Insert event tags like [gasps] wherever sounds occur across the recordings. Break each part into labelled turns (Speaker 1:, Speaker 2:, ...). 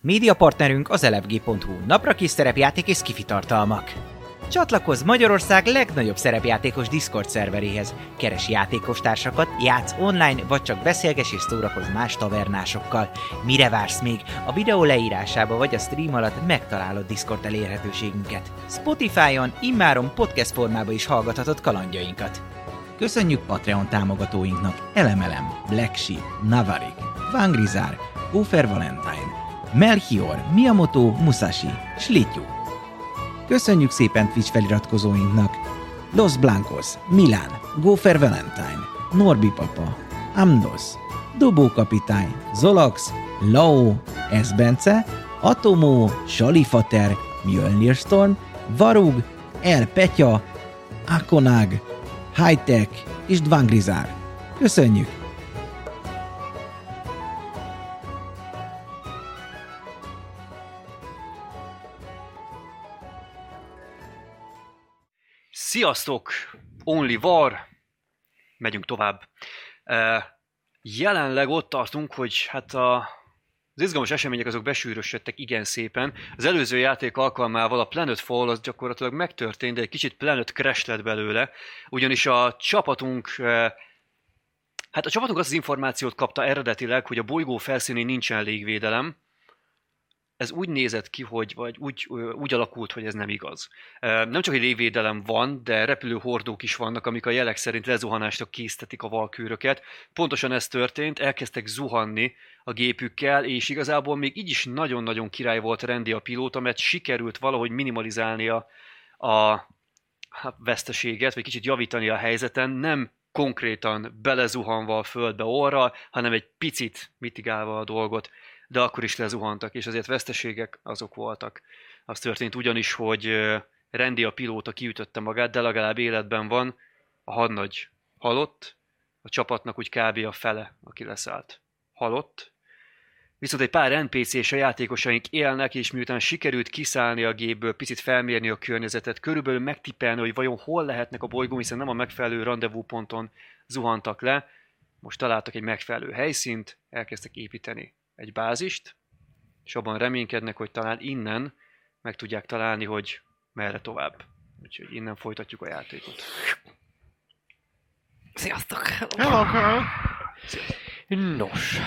Speaker 1: Média partnerünk az elefg.hu, napra kis szerepjáték és skifi tartalmak. Csatlakozz Magyarország legnagyobb szerepjátékos Discord szerveréhez. Keres játékostársakat, játsz online, vagy csak beszélges és szórakozz más tavernásokkal. Mire vársz még? A videó leírásába vagy a stream alatt megtalálod Discord elérhetőségünket. Spotify-on immáron podcast formába is hallgathatod kalandjainkat. Köszönjük Patreon támogatóinknak Elemelem, Black Sheep, Navarik, Vangrizár, Gófer Valentine, Melchior, Miyamoto, Musashi, Slityu. Köszönjük szépen Twitch feliratkozóinknak! Los Blancos, Milán, Gófer Valentine, Norbi Papa, Amnos, Dobó Kapitány, Zolax, Lao, Esbence, Atomó, Salifater, Mjölnir Storm, Varug, El Petya, Akonag, Hightech és Dvangrizár. Köszönjük!
Speaker 2: Sziasztok! Only War! Megyünk tovább. Uh, jelenleg ott tartunk, hogy hát a, az izgalmas események azok besűrösödtek igen szépen. Az előző játék alkalmával a Planet Fall az gyakorlatilag megtörtént, de egy kicsit Planet Crash lett belőle, ugyanis a csapatunk uh, Hát a csapatunk azt az információt kapta eredetileg, hogy a bolygó felszínén nincsen légvédelem, ez úgy nézett ki, hogy, vagy úgy, úgy alakult, hogy ez nem igaz. Nem csak egy légvédelem van, de repülő hordók is vannak, amik a jelek szerint lezuhanásra késztetik a valkűröket. Pontosan ez történt, elkezdtek zuhanni a gépükkel, és igazából még így is nagyon-nagyon király volt rendi a pilóta, mert sikerült valahogy minimalizálni a, a hát, veszteséget, vagy kicsit javítani a helyzeten, nem konkrétan belezuhanva a földbe orral, hanem egy picit mitigálva a dolgot de akkor is lezuhantak, és azért veszteségek azok voltak. Az történt ugyanis, hogy Rendi a pilóta kiütötte magát, de legalább életben van, a hadnagy halott, a csapatnak úgy kb. a fele, aki leszállt, halott. Viszont egy pár NPC-s a játékosaink élnek, és miután sikerült kiszállni a gépből, picit felmérni a környezetet, körülbelül megtippelni, hogy vajon hol lehetnek a bolygón, hiszen nem a megfelelő rendezvúponton zuhantak le, most találtak egy megfelelő helyszínt, elkezdtek építeni egy bázist, és abban reménykednek, hogy talán innen meg tudják találni, hogy merre tovább. Úgyhogy innen folytatjuk a játékot.
Speaker 3: Sziasztok!
Speaker 4: Hello, girl.
Speaker 3: Nos,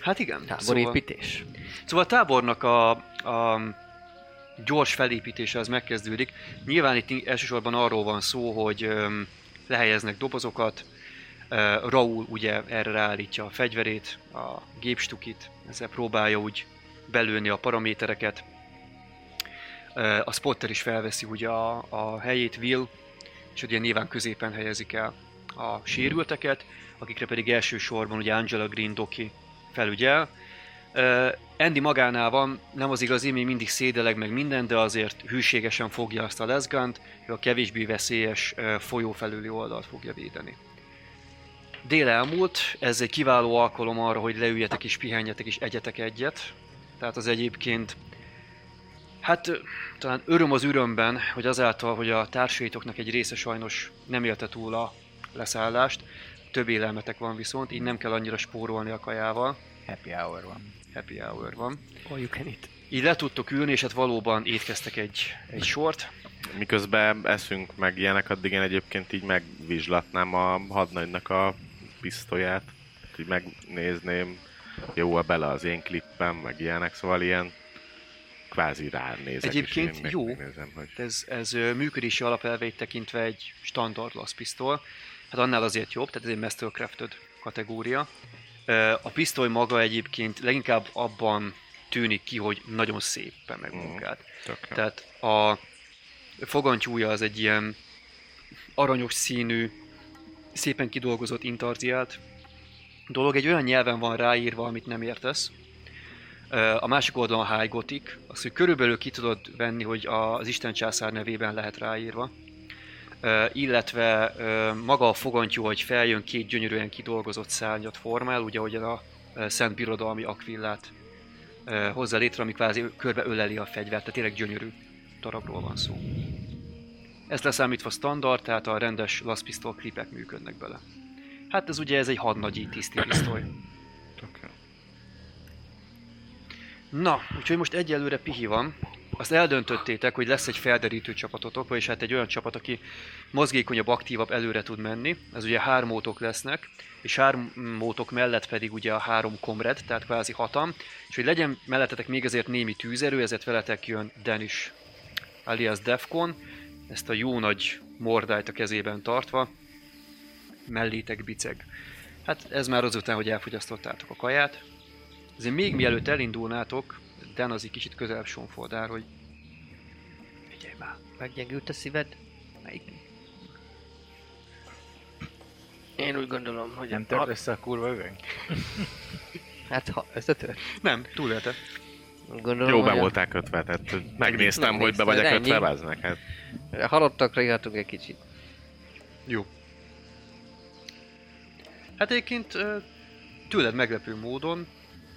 Speaker 2: Hát igen.
Speaker 3: táborépítés.
Speaker 2: Szóval a tábornak a, a gyors felépítése az megkezdődik. Nyilván itt elsősorban arról van szó, hogy öm, lehelyeznek dobozokat, ö, Raúl ugye erre ráállítja a fegyverét, a gépstukit, ezzel próbálja úgy belőni a paramétereket. Ö, A spotter is felveszi ugye a, a helyét, Will, és ugye nyilván középen helyezik el a sérülteket, akikre pedig elsősorban ugye Angela Green Doki felügyel. Ö, Andy magánál van, nem az igazi, még mindig szédeleg meg minden, de azért hűségesen fogja azt a leszgánt, ő a kevésbé veszélyes ö, folyó felüli oldalt fogja védeni. Dél elmúlt, ez egy kiváló alkalom arra, hogy leüljetek és pihenjetek és egyetek egyet. Tehát az egyébként Hát ö, talán öröm az ürömben, hogy azáltal, hogy a társaitoknak egy része sajnos nem élte túl a leszállást, több élelmetek van viszont, így nem kell annyira spórolni a kajával,
Speaker 4: Happy hour van.
Speaker 2: happy hour van.
Speaker 3: All you can eat.
Speaker 2: Így le tudtok ülni, és hát valóban étkeztek egy, egy sort. Hát
Speaker 5: Miközben eszünk meg ilyenek, addig én egyébként így megvizslatnám a hadnagynak a pisztolyát. Így megnézném, jó-e bele az én klippem, meg ilyenek, szóval ilyen kvázi ránézek. és
Speaker 2: Egyébként
Speaker 5: én meg-
Speaker 2: jó.
Speaker 5: megnézem, hogy
Speaker 2: Ez, ez ö, működési alapelveit tekintve egy standard lasz pisztoly. Hát annál azért jobb, tehát ez egy Mastercrafted kategória. Ö, A pisztoly maga egyébként leginkább abban tűnik ki, hogy nagyon
Speaker 4: Mhm.
Speaker 2: szépen megmunkált.
Speaker 5: tök jó.
Speaker 2: Tehát a fogantyúja az egy ilyen aranyos színű, szépen kidolgozott intarziált dolog. Egy olyan nyelven van ráírva, amit nem értesz. Ö, A másik oldalon a High Gothic. Azt, hogy körülbelül ki tudod venni, hogy a- az Isten császár nevében lehet ráírva. Ö, Illetve ö, maga a fogantyú, hogy feljön két gyönyörűen kidolgozott szárnyat formál, ugye ahogyan a ö, Szent Birodalmi Akvillát ö, hozza létre, ami kvázi körbe öleli a fegyvert, tehát tényleg gyönyörű darabról van szó. Ez leszámítva standard, tehát a rendes laszpisztol klipek működnek bele. Hát ez ugye ez egy hadnagyi tiszti pisztoly.
Speaker 5: Tök jó.
Speaker 2: Na, úgyhogy most egyelőre pihi van. Azt eldöntöttétek, hogy lesz egy felderítő csapatotok, vagyis hát egy olyan csapat, aki mozgékonyabb, aktívabb, előre tud menni. Ez ugye hármótok lesznek, és hármótok mellett pedig ugye a három komred, tehát kvázi hatam. És hogy legyen mellettetek még azért némi tűzerő, ezért veletek jön Denis alias Defcon, ezt a jó nagy mordájt a kezében tartva, mellétek biceg. Hát ez már azután, hogy elfogyasztottátok a kaját. Azért még mielőtt elindulnátok, Dan az egy kicsit közelebb sonfordál, hogy figyelj már,
Speaker 3: Meggyengült a szíved? Melyik? Én úgy gondolom, hogy...
Speaker 4: Nem tört össze a kurva üveg?
Speaker 3: Hát ha összetört.
Speaker 2: nem, túlélte.
Speaker 3: Gondolom,
Speaker 5: Jó, be
Speaker 3: hogy a-
Speaker 5: voltál kötve, tehát megnéztem, hogy be
Speaker 3: Megnézted,
Speaker 5: vagyok
Speaker 3: ennyi.
Speaker 5: kötve, báznak. Hát
Speaker 3: A halottakra írhatunk egy kicsit.
Speaker 2: Jó. Hát egyébként ö, tőled meglepő módon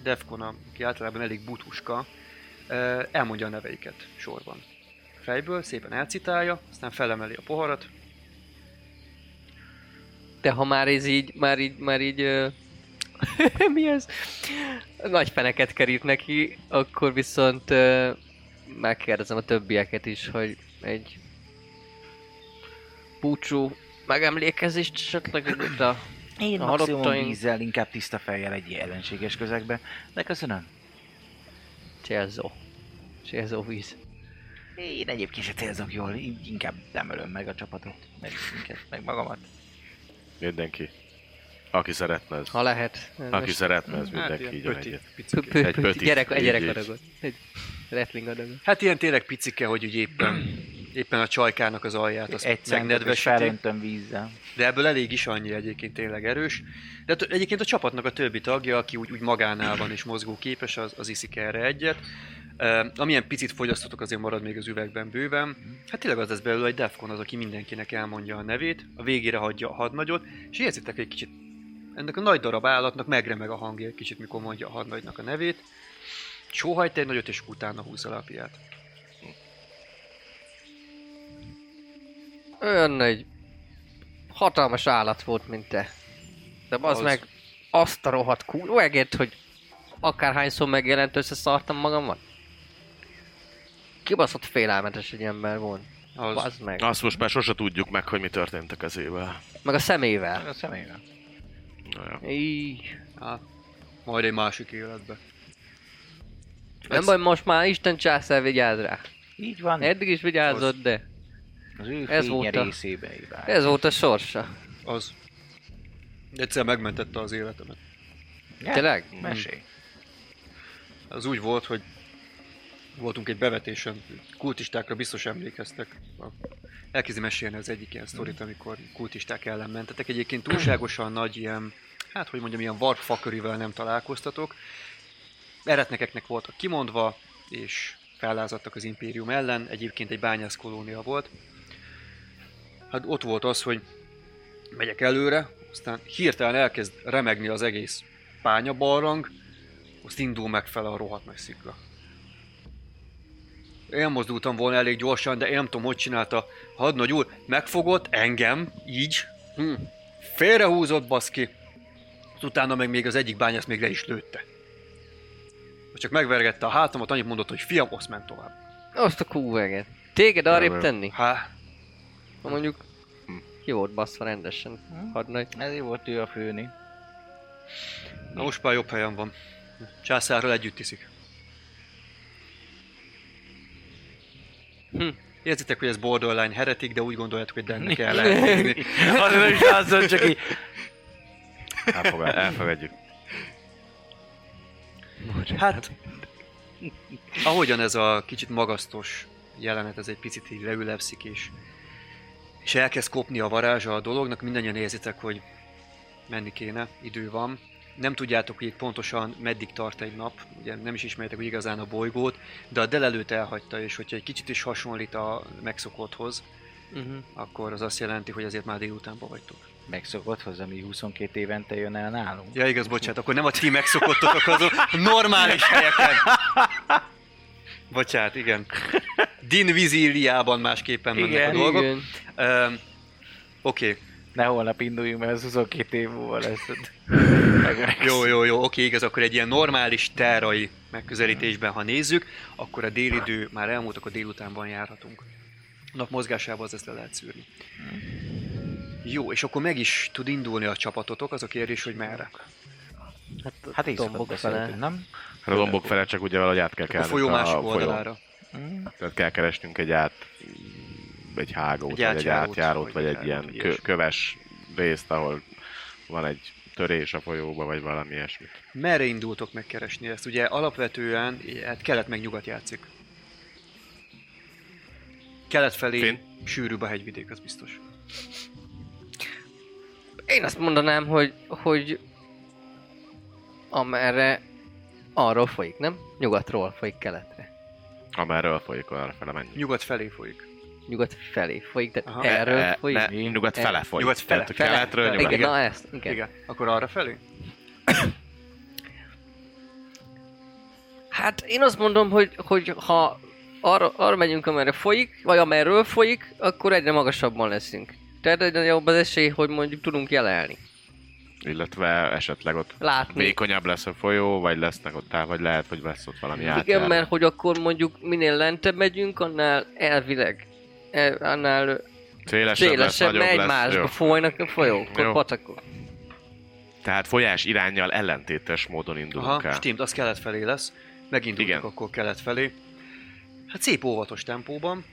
Speaker 2: Defcon, aki általában elég butuska, ö, elmondja a neveiket sorban. Fejből szépen elcitálja, aztán felemeli a poharat.
Speaker 3: De ha már ez így, már így, már így... Ö... [laughs] Mi ez? Nagy feneket kerít neki, akkor viszont ö... megkérdezem a többieket is, hogy egy búcsú megemlékezést esetleg itt a...
Speaker 4: Én
Speaker 3: A
Speaker 4: maximum
Speaker 3: halottaink-
Speaker 4: vízzel, inkább tiszta fejjel egy ellenséges közegbe, de köszönöm.
Speaker 3: Célzó. Célzó víz.
Speaker 4: Én egyébként se célzok jól, így inkább nem ölöm meg a csapatot, meg, minket, meg magamat.
Speaker 5: mindenki. Aki szeretne, ez.
Speaker 3: Ha lehet.
Speaker 5: Aki szeretne, ez
Speaker 2: Hát
Speaker 5: mindenki
Speaker 2: ilyen
Speaker 5: így van
Speaker 2: pöti,
Speaker 5: egyet.
Speaker 2: picike.
Speaker 5: pö- egy pötit,
Speaker 3: gyerek, egy
Speaker 5: így,
Speaker 3: gyerek
Speaker 5: így.
Speaker 3: adagot. Egy rattling adagot.
Speaker 2: Hát ilyen tényleg picike, hogy úgy éppen, éppen a csajkának az alját azt
Speaker 4: Egy szegnedve és
Speaker 2: megnedvesíti.
Speaker 4: felöntöm vízzel.
Speaker 2: De ebből elég is annyi egyébként tényleg erős. De t- egyébként a csapatnak a többi tagja, aki úgy, úgy magánál van és mozgóképes, az, az iszik erre egyet. Uh, amilyen picit fogyasztotok, azért marad még az üvegben bőven. Hát tényleg az lesz belőle, hogy Defcon az, aki mindenkinek elmondja a nevét, a végére hagyja a hadnagyot, és érzitek hogy egy kicsit ennek a nagy darab állatnak megremeg a hangja egy kicsit, mikor mondja a hadnagynak a nevét. Sóhajt egy nagyot, és utána húzza le a piát.
Speaker 3: Olyan egy hatalmas állat volt, mint te. De az,
Speaker 2: Az.
Speaker 3: meg azt a rohadt kúlóegét, hogy akárhányszor megjelent, összeszartam magamat. Kibaszott félelmetes egy ember volt.
Speaker 2: Az,
Speaker 3: Az meg.
Speaker 5: Azt most már sose tudjuk meg, hogy mi történt a kezével.
Speaker 3: Meg a
Speaker 4: Meg
Speaker 3: szemével.
Speaker 4: A személyre.
Speaker 5: Na jó.
Speaker 3: Így.
Speaker 2: hát, majd egy másik életbe.
Speaker 3: Nem
Speaker 2: Ez-
Speaker 3: baj, most már Isten császár vigyáz rá.
Speaker 4: Így van,
Speaker 3: Eddig is vigyázott, de
Speaker 4: az ő
Speaker 3: ez
Speaker 4: fénye
Speaker 3: volt a-
Speaker 4: részébe hibál.
Speaker 3: ez volt a sorsa.
Speaker 2: Az. Egyszer megmentette az életemet.
Speaker 4: Ja,
Speaker 3: Tényleg?
Speaker 4: Mesélj.
Speaker 2: Az úgy volt, hogy voltunk egy bevetésen, kultistákra biztos emlékeztek. A- Elkezdi mesélni az egyik ilyen sztorit, amikor kultisták ellen mentetek. Egyébként túlságosan nagy ilyen, hát hogy mondjam, ilyen varp fakörivel nem találkoztatok. Eretnekeknek voltak kimondva, és fellázadtak az impérium ellen. Egyébként egy bányász kolónia volt. Hát ott volt az, hogy megyek előre, aztán hirtelen elkezd remegni az egész pányabarlang, azt indul meg fel a rohadt nagy szikla. Elmozdultam volna elég gyorsan, de én nem tudom, hogy csinálta. Hadnagy úr, megfogott engem, így, hm. félrehúzott baszki, Azt utána meg még az egyik bányász még le is lőtte. Csak megvergette a hátamat, annyit mondott, hogy fiam, osz ment tovább.
Speaker 3: Azt a kúveget. Téged arrébb
Speaker 5: Nem.
Speaker 3: tenni?
Speaker 2: Há,
Speaker 3: Ha mondjuk ki volt baszva rendesen. Hadnagy.
Speaker 4: Ezért volt ő a főni.
Speaker 2: na most már jobb helyen van. Császárral együtt iszik.
Speaker 3: Hm.
Speaker 2: Érzitek, hogy ez borderline heretik, de úgy gondoljátok, hogy Dennek el lehet
Speaker 4: Tényleg. az ő is azzal csak így.
Speaker 5: Elfogad-
Speaker 2: [laughs]
Speaker 5: Elfogadjuk.
Speaker 2: Hát, ahogyan ez a kicsit magasztos jelenet, ez egy picit így leülepszik, és, és elkezd kopni a varázsa a dolognak, mindannyian érzitek, hogy menni kéne, idő van. Nem tudjátok, hogy itt pontosan meddig tart egy nap, ugye nem is ismertek úgy igazán a bolygót, de a delelőt elhagyta, és hogyha egy kicsit is hasonlít a megszokotthoz,
Speaker 3: Mhm.
Speaker 2: akkor az azt jelenti, hogy azért már délutánban vagytok.
Speaker 4: Megszokott hozzá, mi 22 évente jön el nálunk.
Speaker 2: Ja igaz, bocsánat, akkor nem a ti megszokottotok azon normális helyeken. Bocsánat, igen. Din Vizíliában másképpen mennek a dolgok.
Speaker 3: Igen.
Speaker 2: Öm, Oké,
Speaker 4: Ne holnap induljunk, mert ez 22 év múlva lesz.
Speaker 2: Jó, jó, jó, oké, igaz, akkor egy ilyen normális terrai megközelítésben, ha nézzük, akkor a délidő már elmúlt, akkor délutánban járhatunk. A nap mozgásával az ezt le lehet szűrni. Jó, és akkor meg is tud indulni a csapatotok, az a kérdés, hogy merre.
Speaker 4: Hát éjszakot
Speaker 3: Dombok
Speaker 4: beszéltünk,
Speaker 3: fele.
Speaker 4: nem?
Speaker 5: Hát a lombok fele csak ugye valahogy át kell
Speaker 2: A
Speaker 5: kelni.
Speaker 2: folyó másik
Speaker 5: folyón.
Speaker 2: oldalára.
Speaker 5: Tehát kell keresnünk egy át, egy hágót,
Speaker 2: Egy
Speaker 5: egy vagy egy
Speaker 2: átjárót,
Speaker 5: átjárót,
Speaker 2: vagy
Speaker 5: vagy egy ilyen
Speaker 2: akármit,
Speaker 5: kö,
Speaker 2: ilyesmi.
Speaker 5: köves részt, ahol van egy törés a folyóba, vagy valami ilyesmi.
Speaker 2: Merre indultok megkeresni ezt? Ugye alapvetően, hát kelet meg nyugat játszik. Kelet felé
Speaker 5: Finn?
Speaker 2: sűrűbb a hegyvidék, az biztos.
Speaker 3: Én azt mondanám, hogy, hogy amerre arról folyik, nem? Nyugatról folyik keletre.
Speaker 5: Amerről folyik, arra fele menjünk.
Speaker 2: Nyugat felé folyik.
Speaker 3: Nyugat felé folyik, tehát
Speaker 2: Aha.
Speaker 3: erről
Speaker 5: E-
Speaker 3: folyik.
Speaker 5: ne, nyugat
Speaker 3: E-
Speaker 5: fele folyik.
Speaker 2: Nyugat fele,
Speaker 5: Tehát a
Speaker 2: fele,
Speaker 5: keletről
Speaker 2: fele.
Speaker 5: nyugat.
Speaker 3: igen,
Speaker 2: Igen.
Speaker 3: na ezt, igen.
Speaker 2: Igen. Igen. Akkor arra felé?
Speaker 3: Hát én azt mondom, hogy, hogy ha arra, arra megyünk, amerre folyik, vagy amerről folyik, akkor egyre magasabban leszünk. Tehát egyre jobb az esély, hogy mondjuk tudunk jelenni.
Speaker 5: Illetve esetleg ott
Speaker 3: Látni.
Speaker 5: vékonyabb lesz a folyó, vagy lesznek ott táv, vagy lehet, hogy lesz ott valami átjáró.
Speaker 3: Igen, mert hogy akkor mondjuk minél lentebb megyünk, annál elvileg, el, annál
Speaker 5: szélesebb,
Speaker 3: szélesebb,
Speaker 5: lesz,
Speaker 3: mert
Speaker 5: nagyobb lesz.
Speaker 3: egymásba
Speaker 5: Jó.
Speaker 3: folynak a folyók, a
Speaker 5: Jó.
Speaker 3: patakok.
Speaker 5: Tehát folyás irányjal ellentétes módon indulunk
Speaker 2: Aha,
Speaker 5: el.
Speaker 2: stimmt, az kelet felé lesz. Megindultunk
Speaker 5: Igen.
Speaker 2: akkor kelet felé. Hát szép óvatos tempóban.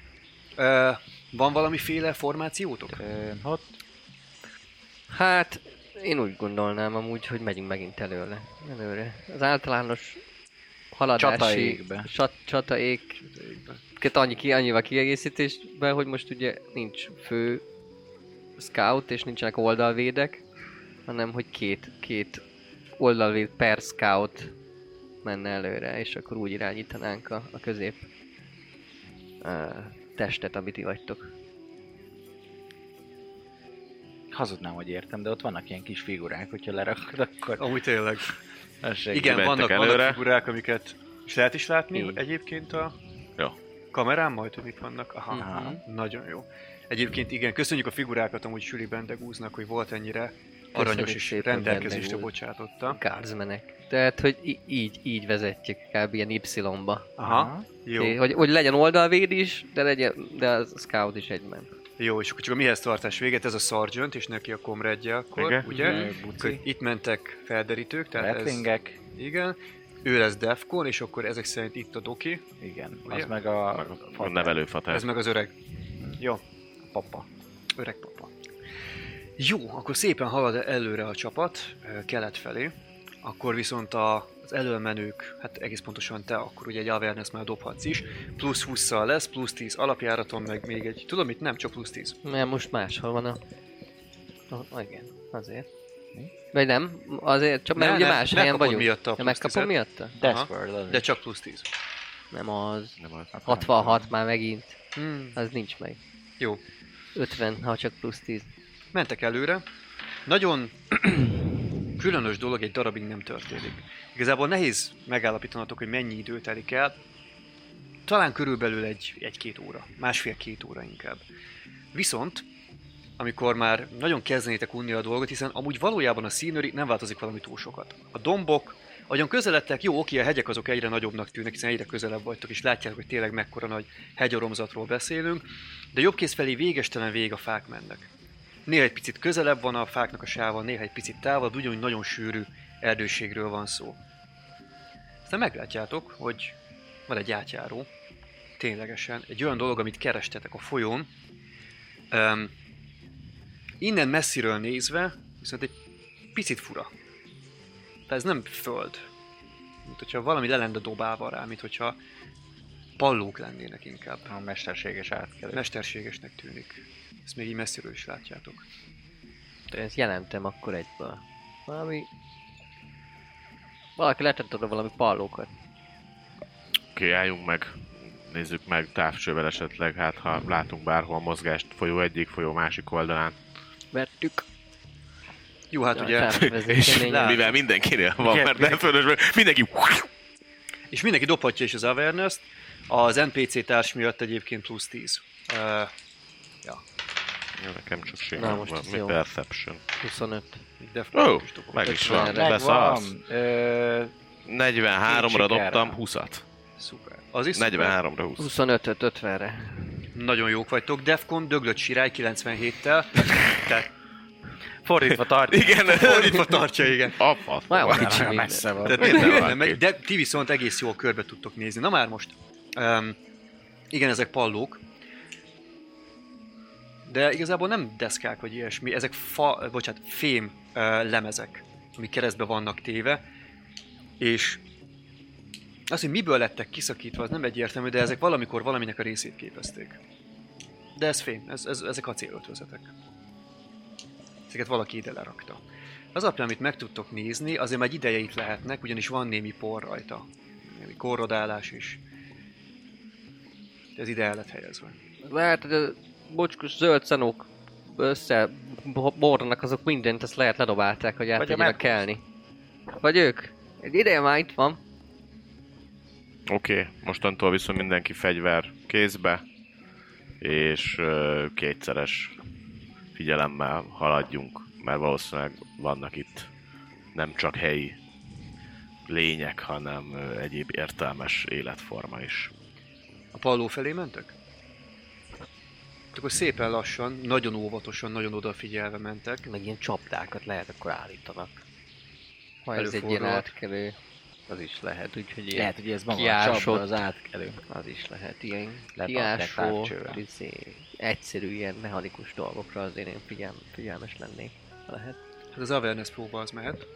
Speaker 2: Ö, van valamiféle formációtok?
Speaker 4: Ott
Speaker 3: Hát, én úgy gondolnám amúgy, hogy megyünk megint előre. előre. Az általános haladási...
Speaker 4: Csataékbe.
Speaker 3: Csat, csataék... Két annyi, ki, annyival kiegészítésben, hogy most ugye nincs fő scout, és nincsenek oldalvédek, hanem hogy két, két oldalvéd per scout menne előre, és akkor úgy irányítanánk a, a közép uh, testet, amit ti vagytok.
Speaker 4: hazudnám, hogy értem, de ott vannak ilyen kis figurák, hogyha lerakod, akkor
Speaker 2: Amúgy tényleg.
Speaker 4: az segít.
Speaker 2: Igen,
Speaker 5: kimentek
Speaker 2: vannak,
Speaker 5: előre.
Speaker 2: vannak figurák, amiket... És lehet is látni
Speaker 3: Igen.
Speaker 2: egyébként a
Speaker 5: Jó.
Speaker 2: kamerán majd, hogy mik vannak? Aha,
Speaker 4: Aha.
Speaker 2: nagyon jó. Egyébként igen, köszönjük a figurákat, amúgy Süli Bendegúznak, hogy volt ennyire aranyos és
Speaker 3: szépen,
Speaker 2: rendelkezésre
Speaker 3: Bendegúz.
Speaker 2: bocsátotta.
Speaker 3: Guardsmenek. Tehát, hogy í- így, így vezetjük kb. ilyen Y-ba.
Speaker 2: Aha, jó.
Speaker 3: É, Hogy, hogy legyen oldalvéd is, de, legyen, de a scout is egyben.
Speaker 2: Jó, és akkor csak a mihez tartás véget, ez a Sargent, és neki a komredje akkor,
Speaker 5: Igen.
Speaker 2: ugye?
Speaker 4: Mhm.
Speaker 2: Akkor itt mentek felderítők, tehát ez,
Speaker 4: Letlingek,
Speaker 2: igen. Ő lesz Defcon, és akkor ezek szerint itt a Doki,
Speaker 4: igen,
Speaker 2: Ugye?
Speaker 4: az meg a,
Speaker 5: Meg a- A nevelőfatár.
Speaker 2: ez meg az öreg,
Speaker 4: Jó, papa.
Speaker 2: öreg papa. Jó, akkor szépen halad előre a csapat, eh, kelet felé. Akkor viszont a, az előmenők, hát egész pontosan te, akkor ugye egy awareness már dobhatsz is. Plusz 20-szal lesz, plusz 10 alapjáraton, meg még egy, tudom itt nem, csak plusz 10.
Speaker 3: Mert most máshol van a... a igen, azért. Vagy nem, azért, csak mert
Speaker 2: Ne,
Speaker 3: ugye
Speaker 2: ne,
Speaker 3: más
Speaker 2: ne
Speaker 3: helyen
Speaker 2: kapod
Speaker 3: vagyunk.
Speaker 2: miatta a
Speaker 3: Ja,
Speaker 2: plusz tizet.
Speaker 3: megkapom miatta?
Speaker 4: Deathworld,
Speaker 2: De csak plusz 10.
Speaker 3: Nem az.
Speaker 5: Nem az.
Speaker 3: 66 már megint,
Speaker 2: Hmm.
Speaker 3: az nincs meg.
Speaker 2: Jó,
Speaker 3: 50, ha csak plusz 10.
Speaker 2: mentek előre. Nagyon [clears throat] különös dolog egy darabig nem történik. Igazából nehéz megállapítanatok, hogy mennyi idő telik el. Talán körülbelül egy, egy-két óra, másfél-két óra inkább. Viszont, amikor már nagyon kezdenétek unni a dolgot, hiszen amúgy valójában a színőri nem változik valami túl sokat. A dombok, ahogyan közeledtek, jó, oké, a hegyek azok egyre nagyobbnak tűnnek, hiszen egyre közelebb vagytok, és látjátok, hogy tényleg mekkora nagy hegyoromzatról beszélünk, de jobbkész felé végestelen vég a fák mennek. Néha egy picit közelebb van a fáknak a sáva, néha egy picit távol, de ugyanúgy nagyon sűrű erdőségről van szó. Aztán meglátjátok, hogy van egy átjáró, ténylegesen, egy olyan dolog, amit kerestetek a folyón. Um, innen messziről nézve, viszont egy picit fura. Tehát ez nem föld. Mint hogyha valami le lenne dobálva rá, mint hogyha pallók lennének inkább.
Speaker 4: A mesterséges átkelő.
Speaker 2: Mesterségesnek tűnik. Ezt még így messziről is látjátok.
Speaker 3: Ezt jelentem akkor egyből. Valami... Valaki letett oda valami pallókat.
Speaker 5: Oké, álljunk meg. Nézzük meg távcsővel esetleg, hát ha látunk bárhol mozgást folyó egyik, folyó másik oldalán.
Speaker 3: Vettük.
Speaker 2: Jó, hát
Speaker 3: Ja,
Speaker 2: ugye...
Speaker 3: felfedezünk
Speaker 5: És
Speaker 3: keményen.
Speaker 2: Lá-
Speaker 5: mivel mindenkinél van,
Speaker 2: Igen.
Speaker 5: mert nem fölös, mindenki...
Speaker 2: [laughs] És mindenki dobhatja is az awareness Az NPC társ miatt egyébként plusz 10. Uh, ja.
Speaker 5: Jó, nekem csak
Speaker 3: Na,
Speaker 5: simán
Speaker 3: most
Speaker 5: van.
Speaker 3: ez
Speaker 5: Mi
Speaker 3: jó.
Speaker 5: Perception?
Speaker 3: 25.
Speaker 2: De
Speaker 5: Ó, meg is van.
Speaker 3: Ötvenre.
Speaker 5: Beszarsz.
Speaker 4: Ö,
Speaker 5: 43-ra
Speaker 4: Két sikerrel.
Speaker 5: dobtam 20-at.
Speaker 2: Szuper. Az is szuper.
Speaker 5: 43-ra 20.
Speaker 3: 25-öt 50-re.
Speaker 2: Nagyon jók vagytok. Defcon döglött sirály 97-tel.
Speaker 5: [laughs]
Speaker 2: Tehát
Speaker 4: fordítva tartja.
Speaker 5: Igen,
Speaker 2: fordítva tartja, igen.
Speaker 5: apa.
Speaker 3: Már olyan
Speaker 5: tovább.
Speaker 3: kicsi
Speaker 4: Már
Speaker 3: minden.
Speaker 4: messze van.
Speaker 2: Tehát
Speaker 5: Minden
Speaker 2: minden
Speaker 5: van
Speaker 2: nem megy,
Speaker 5: két.
Speaker 2: de ti viszont egész jól körbe tudtok nézni. Na már most. Um, igen, ezek pallók. De igazából nem deszkák vagy ilyesmi, ezek fa, bocsánat, fém uh, lemezek, amik keresztbe vannak téve, és az, hogy miből lettek kiszakítva, az nem egyértelmű, de ezek valamikor valaminek a részét képezték. De ez fém, ez, ez, ezek acélöltvezetek. Ezeket valaki ide lerakta. Az alapján, amit meg tudtok nézni, azért már egy ideje itt lehetnek, ugyanis van némi por rajta. Némi korrodálás is. Ez ide el lett helyezve.
Speaker 3: Lehet, hogy a bocskus hát, zöld szanók össze bo- bornak azok mindent, ezt lehet ledobálták, hogy át
Speaker 4: Vagy a
Speaker 3: tudjanak
Speaker 4: Merkusz.
Speaker 3: kelni. Vagy ők? Egy ideje már itt van.
Speaker 5: Oké, okay, mostantól viszont mindenki fegyver kézbe, és ö, kétszeres figyelemmel haladjunk, mert valószínűleg vannak itt nem csak helyi lények, hanem ö, egyéb értelmes életforma is.
Speaker 2: A palló felé mentek? Akkor szépen lassan, nagyon óvatosan, nagyon odafigyelve mentek.
Speaker 4: Meg ilyen csapdákat lehet akkor állítanak.
Speaker 3: Ha ez egy ilyen
Speaker 2: Előfordulhat.
Speaker 3: átkelő, az is lehet, úgyhogy ilyen.
Speaker 4: Lehet, hogy ez maga
Speaker 3: Kiásott.
Speaker 4: a csapda az átkelő.
Speaker 3: Az is lehet, ilyen
Speaker 4: Lepatták
Speaker 3: kiásó,
Speaker 4: távcsővel.
Speaker 3: izé, egyszerű ilyen mechanikus dolgokra azért én figyelm, figyelmes lennék, ha lehet.
Speaker 2: Hát az awareness próba az mehet.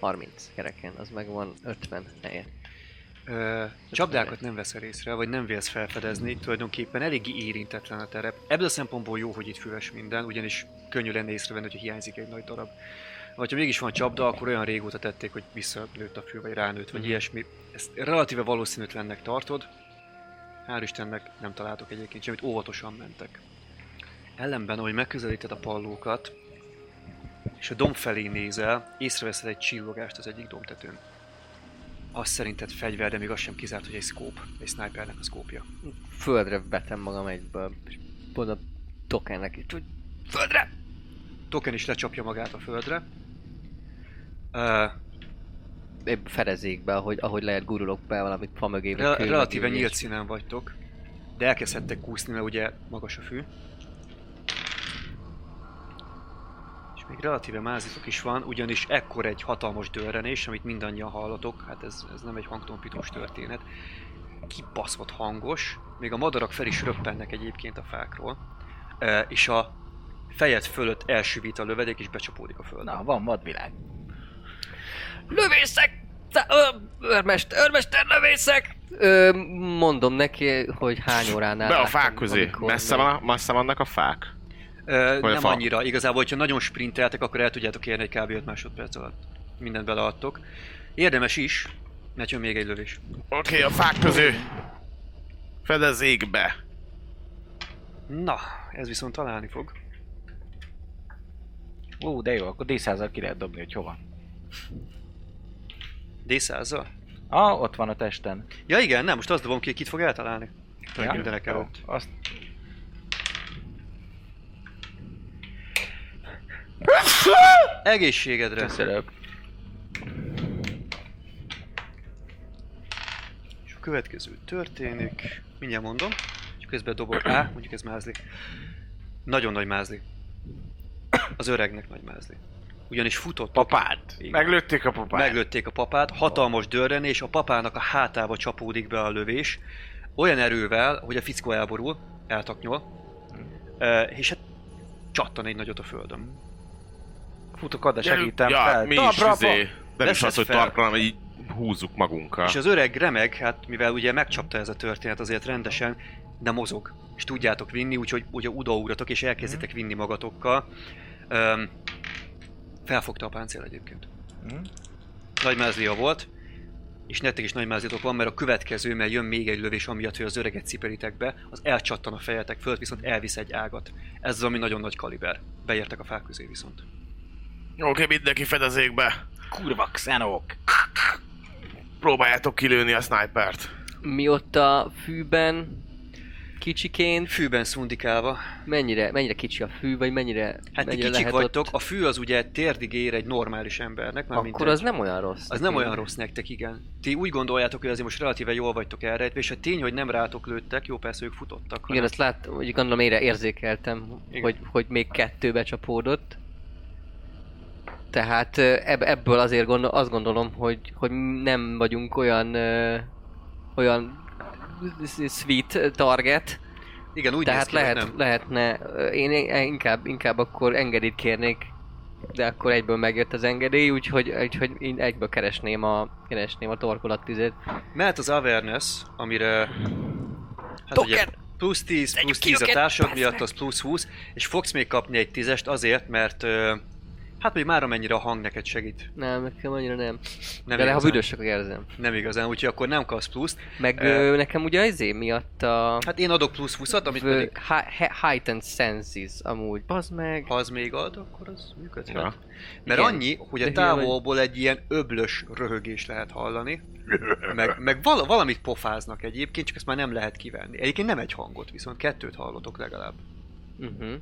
Speaker 3: 30 kereken, az meg van 50 helyett.
Speaker 2: Ö, csapdákat nem veszel észre, vagy nem vélsz felfedezni, tulajdonképpen eléggé érintetlen a terep. Ebből a szempontból jó, hogy itt füves minden, ugyanis könnyű lenne észrevenni, hogy hiányzik egy nagy darab. Vagy ha mégis van csapda, akkor olyan régóta tették, hogy visszanőtt a fül, vagy ránőtt, vagy ilyesmi. Ezt relatíve valószínűtlennek tartod. Hál' Istennek nem találtok egyébként semmit, óvatosan mentek. Ellenben, ahogy megközelíted a pallókat, és a domb felé nézel, észreveszed egy csillogást az egyik dombtetőn az szerinted fegyver, de még az sem kizárt, hogy egy szkóp, egy snipernek a szkópja.
Speaker 3: Földre vetem magam egyből, és pont a tokennek itt, hogy földre!
Speaker 2: Token is lecsapja magát a földre. Uh,
Speaker 3: Épp fedezékbe, ahogy, ahogy lehet gurulok be valami fa mögé. vagy
Speaker 2: re-
Speaker 3: kő
Speaker 2: relatíve
Speaker 3: mögé,
Speaker 2: nyílt
Speaker 3: és
Speaker 2: színen vagytok, de elkezdhettek kúszni, mert ugye magas a fű. És még relatíve mázitok is van, ugyanis ekkor egy hatalmas dörrenés, amit mindannyian hallotok, hát ez, ez nem egy hangtompítós történet, kibaszott hangos, még a madarak fel is röppennek egyébként a fákról, Ö, és a fejed fölött elsüvít a lövedék, és becsapódik a földbe.
Speaker 4: Na, van vadvilág.
Speaker 3: Lövészek! Te- ö, Őrmester, őrmester, lövészek! Ö, mondom neki, hogy hány óránál
Speaker 5: Be a
Speaker 3: láttam,
Speaker 5: fák közé.
Speaker 3: amikor
Speaker 5: Messze, van a, messze vannak a fák?
Speaker 2: Ö,
Speaker 5: Vagy a
Speaker 2: nem
Speaker 5: fa?
Speaker 2: annyira. Igazából, hogyha nagyon sprinteltek, akkor el tudjátok érni egy kb. 5 másodperc alatt. Mindent beleadtok. Érdemes is, mert jön még egy lövés.
Speaker 5: Oké, okay, a fák közé! Fedezzék be!
Speaker 2: Na, ez viszont találni fog.
Speaker 4: Ú, de jó, akkor d ki lehet dobni, hogy hova.
Speaker 2: d 100
Speaker 4: Ah, ott van a testen.
Speaker 2: Ja igen, nem, most azt dobom ki, kit fog eltalálni. Ja. Mindenek
Speaker 4: Jó,
Speaker 2: előtt.
Speaker 4: Azt
Speaker 2: Egészségedre.
Speaker 4: köszönök.
Speaker 2: És a következő történik. Mindjárt mondom. És közben dobok A, mondjuk ez mázli. Nagyon nagy mázli. Az öregnek nagy mázli. Ugyanis futott.
Speaker 5: Papát!
Speaker 2: Igen.
Speaker 5: Meglőtték a papát!
Speaker 2: Meglőtték a papát, hatalmas dörrenés, a papának a hátába csapódik be a lövés, olyan erővel, hogy a fickó elborul, eltaknyol, Ö, és hát csattan egy nagyot a földön.
Speaker 4: Futok oda,
Speaker 5: Gyerünk-
Speaker 4: segítem
Speaker 5: ja,
Speaker 4: fel.
Speaker 5: mi is
Speaker 4: Talpra, apa!
Speaker 5: izé, nem is
Speaker 2: Veszed
Speaker 5: az, hogy
Speaker 2: fel.
Speaker 5: talpra, hanem így húzzuk magunkkal.
Speaker 2: És az öreg remeg, hát mivel ugye megcsapta ez a történet azért rendesen, de mozog. És tudjátok vinni, úgyhogy ugye udaugratok és elkezditek vinni magatokkal. Öm, felfogta a páncél egyébként.
Speaker 4: Hm?
Speaker 2: Nagy mázlia volt, és nektek is nagy mázliatok van, mert a következő, mert jön még egy lövés, amiatt, hogy az öreget cipelitek be, az elcsattan a fejetek fölött, viszont elvisz egy ágat. Ez az, ami nagyon nagy kaliber. Beértek a fák közé viszont.
Speaker 5: Oké, okay, mindenki fedezék be!
Speaker 4: Kurva xenók!
Speaker 5: Próbáljátok kilőni a snipert.
Speaker 3: Mi ott a fűben, kicsiként,
Speaker 2: Fűben szundikálva.
Speaker 3: mennyire, mennyire kicsi a fű, vagy mennyire,
Speaker 2: Hát ti
Speaker 3: mennyire
Speaker 2: kicsik
Speaker 3: lehet
Speaker 2: vagytok,
Speaker 3: ott,
Speaker 2: a fű az ugye térdig ér egy normális embernek, már
Speaker 3: akkor az nem olyan rossz.
Speaker 2: Az nem olyan rossz nektek, igen. Ti úgy gondoljátok, hogy azért most relatíve jól vagytok elrejtve, és a tény, hogy nem rátok lőttek, jó persze ők futottak.
Speaker 3: Igen,
Speaker 2: hanem-
Speaker 3: azt láttam, hogy gondolom ére érzékeltem,
Speaker 2: Igen.
Speaker 3: hogy, hogy még kettőbe csapódott. Tehát ö, ebb, ebből azért gondol, azt gondolom, hogy, hogy nem vagyunk olyan, ö, olyan sweet target,
Speaker 2: igen úgy
Speaker 3: tehát
Speaker 2: néz ki, hogy
Speaker 3: lehet,
Speaker 2: nem.
Speaker 3: lehetne, ö, én én inkább, inkább akkor engedélyt kérnék, de akkor egyből megjött az engedély, úgyhogy, úgyhogy én egyből keresném a, keresném a torkolattizét.
Speaker 2: Mehet az Avernus, amire... Hát
Speaker 3: Token!
Speaker 2: ugye plusz 10, plusz 10 a társad miatt, az plusz 20, és fogsz még kapni egy tízest azért, mert ö, Hát, hogy már amennyire a hang neked segít.
Speaker 3: Nem, nekem annyira nem.
Speaker 2: Nem
Speaker 3: de le, ha
Speaker 2: igazán.
Speaker 3: büdös, akkor érzem.
Speaker 2: Nem igazán, úgyhogy akkor nem kapsz pluszt.
Speaker 3: Meg
Speaker 2: Eh.
Speaker 3: ö, nekem ugye izé miatt a...
Speaker 2: Hát én adok plusz 20-at, amit
Speaker 3: ö,
Speaker 2: pedig
Speaker 3: hi- he- Heightened Senses amúgy. Bazd meg.
Speaker 2: ha az még ad, akkor az működhet.
Speaker 5: Na.
Speaker 2: Mert
Speaker 3: Igen.
Speaker 2: annyi, hogy
Speaker 3: De
Speaker 2: a
Speaker 3: hülye vagy.
Speaker 2: távolból egy ilyen öblös röhögés lehet hallani, meg, meg val- valamit pofáznak egyébként, csak ezt már nem lehet kivenni. Egyébként nem egy hangot, viszont kettőt hallotok legalább.
Speaker 3: Uh-huh.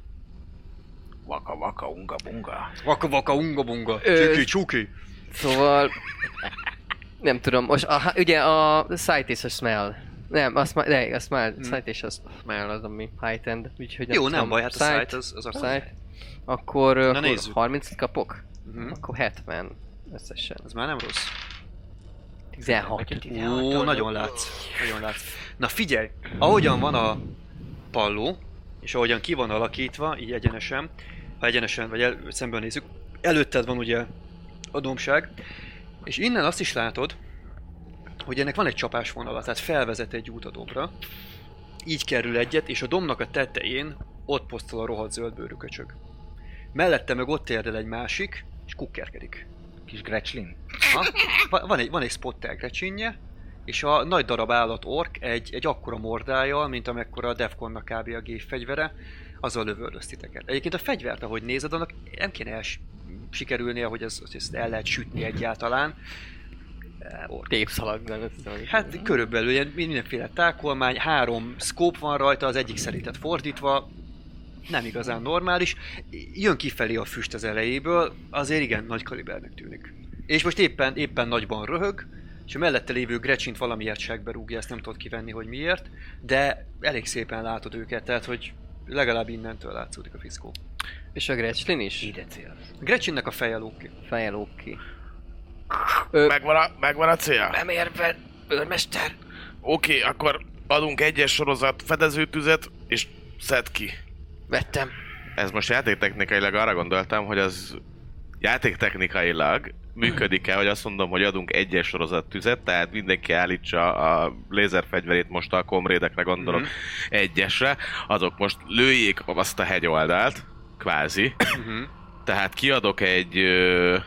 Speaker 4: Vaka, vaka, unga, bunga.
Speaker 2: Vaka vaka unga bunga,
Speaker 3: Ö,
Speaker 2: csuki csuki.
Speaker 3: Szóval... Nem tudom, most a, ugye a Sight is a Smell. Nem, a smell, de, a smell, hmm. sight és a smell az, ami heightened, úgyhogy
Speaker 2: Jó,
Speaker 3: tudom.
Speaker 2: nem baj, hát a
Speaker 3: Sight,
Speaker 2: szájt az, az akkor.
Speaker 3: sight. Akkor, Na akkor
Speaker 2: nézzük.
Speaker 3: 30 kapok?
Speaker 2: Mhm.
Speaker 3: Akkor 70 összesen.
Speaker 2: Az már nem rossz.
Speaker 3: 16.
Speaker 2: Ó, nagyon látsz. Nagyon látsz. Na figyelj, ahogyan van a palló, és ahogyan ki van alakítva, így egyenesen, ha egyenesen vagy el, szemben nézzük, előtted van ugye a dombság, és innen azt is látod, hogy ennek van egy csapásvonala, tehát felvezet egy út a dombra, így kerül egyet, és a domnak a tetején ott posztol a rohadt zöldbőrű köcsög. Mellette meg ott érdel egy másik, és kukkerkedik.
Speaker 4: Kis grecslin.
Speaker 2: Ha? Va- Van egy, van egy spottel grecsinje, és a nagy darab állat ork egy, egy akkora mordájjal, mint amekkora a Defconnak kb. a gépfegyvere, azzal lövöldöz titeket. Egyébként a fegyvert, ahogy nézed, annak nem kéne el sikerülnie, hogy ez, ezt el lehet sütni egyáltalán. Eh, Ork.
Speaker 3: Tépszalaggal, azt hiszem, hogy-
Speaker 2: Hát körülbelül ilyen mindenféle tákolmány, három scope van rajta, az egyik szerintet fordítva, nem igazán normális. Jön kifelé a füst az elejéből, azért igen, nagy kalibernek tűnik. És most éppen, éppen nagyban röhög, és a mellette lévő Grecsint valamiért segbe rúgja, ezt nem tudod kivenni, hogy miért, de elég szépen látod őket, tehát hogy legalább innentől látszódik a fickó.
Speaker 3: És a Gretchlin is?
Speaker 4: Ide célsz.
Speaker 2: Grecsinnek a feje lóg ki.
Speaker 3: Fejlók ki. Ö,
Speaker 6: Megvan a, megvan a cél?
Speaker 4: Nem érve, őrmester.
Speaker 6: Oké, akkor adunk egyes sorozat fedezőtüzet, és szed ki.
Speaker 4: Vettem.
Speaker 5: Ez most játéktechnikailag arra gondoltam, hogy az játéktechnikailag működik-e, hogy azt mondom, hogy adunk egyes sorozat tüzet, tehát mindenki állítsa a lézerfegyverét most a komrédekre gondolok
Speaker 2: Mhm.
Speaker 5: egyesre, azok most lőjék azt a hegyoldalt, kvázi.
Speaker 2: Mhm.
Speaker 5: Tehát kiadok egy ö,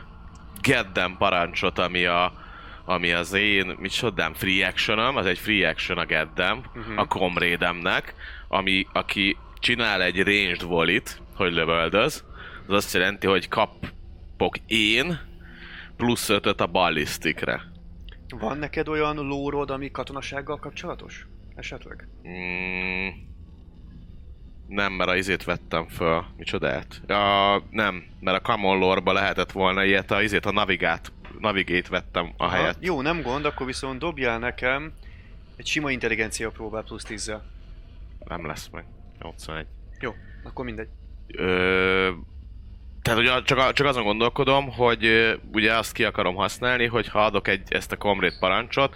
Speaker 5: Geddem parancsot, ami a ami az én, micsodám, free actionom, az egy free action a Geddem,
Speaker 2: Mhm.
Speaker 5: a komrédemnek, ami, aki csinál egy ranged volit, hogy lövöldöz, az azt jelenti, hogy kapok én plusz ötöt a ballisztikre.
Speaker 2: Van neked olyan lórod, ami katonasággal kapcsolatos? Esetleg?
Speaker 5: Mm, nem, mert a izét vettem föl. Micsodát? A, nem, mert a Common Lore-ba lehetett volna ilyet, a izét, a navigát, navigét vettem a
Speaker 2: Aha,
Speaker 5: helyet.
Speaker 2: Jó, nem gond, akkor viszont dobjál nekem egy sima intelligencia próbál plusz 10
Speaker 5: Nem lesz meg. 81.
Speaker 2: Jó, akkor mindegy.
Speaker 5: Ö, tehát ugye csak, a- csak azon gondolkodom, hogy ö, ugye azt ki akarom használni, hogy ha adok egy, ezt a komrét parancsot,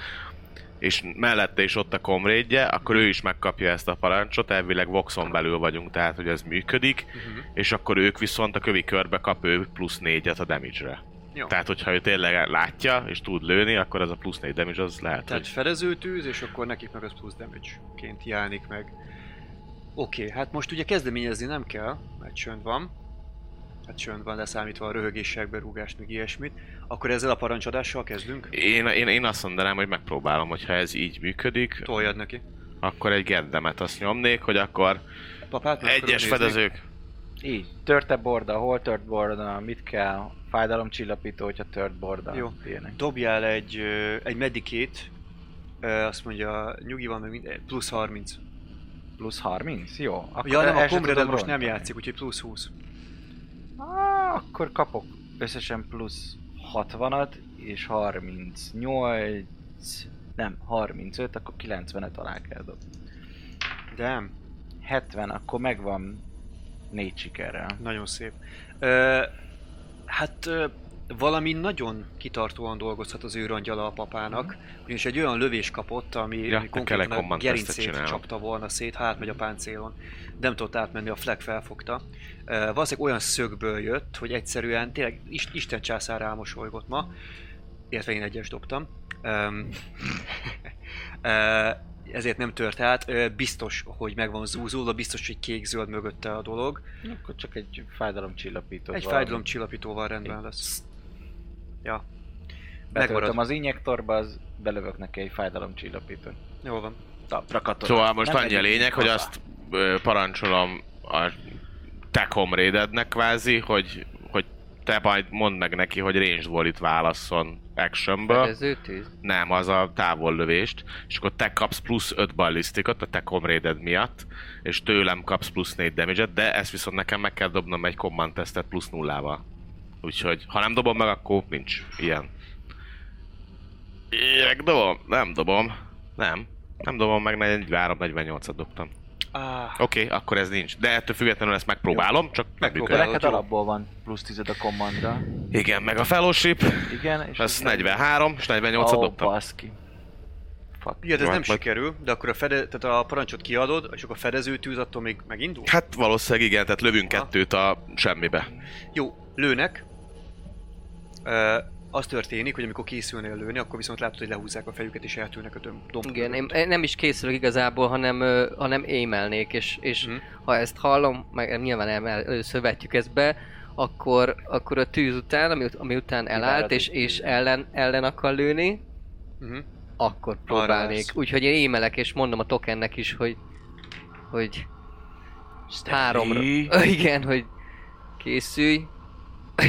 Speaker 5: és mellette is ott a komrédje, akkor ő is megkapja ezt a parancsot, elvileg Voxon belül vagyunk, tehát hogy ez működik,
Speaker 2: Mhm.
Speaker 5: uh-huh. és akkor ők viszont a kövi körbe kap ő plusz négyet a damage-re.
Speaker 2: Jó.
Speaker 5: Tehát, hogyha ő tényleg látja, és tud lőni, akkor ez a plusz négy damage az lehet,
Speaker 2: Tehát
Speaker 5: hogy...
Speaker 2: fedezőtűz, és akkor nekik meg az plusz damage-ként jelenik meg. Oké, hát most ugye kezdeményezni nem kell, mert csönd van. Hát csönd van, leszámítva a röhögésekbe rúgást, meg ilyesmit. Akkor ezzel a parancsadással kezdünk.
Speaker 5: Én, én, én azt mondanám, hogy megpróbálom, hogyha ez így működik,
Speaker 2: Toljad neki.
Speaker 5: akkor egy geddemet azt nyomnék, hogy akkor
Speaker 2: Papát meg
Speaker 5: Egyes
Speaker 2: körülnézni.
Speaker 5: fedezők.
Speaker 4: Így. Törte borda, hol tört borda, mit kell? Fájdalomcsillapító, hogyha tört borda.
Speaker 2: Jó.
Speaker 4: Ilyenek.
Speaker 2: Dobjál egy, ö, egy medikét, azt mondja, nyugi van, meg minden, plusz 30.
Speaker 4: Plusz 30? Jó. Akkor
Speaker 2: Ja, nem,
Speaker 4: el
Speaker 2: a
Speaker 4: sem
Speaker 2: Comrade
Speaker 4: tudom
Speaker 2: most nem
Speaker 4: rontani.
Speaker 2: játszik, úgyhogy plusz 20.
Speaker 4: Á, akkor kapok összesen plusz 60-at, és 38... Nem, 35, akkor 90-et alá kell dobni.
Speaker 2: De nem,
Speaker 4: 70, akkor megvan négy sikerrel.
Speaker 2: nagyon szép. Ö, hát ö, valami nagyon kitartóan dolgozhat az őrangyala a papának, ugyanis egy olyan lövés kapott, ami
Speaker 5: Mhm. Ja,
Speaker 2: ami
Speaker 5: a
Speaker 2: konkrétan a
Speaker 5: Telecommand tesztet
Speaker 2: gerincét
Speaker 5: csinálom.
Speaker 2: csapta volna szét, hát megy a páncélon. Nem tudott átmenni, a flag felfogta. Ö, valószínűleg olyan szögből jött, hogy egyszerűen tényleg is- Isten császár elmosolygott ma, illetve én egyes dobtam. Öm, [laughs] ö, ezért nem tört át, Ö, biztos, hogy meg van zúzulva, biztos, hogy kék-zöld mögötte a dolog.
Speaker 4: Akkor csak egy fájdalomcsillapító.
Speaker 2: Egy fájdalomcsillapítóval rendben lesz. Ja.
Speaker 4: Betöltöm
Speaker 2: Megmarad.
Speaker 4: az injektorba, az belövök neki egy fájdalomcsillapítót.
Speaker 2: Jól van.
Speaker 4: Tapra katona.
Speaker 5: Szóval most
Speaker 4: Nem
Speaker 5: annyi a
Speaker 4: pedig
Speaker 5: lényeg, hogy
Speaker 4: katona.
Speaker 5: azt ö, parancsolom a te comrade kvázi, hogy, hogy te majd mondd meg neki, hogy range volley-t válasszon actionből.
Speaker 3: Fedező tűz?
Speaker 5: Nem, az a távollövést. És akkor te kapsz plusz 5 ballisztikot a te comrade miatt, és tőlem kapsz plusz 4 damage de ezt viszont nekem meg kell dobnom egy command testet plusz nullával. Úgyhogy, ha nem dobom meg, akkor nincs ilyen. Én Megdobom? Nem dobom. Nem. Nem dobom meg, 43-48-at dobtam.
Speaker 2: Ah,
Speaker 5: Oké, okay, akkor ez nincs. De ettől függetlenül ezt megpróbálom, csak
Speaker 2: Megpróbál.
Speaker 5: megpróbálom.
Speaker 4: De
Speaker 2: Jó,
Speaker 4: neked
Speaker 2: jó.
Speaker 4: alapból van plusz 10 a kommandra.
Speaker 5: Igen, meg a fellowship,
Speaker 4: Igen, és...
Speaker 5: ez
Speaker 4: az-
Speaker 5: 43, és 48-at
Speaker 4: Ó,
Speaker 5: dobtam.
Speaker 4: baszki. Fuck.
Speaker 2: igen, hát ez
Speaker 5: Jó,
Speaker 2: nem
Speaker 5: majd-
Speaker 2: sikerül, de akkor a, fede, tehát a parancsot kiadod, és akkor a fedező tűz attól még megindul?
Speaker 5: Hát valószínűleg igen, tehát lövünk kettőt a semmibe.
Speaker 2: Jó, lőnek. Ö, az történik, hogy amikor készülnél lőni, akkor viszont látod, hogy lehúzzák a fejüket és eltűnnek a döm- domb.
Speaker 3: Igen, én, én nem is készülök igazából, hanem, ö, hanem émelnék, és, és
Speaker 2: Mhm.
Speaker 3: ha ezt hallom, meg nyilván el, el, először vetjük ezt be, akkor, akkor a tűz után, ami, ut- ami után elállt,
Speaker 4: Kivárod,
Speaker 3: és,
Speaker 4: hogy
Speaker 3: és
Speaker 4: tűz.
Speaker 3: ellen, ellen akar lőni,
Speaker 2: Uh-huh.
Speaker 3: akkor
Speaker 2: lesz.
Speaker 3: próbálnék. Úgyhogy én émelek, és mondom a tokennek is, hogy, hogy háromra. Ö, [laughs] Igen, hogy készülj,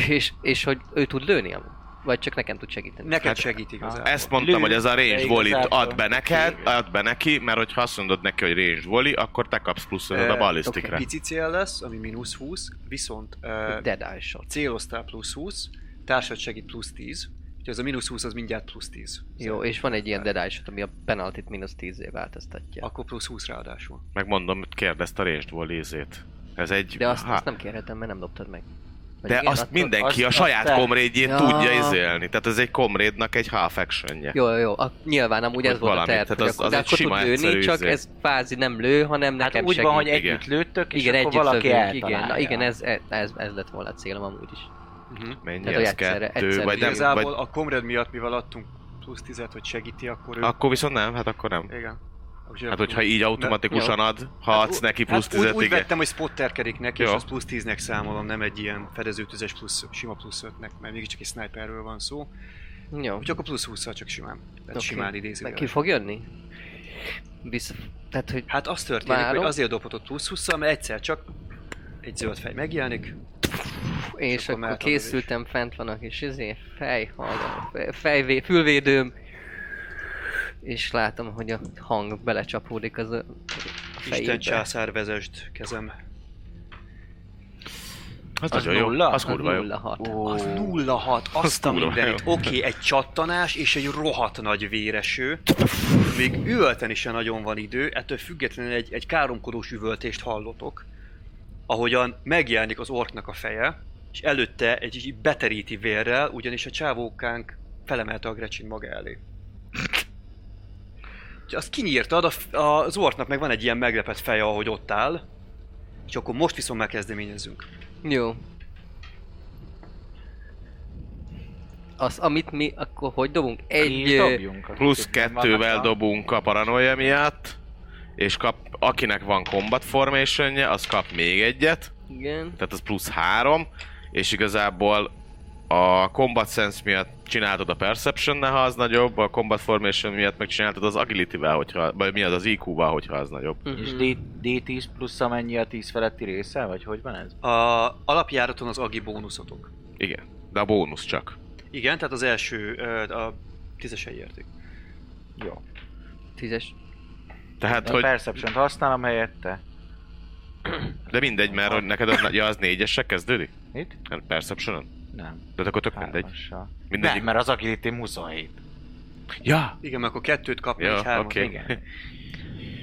Speaker 3: és, és hogy ő tud lőni, amúgy. vagy csak nekem tud segíteni.
Speaker 2: Neked
Speaker 5: Hát-
Speaker 2: segít igazából.
Speaker 5: Ezt mondtam,
Speaker 4: Lő,
Speaker 5: hogy ez a range
Speaker 4: de
Speaker 5: volley
Speaker 4: igazából
Speaker 5: ad be neked,
Speaker 4: kívül.
Speaker 5: ad be neki, mert hogyha azt mondod neki, hogy range volley, akkor te kapsz plusz ötöt a
Speaker 2: Eh,
Speaker 5: ballisztikre.
Speaker 2: Pici cél lesz, ami mínusz 20, viszont ö,
Speaker 3: Dead Eye Shot.
Speaker 2: céloztál plusz 20, társad segít plusz 10, úgyhogy az a mínusz 20 az mindjárt plusz 10.
Speaker 3: Jó, és van egy ilyen Dead Eye Shot, ami a penaltit mínusz 10 változtatja.
Speaker 2: Akkor plusz 20 ráadásul.
Speaker 5: Megmondom, hogy kérdezt a range volley izét. Ez egy...
Speaker 3: De azt,
Speaker 5: ha-
Speaker 3: azt nem kérhetem, mert nem dobtad meg. Vagy
Speaker 5: de
Speaker 3: igen,
Speaker 5: azt
Speaker 3: attól-
Speaker 5: mindenki
Speaker 4: azt-
Speaker 5: a
Speaker 4: azt
Speaker 5: saját
Speaker 4: te-
Speaker 5: komrédjét
Speaker 3: Ja.
Speaker 5: tudja izélni. Tehát ez egy komrédnak egy half actionje.
Speaker 3: Jó, jó, jó. A, nyilván amúgy ez
Speaker 5: Vagy
Speaker 3: volt a
Speaker 5: valami,
Speaker 3: terv,
Speaker 5: tehát
Speaker 3: hogy
Speaker 5: az-
Speaker 3: akkor,
Speaker 5: az
Speaker 3: de
Speaker 5: egy
Speaker 3: akkor
Speaker 5: sima,
Speaker 3: tud lőni,
Speaker 5: egyszerű
Speaker 3: csak
Speaker 5: izé.
Speaker 3: ez kvázi nem lő, hanem
Speaker 4: Hát
Speaker 3: nekem
Speaker 4: úgy
Speaker 3: segít.
Speaker 4: van, hogy
Speaker 5: igen.
Speaker 4: együtt lőttök, és
Speaker 3: igen,
Speaker 4: akkor
Speaker 3: együtt
Speaker 4: valaki
Speaker 3: lövünk,
Speaker 4: eltalálja.
Speaker 3: igen, na, igen ez, e- ez, ez, lett volna a célom amúgy is.
Speaker 2: Uh-huh.
Speaker 5: Mennyi
Speaker 3: Tehát, hogy
Speaker 5: ez?
Speaker 3: egyszerre-
Speaker 5: kettő,
Speaker 3: egyszerre
Speaker 5: vagy nem,
Speaker 2: Igazából
Speaker 5: vagy...
Speaker 2: a Comrade miatt, mivel adtunk plusz 10 hogy segíti, akkor ő...
Speaker 5: Akkor viszont nem, hát akkor nem.
Speaker 2: Igen. Úgyhogy
Speaker 5: Hát
Speaker 2: akkor-
Speaker 5: hogyha így automatikusan ad, ha adsz
Speaker 2: ú-
Speaker 5: neki plusz
Speaker 2: hát úgy,
Speaker 5: 10
Speaker 2: úgy
Speaker 5: igen.
Speaker 2: vettem, hogy spotterkedik neki, és
Speaker 5: Jó.
Speaker 2: az plusz 10-nek számolom, nem egy ilyen fedezőtüzes plusz, sima plusz 5-nek, mert mégiscsak egy sniperről van szó.
Speaker 3: Jó.
Speaker 2: Úgyhogy akkor plusz 20 csak simán. Tehát
Speaker 3: Oké.
Speaker 2: simán idézi.
Speaker 3: Meg
Speaker 2: vele.
Speaker 3: ki fog jönni? Vissza... Tehát, hogy
Speaker 2: Hát az történik,
Speaker 3: Várom.
Speaker 2: hogy azért dobhatott plusz 20 mert egyszer csak egy zöld fej megjelenik.
Speaker 3: és
Speaker 2: akkor
Speaker 3: akkor,
Speaker 2: mehet a lövés.
Speaker 3: készültem, fent van a kis izé, fejhallgató, fe- fejvé, fülvédőm, és látom, hogy a hang belecsapódik az a a
Speaker 2: Isten
Speaker 3: fejébe.
Speaker 2: császár vezest kezem.
Speaker 5: Az
Speaker 4: az
Speaker 5: nagyon jó.
Speaker 4: nulla?
Speaker 3: Az
Speaker 5: Az kurva jó.
Speaker 3: 06.
Speaker 2: Az 06, azt a
Speaker 5: kurva
Speaker 2: mindenit.
Speaker 5: jó.
Speaker 2: Oké, okay, egy csattanás és egy rohadt nagy véreső. Még üvölteni se nagyon van idő, ettől függetlenül egy, egy káromkodós üvöltést hallotok, ahogyan megjelenik az orknak a feje, és előtte egy egy beteríti vérrel, ugyanis a csávókánk felemelte a Grecsin maga elé. Úgyhogy Azt kinyírtad, a f- az orknak meg van egy ilyen meglepett feje, ahogy ott áll, és akkor most viszont megkezdeményezünk.
Speaker 3: Jó. Az, amit mi, akkor hogy dobunk? Egy...
Speaker 4: Így
Speaker 3: ö,
Speaker 4: dobjunk, hát akik
Speaker 5: Plusz
Speaker 4: itt nem vannak
Speaker 5: kettővel
Speaker 4: a-
Speaker 5: dobunk a paranoia miatt, és kap, akinek van combat formationje, az kap még egyet,
Speaker 3: Igen.
Speaker 5: tehát az plusz három, és igazából a combat sense miatt csináltad a perception ha az nagyobb, a combat formation miatt megcsináltad az agility-vel, hogyha, vagy mi az, az IQ-val, hogyha az nagyobb.
Speaker 4: És
Speaker 3: Mhm.
Speaker 4: D- D10 plusz amennyi a 10 feletti része, vagy hogy van ez?
Speaker 2: A alapjáraton az agi bónuszotok.
Speaker 5: Igen, de a bónusz csak.
Speaker 2: Igen, tehát az első, ö, a tízesei érték.
Speaker 4: Jó.
Speaker 3: Tízes.
Speaker 5: Tehát,
Speaker 4: Én
Speaker 5: hogy...
Speaker 4: perception használom helyette.
Speaker 5: De mindegy, mert hogy neked az, ja, az négyesre kezdődik? Hát
Speaker 4: Mit?
Speaker 5: Perception-on?
Speaker 4: Nem.
Speaker 5: De akkor tök mindegy.
Speaker 4: Hármassal.
Speaker 5: Mindegyik.
Speaker 4: Nem, mert az agility 27.
Speaker 5: Ja,
Speaker 2: Igen, mert akkor kettőt kap,
Speaker 5: Ja,
Speaker 2: ja, hármat.
Speaker 5: oké.
Speaker 2: Okay.
Speaker 5: Okay.
Speaker 4: Igen.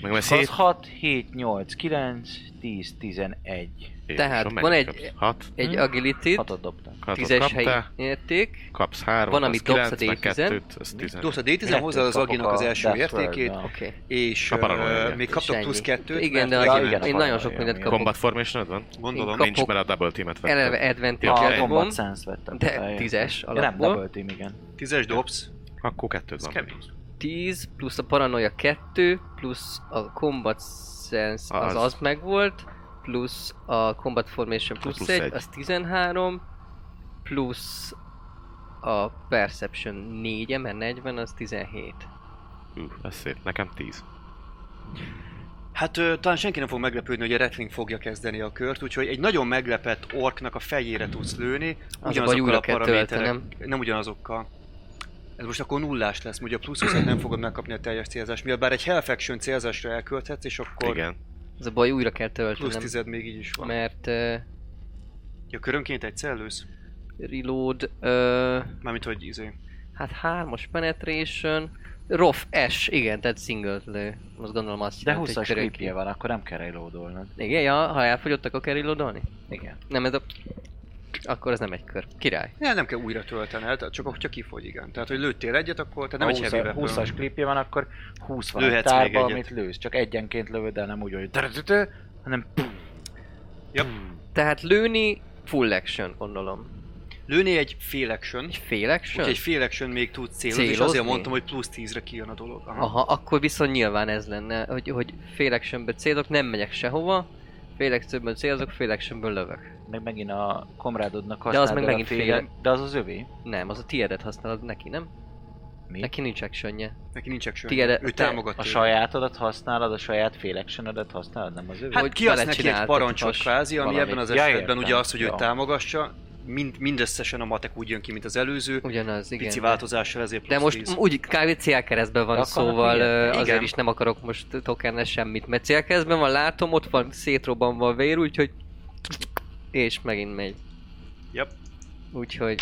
Speaker 5: meg mert
Speaker 4: Az
Speaker 5: szét...
Speaker 4: 6, 7, 8, 9, 10, 11.
Speaker 3: Tehát
Speaker 5: Jézusom,
Speaker 3: van
Speaker 5: mennyit
Speaker 3: egy-
Speaker 5: kapsz? Hat.
Speaker 3: Egy
Speaker 4: Hm?
Speaker 3: agility
Speaker 4: 6 dobtam.
Speaker 3: tízes helyi
Speaker 5: kaptál,
Speaker 3: érték.
Speaker 5: kapsz három,
Speaker 3: Van,
Speaker 5: van,
Speaker 3: amit
Speaker 5: amit
Speaker 3: dobsz, a
Speaker 5: kilenc, meg
Speaker 3: D10-en.
Speaker 5: kettőt, az tizen.
Speaker 2: Dobsz a D10, szóval hozzá az
Speaker 4: Kettőt kapok
Speaker 2: aginak az
Speaker 4: a
Speaker 2: első
Speaker 4: Death
Speaker 2: értékét,
Speaker 4: World-nál.
Speaker 3: Oké. Okay.
Speaker 2: és
Speaker 5: A paranoia
Speaker 2: ö,
Speaker 5: egyet.
Speaker 2: még kaptok plusz kettőt.
Speaker 3: Igen, de
Speaker 2: mert-
Speaker 4: az-
Speaker 3: az,
Speaker 4: igen,
Speaker 3: én
Speaker 4: akkor
Speaker 3: nagyon
Speaker 4: olyan,
Speaker 3: sok mindent
Speaker 4: igen.
Speaker 3: kapok.
Speaker 5: Combat formation van?
Speaker 2: Gondolom.
Speaker 3: Én
Speaker 5: Nincs,
Speaker 3: kapok.
Speaker 5: mert a double teamet
Speaker 3: Eleve
Speaker 5: vettem.
Speaker 3: advantage
Speaker 5: Ja,
Speaker 4: A
Speaker 5: egy.
Speaker 4: combat
Speaker 3: van,
Speaker 4: sense vettem.
Speaker 3: de
Speaker 4: fel,
Speaker 3: tízes
Speaker 4: igen. Nem,
Speaker 3: alapból.
Speaker 4: double team, igen.
Speaker 2: Tízes dobsz.
Speaker 5: Akkor kettőt
Speaker 2: Ez
Speaker 5: van.
Speaker 2: kemény.
Speaker 3: 10 plusz a paranoia 2 plusz a combat sense az az,
Speaker 5: Az.
Speaker 3: az megvolt plusz a combat formation plusz,
Speaker 5: plusz
Speaker 3: plusz 1,
Speaker 5: egy.
Speaker 3: az 13 plusz a perception 4 mert 40 az 17.
Speaker 5: Ú, ez szép. Nekem tíz.
Speaker 2: Hát ö, talán senki nem fog meglepődni, hogy a Rattling fogja kezdeni a kört, úgyhogy egy nagyon meglepett orknak a fejére tudsz lőni,
Speaker 3: Az a baj,
Speaker 2: ugyanazokkal
Speaker 3: újra
Speaker 2: a
Speaker 3: kell
Speaker 2: paraméterek,
Speaker 3: töltenem.
Speaker 2: nem ugyanazokkal. Ez most akkor nullás lesz, ugye a plusz 20 nem fogod megkapni a teljes célzás miatt, bár egy Hellfaction célzásra elkölthetsz, és akkor Igen.
Speaker 5: Igen.
Speaker 3: Az a baj, újra kell
Speaker 2: plusz
Speaker 3: töltenem,
Speaker 2: 10 még így is van. Mert...
Speaker 3: mert uh,
Speaker 2: Ja, körönként egyszer lősz?
Speaker 3: reload, uh,
Speaker 2: Mármint, hogy izé.
Speaker 3: hát 3-as penetration, rough S, igen, tehát single lő. Azt gondolom azt
Speaker 4: De
Speaker 3: jelenti, hogy
Speaker 4: 20-as
Speaker 3: körönként.
Speaker 4: creepje van, akkor nem kell reloadolnod.
Speaker 3: Igen, ja, ha elfogyott, akkor kell reloadolni?
Speaker 4: Igen.
Speaker 3: Nem, ez a... Akkor ez nem egy kör. Király.
Speaker 2: Ne, nem kell újra töltened, csak hogyha kifogy, igen. Tehát, hogy lőttél egyet, akkor tehát nem
Speaker 4: ha
Speaker 2: egy heavy
Speaker 4: 20,
Speaker 2: weapon.
Speaker 4: 20-as klipje van, akkor 20 van
Speaker 2: Lőhetsz
Speaker 4: a
Speaker 2: még
Speaker 4: tárba,
Speaker 2: egyet.
Speaker 4: amit lősz. Csak egyenként lövöd el, nem úgy, hogy drötötö, hanem pum.
Speaker 3: Tehát lőni full action, gondolom.
Speaker 2: Lőni egy fél action,
Speaker 3: Egy fél action?
Speaker 2: úgyhogy egy fél action még tudsz célozni, és
Speaker 3: Célozni? Ah.
Speaker 2: azért mondtam, hogy plusz 10-re kijön a dolog. Aha.
Speaker 3: Aha, akkor viszont nyilván ez lenne, hogy, hogy fél actionből célzok, nem megyek sehova. Fél actionből célzok, fél actionből lövök.
Speaker 4: Meg megint a komrádodnak
Speaker 3: az
Speaker 4: használod
Speaker 3: meg
Speaker 4: a
Speaker 3: megint
Speaker 4: féle-
Speaker 3: fél.
Speaker 4: De az az övé.
Speaker 3: Nem, az a tiédet használod neki, nem?
Speaker 4: Mi?
Speaker 3: Neki nincs actionje.
Speaker 2: Neki nincs action.
Speaker 3: Tiéd-
Speaker 2: ő
Speaker 3: te-
Speaker 2: támogat
Speaker 4: A
Speaker 2: téged.
Speaker 4: sajátodat használod, a saját fél actionodat használod, nem az övé?
Speaker 2: Hát
Speaker 3: hogy
Speaker 2: ki az
Speaker 3: vele
Speaker 2: neki egy
Speaker 3: csináltatok
Speaker 2: parancsot
Speaker 3: has-
Speaker 2: kvázi, ami
Speaker 4: valamit.
Speaker 2: ebben az
Speaker 4: Ja,
Speaker 2: esetben
Speaker 4: értem.
Speaker 2: ugye az, hogy őt
Speaker 4: Jó.
Speaker 2: támogassa, mind, mindösszesen a matek úgy jön ki, mint az előző,
Speaker 3: Ugyanaz, igen.
Speaker 2: pici
Speaker 3: de-
Speaker 2: változással ezért plusz
Speaker 3: De most
Speaker 2: 10.
Speaker 3: úgy kb. célkeresztben van,
Speaker 4: De akkor
Speaker 3: szóval
Speaker 4: akkor
Speaker 3: ö,
Speaker 2: igen.
Speaker 3: azért
Speaker 2: Igen.
Speaker 3: is nem akarok most tokenne semmit, mert célkeresztben van, látom, ott van szétrobbanva a vér, úgyhogy... És megint megy.
Speaker 2: Yep.
Speaker 3: Úgyhogy...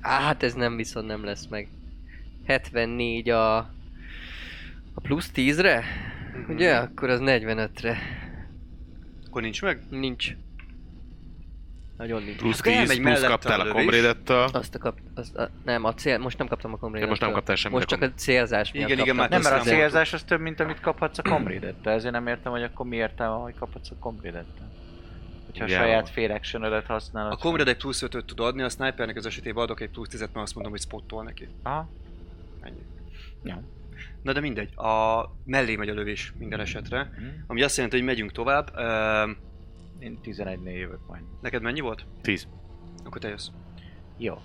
Speaker 3: Á, hát ez nem viszont nem lesz meg. 74 a... A plusz 10-re?
Speaker 2: Mhm.
Speaker 3: Ugye? Akkor az 45-re.
Speaker 2: Akkor nincs meg?
Speaker 3: Nincs. Nagyon nincs.
Speaker 5: Plusz
Speaker 2: De Hát elmegy
Speaker 5: 10, plusz
Speaker 2: mellette
Speaker 5: kaptál
Speaker 2: a
Speaker 5: a
Speaker 2: lövés.
Speaker 5: comradettől.
Speaker 3: Azt a kap... Azt a, nem, a cél... Most nem kaptam a komrédetől.
Speaker 5: most nem kaptál semmit
Speaker 3: Most
Speaker 5: a
Speaker 3: csak a célzás miatt
Speaker 2: Igen, igen,
Speaker 3: kaptam.
Speaker 2: már
Speaker 4: Nem, mert a
Speaker 2: azt nem
Speaker 4: célzás az több, mint amit kaphatsz a komrédettel. Ezért nem értem, hogy akkor mi értelme, hogy kaphatsz a komrédettel. Hogyha
Speaker 5: Igen.
Speaker 4: a saját fél actionodat használod.
Speaker 2: A Comrade egy plusz 5 tud adni, a Snipernek az esetében adok egy plusz 10 mert azt mondom, hogy spottol neki.
Speaker 4: Aha.
Speaker 2: Ennyi.
Speaker 4: Ja.
Speaker 2: Na de mindegy, a mellé megy a lövés minden esetre,
Speaker 4: Hm.
Speaker 2: ami azt jelenti, hogy megyünk tovább. Öm,
Speaker 4: Én 11-nél jövök majd.
Speaker 2: neked mennyi volt?
Speaker 5: 10.
Speaker 2: Akkor te jössz.
Speaker 4: Jó.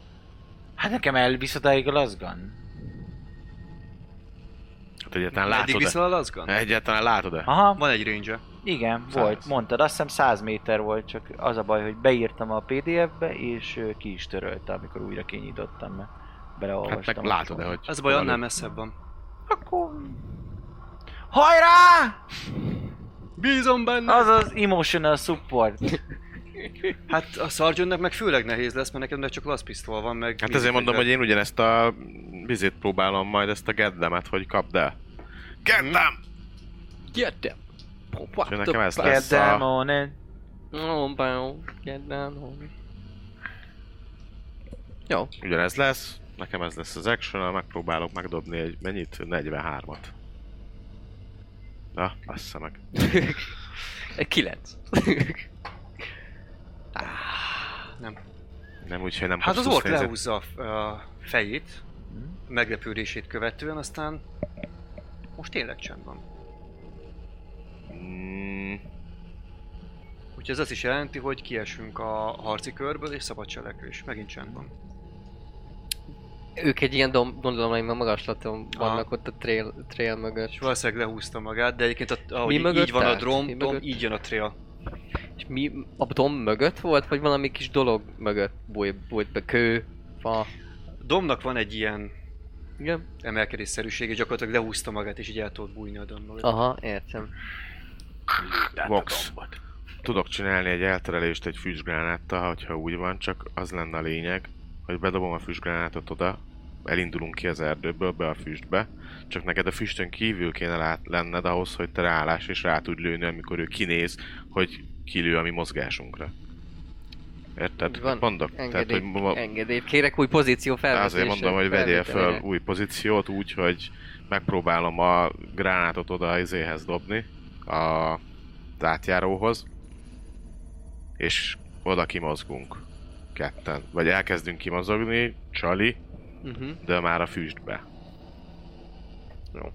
Speaker 4: Hát nekem elvisz odáig a lazgan.
Speaker 5: Hát egyáltalán
Speaker 2: Eddig
Speaker 5: látod-e?
Speaker 2: viszel a lazgan?
Speaker 5: Egyáltalán látod-e?
Speaker 4: Aha,
Speaker 2: Van egy range
Speaker 4: Igen,
Speaker 5: Száz.
Speaker 4: volt, mondtad, azt hiszem 100 méter volt, csak az a baj, hogy beírtam a PDF-be, és ö, ki is törölte, amikor újra kinyitottam, mert
Speaker 5: Hát
Speaker 4: beleolvastam.
Speaker 5: meg látod-e, hogy... Hát
Speaker 2: Az a baj,
Speaker 5: hol
Speaker 2: annál
Speaker 5: lő?
Speaker 2: messzebb van.
Speaker 4: Akkor... Hajrá!
Speaker 2: Bízom benne!
Speaker 4: Az az emotional support.
Speaker 2: Hát a Sargentnek meg főleg nehéz lesz, mert neked meg csak lasz pisztol van, meg...
Speaker 5: Hát
Speaker 2: mindig
Speaker 5: ezért mondom, hogy
Speaker 2: fegyver.
Speaker 5: én ugyanezt a vizét próbálom majd, ezt a geddemet, hogy kapd el.
Speaker 6: Kettem!
Speaker 3: Gyertem!
Speaker 5: Úgyhogy nekem ez lesz
Speaker 4: Kérdem,
Speaker 5: a...
Speaker 4: ó, ne.
Speaker 3: Ó, báó, kedden, ó. Jó,
Speaker 5: Ugyanez lesz, nekem ez lesz az action megpróbálok megdobni egy mennyit? 43-at. Na, assza meg.
Speaker 3: egy kilenc.
Speaker 5: Nem úgy, hogy nem
Speaker 2: Hát
Speaker 5: kapsz
Speaker 2: az ork
Speaker 5: plusz nézet.
Speaker 2: lehúzza a f- a fejét,
Speaker 5: Mhm.
Speaker 2: meglepődését követően, aztán most tényleg csend van.
Speaker 5: Mm,
Speaker 2: Úgyhogy ez azt is jelenti, hogy kiesünk a harci körből, és szabad cselekvés. Megint csend van.
Speaker 3: ők egy ilyen dom, gondolom, hogy magaslaton vannak ott a trail, trail mögött.
Speaker 2: És valószínűleg lehúzta magát, de egyébként a, ahogy így
Speaker 3: mögött
Speaker 2: van a
Speaker 3: állt?
Speaker 2: drom,
Speaker 3: Mi
Speaker 2: dom,
Speaker 3: mögött?
Speaker 2: így jön a trail.
Speaker 3: És mi a dom mögött volt, vagy valami kis dolog mögött bújt, bújt be kő, fa?
Speaker 2: Domnak van egy ilyen
Speaker 3: Igen?
Speaker 2: emelkedésszerűsége, gyakorlatilag lehúzta magát, és így el tudott bújni a dombot.
Speaker 3: Aha, értem.
Speaker 5: Vox. Tudok csinálni egy elterelést egy füstgránáttal, hogyha úgy van, csak az lenne a lényeg, hogy bedobom a füstgránátot oda, elindulunk ki az erdőből, be a füstbe, csak neked a füstön kívül kéne lát, lenned ahhoz, hogy te ráállás és rá tud lőni, amikor ő kinéz, hogy kilő a mi mozgásunkra. Érted?
Speaker 3: Így van.
Speaker 5: Mondok. Tehát, hogy
Speaker 3: Engedély,
Speaker 5: ma-
Speaker 3: engedély. Kérek új pozíció felvetésre.
Speaker 5: Azért mondom, hogy vegyél fel
Speaker 3: felvételére.
Speaker 5: új pozíciót úgy, hogy megpróbálom a gránátot oda az izéhez dobni, a átjáróhoz, és oda kimozgunk ketten. Vagy elkezdünk kimozogni, Csali,
Speaker 3: Mhm.
Speaker 5: de már a füstbe. Jó.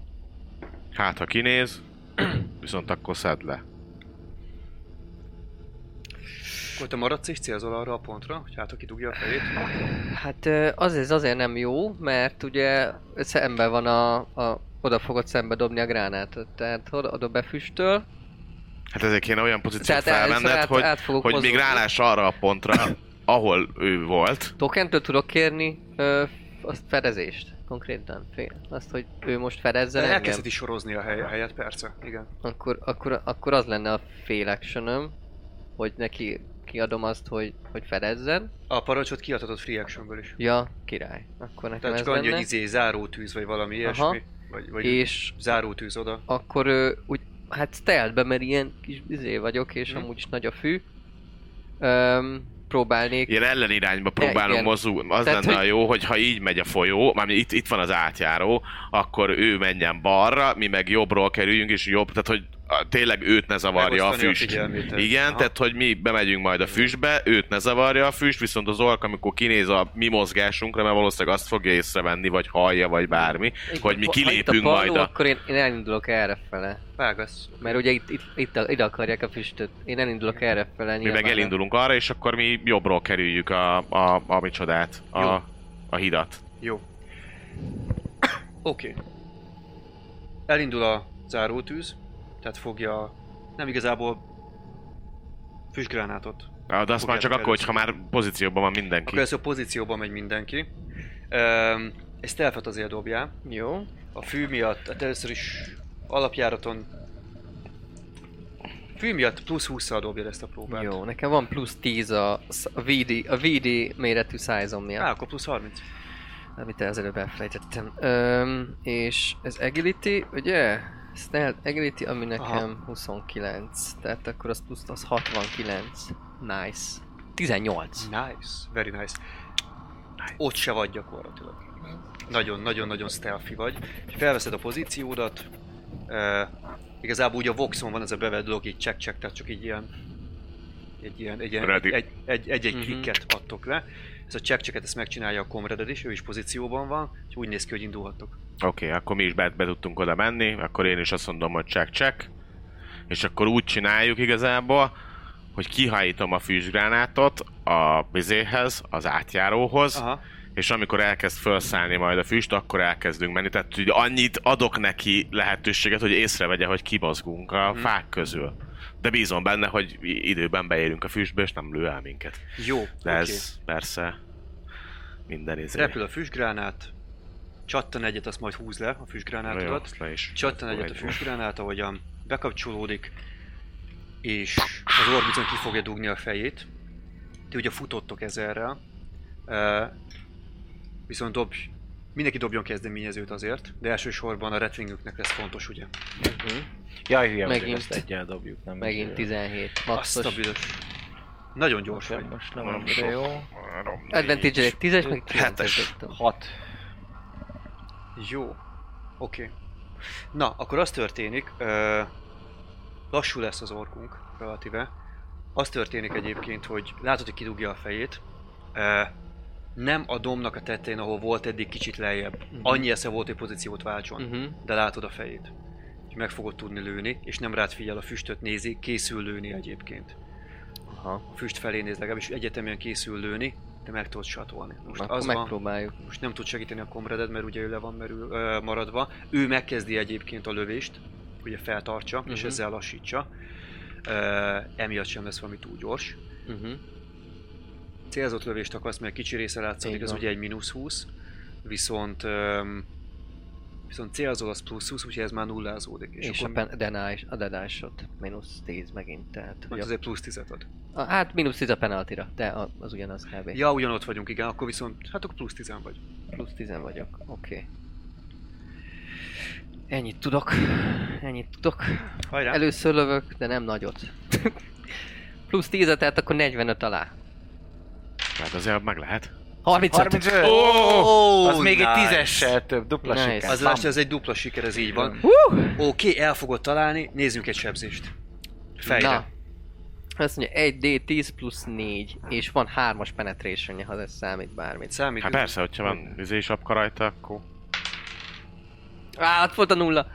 Speaker 5: Hát, ha kinéz, [clears throat] viszont akkor szed le.
Speaker 2: Akkor te maradsz és célzol arra a pontra, hogy hát aki dugja a fejét.
Speaker 3: Hát ö, az ez azért nem jó, mert ugye szembe van a, a oda fogod szembe dobni a gránátot. Tehát oda, oda befüstöl,
Speaker 5: Hát ezért kéne olyan pozíciót
Speaker 3: Tehát először
Speaker 5: felvenned,
Speaker 3: át-
Speaker 5: hogy,
Speaker 3: át fogok
Speaker 5: hogy még
Speaker 3: mozogni.
Speaker 5: rálás arra a pontra, ahol ő volt,
Speaker 3: Tokentől tudok kérni ö, azt fedezést konkrétan. Fél. Azt, hogy ő most fedezzen engem.
Speaker 2: Elkezdheti sorozni a, hely, a helyet, persze. Igen.
Speaker 3: Akkor, akkor, akkor az lenne a fél actionöm, hogy neki kiadom azt, hogy, hogy fedezzen.
Speaker 2: A parancsot kiadhatod free actionből is.
Speaker 3: Ja, király. Akkor nekem
Speaker 2: Tehát
Speaker 3: ez
Speaker 2: csak annyi,
Speaker 3: lenne.
Speaker 2: hogy izé zárótűz, vagy valami
Speaker 3: Aha.
Speaker 2: ilyesmi. Vagy, vagy és...
Speaker 3: És
Speaker 2: zárótűz oda.
Speaker 3: akkor ő, úgy, hát stealthbe, mert ilyen kis izé vagyok, és
Speaker 2: Mhm.
Speaker 3: amúgy is nagy a fű. Öm, próbálnék.
Speaker 5: Ilyen ellenirányba próbálunk
Speaker 3: igen.
Speaker 5: mozulni. Az
Speaker 3: Tehát,
Speaker 5: lenne
Speaker 3: hogy-
Speaker 5: a jó, hogy ha így megy a folyó, mármint itt, itt van az átjáró, akkor ő menjen balra, mi meg jobbról kerüljünk, és jobb, tehát hogy a- tényleg őt ne zavarja a
Speaker 2: Megosztani a
Speaker 5: füst.
Speaker 2: figyelmét.
Speaker 5: Igen,
Speaker 2: Aha.
Speaker 5: tehát hogy mi bemegyünk majd a füstbe, őt ne zavarja a füst, viszont az ork, amikor kinéz a mi mozgásunkra, mert valószínűleg azt fogja észrevenni, vagy hallja, vagy bármi, hogy mi
Speaker 3: Ha itt
Speaker 5: kilépünk
Speaker 3: a palló,
Speaker 5: majd a...
Speaker 3: Akkor én, én elindulok errefele.
Speaker 2: Vágasz.
Speaker 3: Mert ugye itt, itt, itt a, ide akarják a füstöt. Én elindulok erre fele.
Speaker 5: Mi meg elindulunk arra, és akkor mi jobbról kerüljük a, a, a micsodát,
Speaker 2: Jó.
Speaker 5: a, a hidat.
Speaker 2: Jó. Oké. Okay. Elindul a zárótűz, tehát fogja nem igazából füstgránátot.
Speaker 5: Na, De azt már csak
Speaker 2: Fogjátok
Speaker 5: akkor,
Speaker 2: először.
Speaker 5: hogyha már pozícióban van mindenki.
Speaker 2: Akkor először pozícióba megy mindenki. Öm, Ezt elfet azért dobjál.
Speaker 3: Jó.
Speaker 2: A fű miatt, hát először is alapjáraton fű miatt plusz 20 al dobjad ezt a próbát.
Speaker 3: Jó, nekem van plusz 10 a, sz- a VD, a VD méretű size
Speaker 2: Á,
Speaker 3: miatt,
Speaker 2: akkor plusz 30.
Speaker 3: amit az előbb elfelejtettem. Öm, és ez agility, ugye? Stealth agility, ami nekem 29, tehát akkor az plusz az 69. Nice. 18.
Speaker 2: Nice, very nice. Ott se vagy gyakorlatilag. Nagyon-nagyon-nagyon stealthy vagy. Felveszed a pozíciódat. Uh, igazából ugye a Voxon van ez a bevett dolog, így check check, tehát csak így ilyen egy ilyen, egy, ilyen, egy,
Speaker 5: Ready.
Speaker 2: egy, egy, egy
Speaker 3: Mhm.
Speaker 2: klikket adtok le. Ez a check checket ezt megcsinálja a komreded is, ő is pozícióban van, és úgy néz ki, hogy indulhattok.
Speaker 5: Oké, okay, akkor mi is be, be tudtunk oda menni, akkor én is azt mondom, hogy check, check. És akkor úgy csináljuk igazából, hogy kihajítom a füstgránátot a bizéhez, az átjáróhoz, Aha.
Speaker 2: Aha.
Speaker 5: és amikor elkezd felszállni majd a füst, akkor elkezdünk menni. Tehát hogy annyit adok neki lehetőséget, hogy észrevegye, hogy kimozgunk a
Speaker 2: Mhm.
Speaker 5: fák közül. De bízom benne, hogy i- időben beérünk a füstbe, és nem lő el minket.
Speaker 2: Jó,
Speaker 5: De
Speaker 2: oké.
Speaker 5: okay. ez persze minden izé.
Speaker 2: Repül a füstgránát, csattan egyet, azt majd húz le a
Speaker 5: Na jó,
Speaker 2: füstgránátodat.
Speaker 5: azt le is.
Speaker 2: Csattan
Speaker 5: Akkor
Speaker 2: egyet a
Speaker 5: egy-
Speaker 2: füstgránát, ahogyan bekapcsolódik, és az Orbizon ki fogja dugni a fejét. Ti ugye futottok ezerrel, uh, viszont dobj, mindenki dobjon kezdeményezőt azért, de elsősorban a retvingüknek lesz fontos, ugye?
Speaker 4: Jaj, hülye vagyok,
Speaker 3: Megint.
Speaker 4: ezt egyen dobjuk, nem
Speaker 3: Megint
Speaker 4: ezért.
Speaker 3: 17.
Speaker 2: Azt a
Speaker 3: Maxos.
Speaker 2: büdös. Nagyon gyors
Speaker 4: Most,
Speaker 2: vagy.
Speaker 4: most nem
Speaker 5: Nem
Speaker 4: annyira
Speaker 5: sok.
Speaker 4: jó.
Speaker 5: Három, négy.
Speaker 3: Advantage-re 10-es, meg 9-es
Speaker 5: Hetes.
Speaker 3: dobtam.
Speaker 4: 6.
Speaker 2: Jó. Oké. Okay. Na, akkor az történik, ö, lassú lesz az orkunk, relatíve. Az történik egyébként, hogy látod, hogy kidugja a fejét. Ö, nem a domnak a tetején, ahol volt eddig kicsit lejjebb.
Speaker 3: Mhm.
Speaker 2: Annyi esze volt, hogy pozíciót váltson,
Speaker 3: Mhm.
Speaker 2: de látod a fejét. Úgyhogy meg fogod tudni lőni, és nem rád figyel, a füstöt nézi, készül lőni egyébként.
Speaker 3: Aha.
Speaker 2: A füst felé néz legalábbis, egyetemen készül lőni, te meg tudod satolni. Most
Speaker 3: Akkor
Speaker 2: az van,
Speaker 3: megpróbáljuk.
Speaker 2: most nem tud segíteni a komreded, mert ugye ő le van merül, ö, maradva. Ő megkezdi egyébként a lövést, ugye feltartsa, uh-huh. és
Speaker 3: Mhm.
Speaker 2: ezzel lassítsa. Ö, emiatt sem lesz valami túl gyors.
Speaker 3: Mhm.
Speaker 2: Célzott lövést akarsz, mert kicsi része látszik,
Speaker 3: Így
Speaker 2: ez
Speaker 3: van.
Speaker 2: ugye egy mínusz 20, viszont öm, viszont célzol az plusz 20, úgyhogy ez már nullázódik. És,
Speaker 3: És,
Speaker 2: és
Speaker 3: a
Speaker 2: akkor
Speaker 3: pen- deny, a deny shot, mínusz 10 megint, tehát...
Speaker 2: majd
Speaker 3: Ugye,
Speaker 2: azért plusz 10 ad.
Speaker 3: a, hát mínusz 10 a penaltira, de a- az ugyanaz kb.
Speaker 2: Ja, ugyanott vagyunk, igen, akkor viszont, hát akkor plusz 10 vagy.
Speaker 3: Plusz 10 vagyok, oké. Okay. Ennyit tudok, ennyit tudok.
Speaker 2: Hajrá!
Speaker 3: Először lövök, de nem nagyot. [laughs] Plusz 10 tehát akkor 45 alá.
Speaker 5: Hát azért meg lehet.
Speaker 3: 35!
Speaker 4: 35!
Speaker 2: Oh,
Speaker 4: az még egy
Speaker 2: nice.
Speaker 4: tízessel több, dupla
Speaker 3: Nice.
Speaker 4: siker.
Speaker 2: Az
Speaker 4: Bam.
Speaker 2: lásd, ez egy dupla siker, ez így van. Oké, okay, el fogod találni, nézzünk egy sebzést. Fejre.
Speaker 3: Na. Azt mondja, 1D10 plusz 4, és van 3-as penetration ha ez számít bármit.
Speaker 2: Számít.
Speaker 5: Hát persze, hogyha van izé is apka rajta, akkor...
Speaker 3: Á, ott volt a nulla.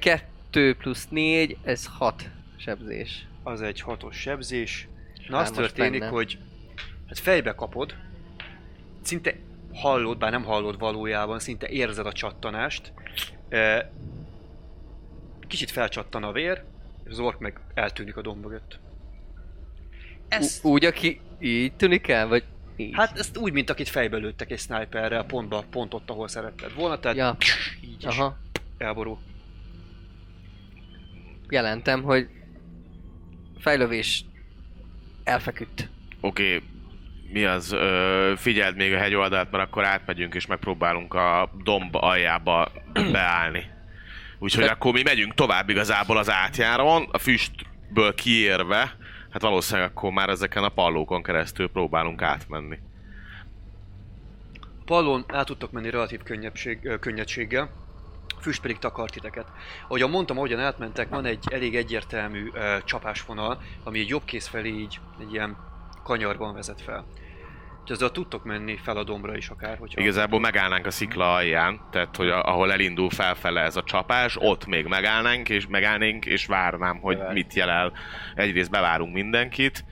Speaker 3: 2 plusz 4, ez 6 sebzés.
Speaker 2: Az egy hatos sebzés. Na
Speaker 3: hármas
Speaker 2: az történik,
Speaker 3: benne.
Speaker 2: hogy hát fejbe kapod, szinte hallod, bár nem hallod valójában, szinte érzed a csattanást. E, Kicsit felcsattan a vér, és az ork meg eltűnik a domb mögött.
Speaker 3: U- úgy, aki így tűnik el, vagy így?
Speaker 2: Hát ezt úgy, mint akit fejbe lőttek egy sniperrel, pontba, pont ott, ahol szeretted volna, tehát
Speaker 3: ja,
Speaker 2: így is
Speaker 3: aha.
Speaker 2: elborul.
Speaker 3: Jelentem, hogy fejlövés elfeküdt.
Speaker 5: Oké, okay, mi az? Ö, figyeld még a hegyoldalt, mert akkor átmegyünk és megpróbálunk a domb aljába [clears throat] beállni. Úgyhogy
Speaker 3: Te-
Speaker 5: akkor mi megyünk tovább igazából az átjáron, a füstből kiérve, hát valószínűleg akkor már ezeken a pallókon keresztül próbálunk átmenni.
Speaker 2: Pallon át tudtok menni relatív könnyebbség, ö, könnyedséggel, füst pedig takart titeket. Ahogyan mondtam, ahogyan átmentek, van egy elég egyértelmű ö, csapásvonal, ami egy jobb kéz felé így egy ilyen kanyarban vezet fel. Úgyhogy azzal tudtok menni fel a dombra is akár, hogyha...
Speaker 5: Igazából megállnánk a szikla alján, tehát hogy a, ahol elindul felfele ez a csapás, ott még megállnánk, és megállnénk, és várnám, hogy
Speaker 4: Bevárjuk.
Speaker 5: mit jelel. Egyrészt bevárunk mindenkit,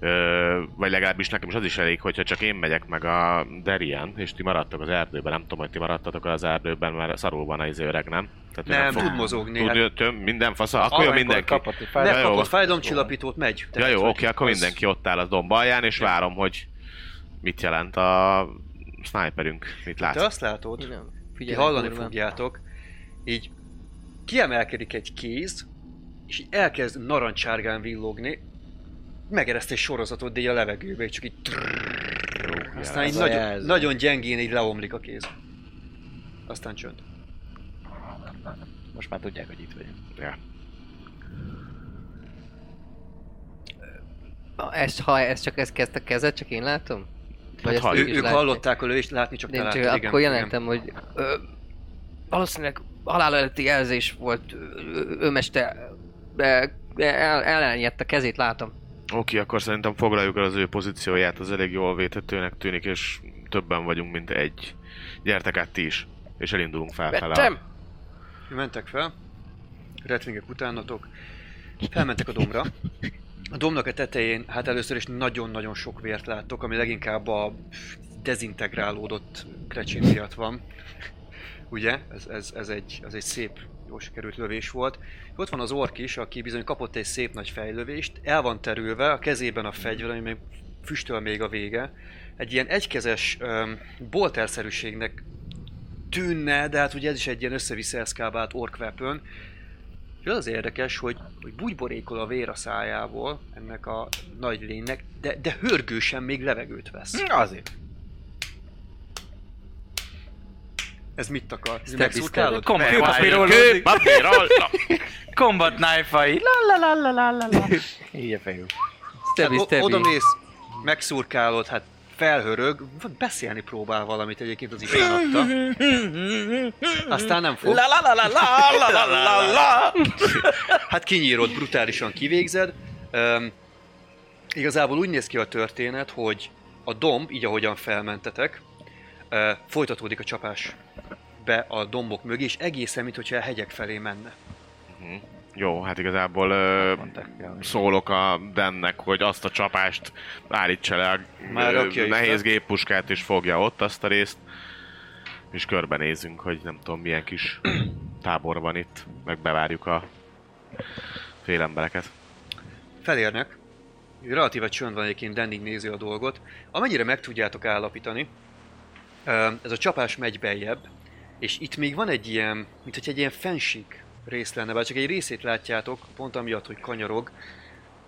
Speaker 5: ö, vagy legalábbis nekem is az is elég, hogyha csak én megyek meg a Derian, és ti maradtok az erdőben, nem tudom, hogy ti maradtatok az erdőben, mert szarul van az öreg, nem? Tehát ő
Speaker 2: Nem,
Speaker 5: fog
Speaker 2: tud mozogni. hát
Speaker 5: tudni, hogy töm, minden fasza, akkor jó
Speaker 4: Amikor
Speaker 5: mindenki.
Speaker 4: kapott egy fájdalmat,
Speaker 5: jó,
Speaker 2: Megkapod
Speaker 5: van.
Speaker 2: fájdalomcsillapítót, megy.
Speaker 5: Ja
Speaker 2: Tehát,
Speaker 5: jó,
Speaker 2: hogy
Speaker 5: oké, akkor
Speaker 2: az-
Speaker 5: mindenki ott áll a domb alján, és várom, hogy mit jelent a sniperünk, mit lát.
Speaker 2: Te azt látod?
Speaker 3: Nem,
Speaker 2: Ti
Speaker 3: figyelj,
Speaker 2: hallani fogjátok, így kiemelkedik egy kéz, és így elkezd narancsárgán villogni, megereszt egy sorozatot, de így a levegőbe, és csak így
Speaker 5: Jó,
Speaker 2: Aztán így
Speaker 4: Ez a
Speaker 2: nagyon,
Speaker 4: jelző.
Speaker 2: nagyon gyengén így leomlik a kéz. Aztán csönd.
Speaker 4: Most már tudják, hogy itt vagyunk.
Speaker 3: Ez, ha ez csak ez kezd a kezed, csak én látom?
Speaker 5: Hát
Speaker 3: ezt
Speaker 5: ha-
Speaker 2: Ő,
Speaker 3: ők is
Speaker 2: ők
Speaker 3: látják?
Speaker 2: hallották a lövést, látni csak te
Speaker 3: Én
Speaker 2: láttad,
Speaker 3: csak
Speaker 2: igen.
Speaker 3: akkor jelentem, hogy ö, valószínűleg halál előtti jelzés volt, ö, ö, őmeste ö, el, ellenjett a kezét, látom.
Speaker 5: Oké, akkor szerintem foglaljuk el az ő pozícióját, az elég jól védhetőnek tűnik, és többen vagyunk, mint egy. Gyertek át ti is, és elindulunk felfele.
Speaker 3: Vettem!
Speaker 2: Igen. Mentek fel, retvingek utánatok, felmentek a domra. A domnak a tetején, hát először is nagyon-nagyon sok vért láttok, ami leginkább a dezintegrálódott krecsén miatt van. Ugye? Ez, ez, ez, egy, ez egy szép, jól sikerült lövés volt. Ott van az ork is, aki bizony kapott egy szép nagy fejlövést, el van terülve, a kezében a fegyver, ami még füstöl még a vége. Egy ilyen egykezes um, bolterszerűségnek tűnne, de hát ugye ez is egy ilyen össze-vissza eszkábált ork weapon. És az az érdekes, hogy, hogy bugyborékol a vér a szájából ennek a nagy lénynek, de, de hörgősen még levegőt vesz.
Speaker 4: Hm, Azért.
Speaker 2: Ez mit akar? Ez
Speaker 3: Step
Speaker 2: megszurkálod?
Speaker 4: Kombat papírolódik. Combat knife-ai. La la la la la la la. [laughs] Így a fejünk.
Speaker 3: Stebi,
Speaker 2: hát, o-
Speaker 3: stebi.
Speaker 2: Oda mész, megszurkálod, hát felhörög, vagy beszélni próbál valamit egyébként az Isten adta. Aztán nem fog.
Speaker 4: La la la la la la la la la.
Speaker 2: Hát kinyírod, brutálisan kivégzed. Um, igazából úgy néz ki a történet, hogy a domb, így ahogyan felmentetek, uh, folytatódik a csapás be a dombok mögé, és egészen, mintha a hegyek felé menne.
Speaker 5: Jó, hát igazából ö,
Speaker 4: Mondták, ja, hogy-
Speaker 5: szólok a Dennek, hogy azt a csapást állítsa le a
Speaker 2: Már
Speaker 5: ö,
Speaker 2: rakja is,
Speaker 5: nehéz
Speaker 2: nem?
Speaker 5: géppuskát, és fogja ott azt a részt, és körbenézünk, hogy nem tudom milyen kis tábor van itt, meg bevárjuk a fél embereket.
Speaker 2: Felérnek. Relatíve csönd van egyébként, Denning nézi a dolgot. Amennyire meg tudjátok állapítani, ö, ez a csapás megy beljebb, És itt még van egy ilyen, mint hogy egy ilyen fensík rész lenne, bár csak egy részét látjátok, pont amiatt, hogy kanyarog.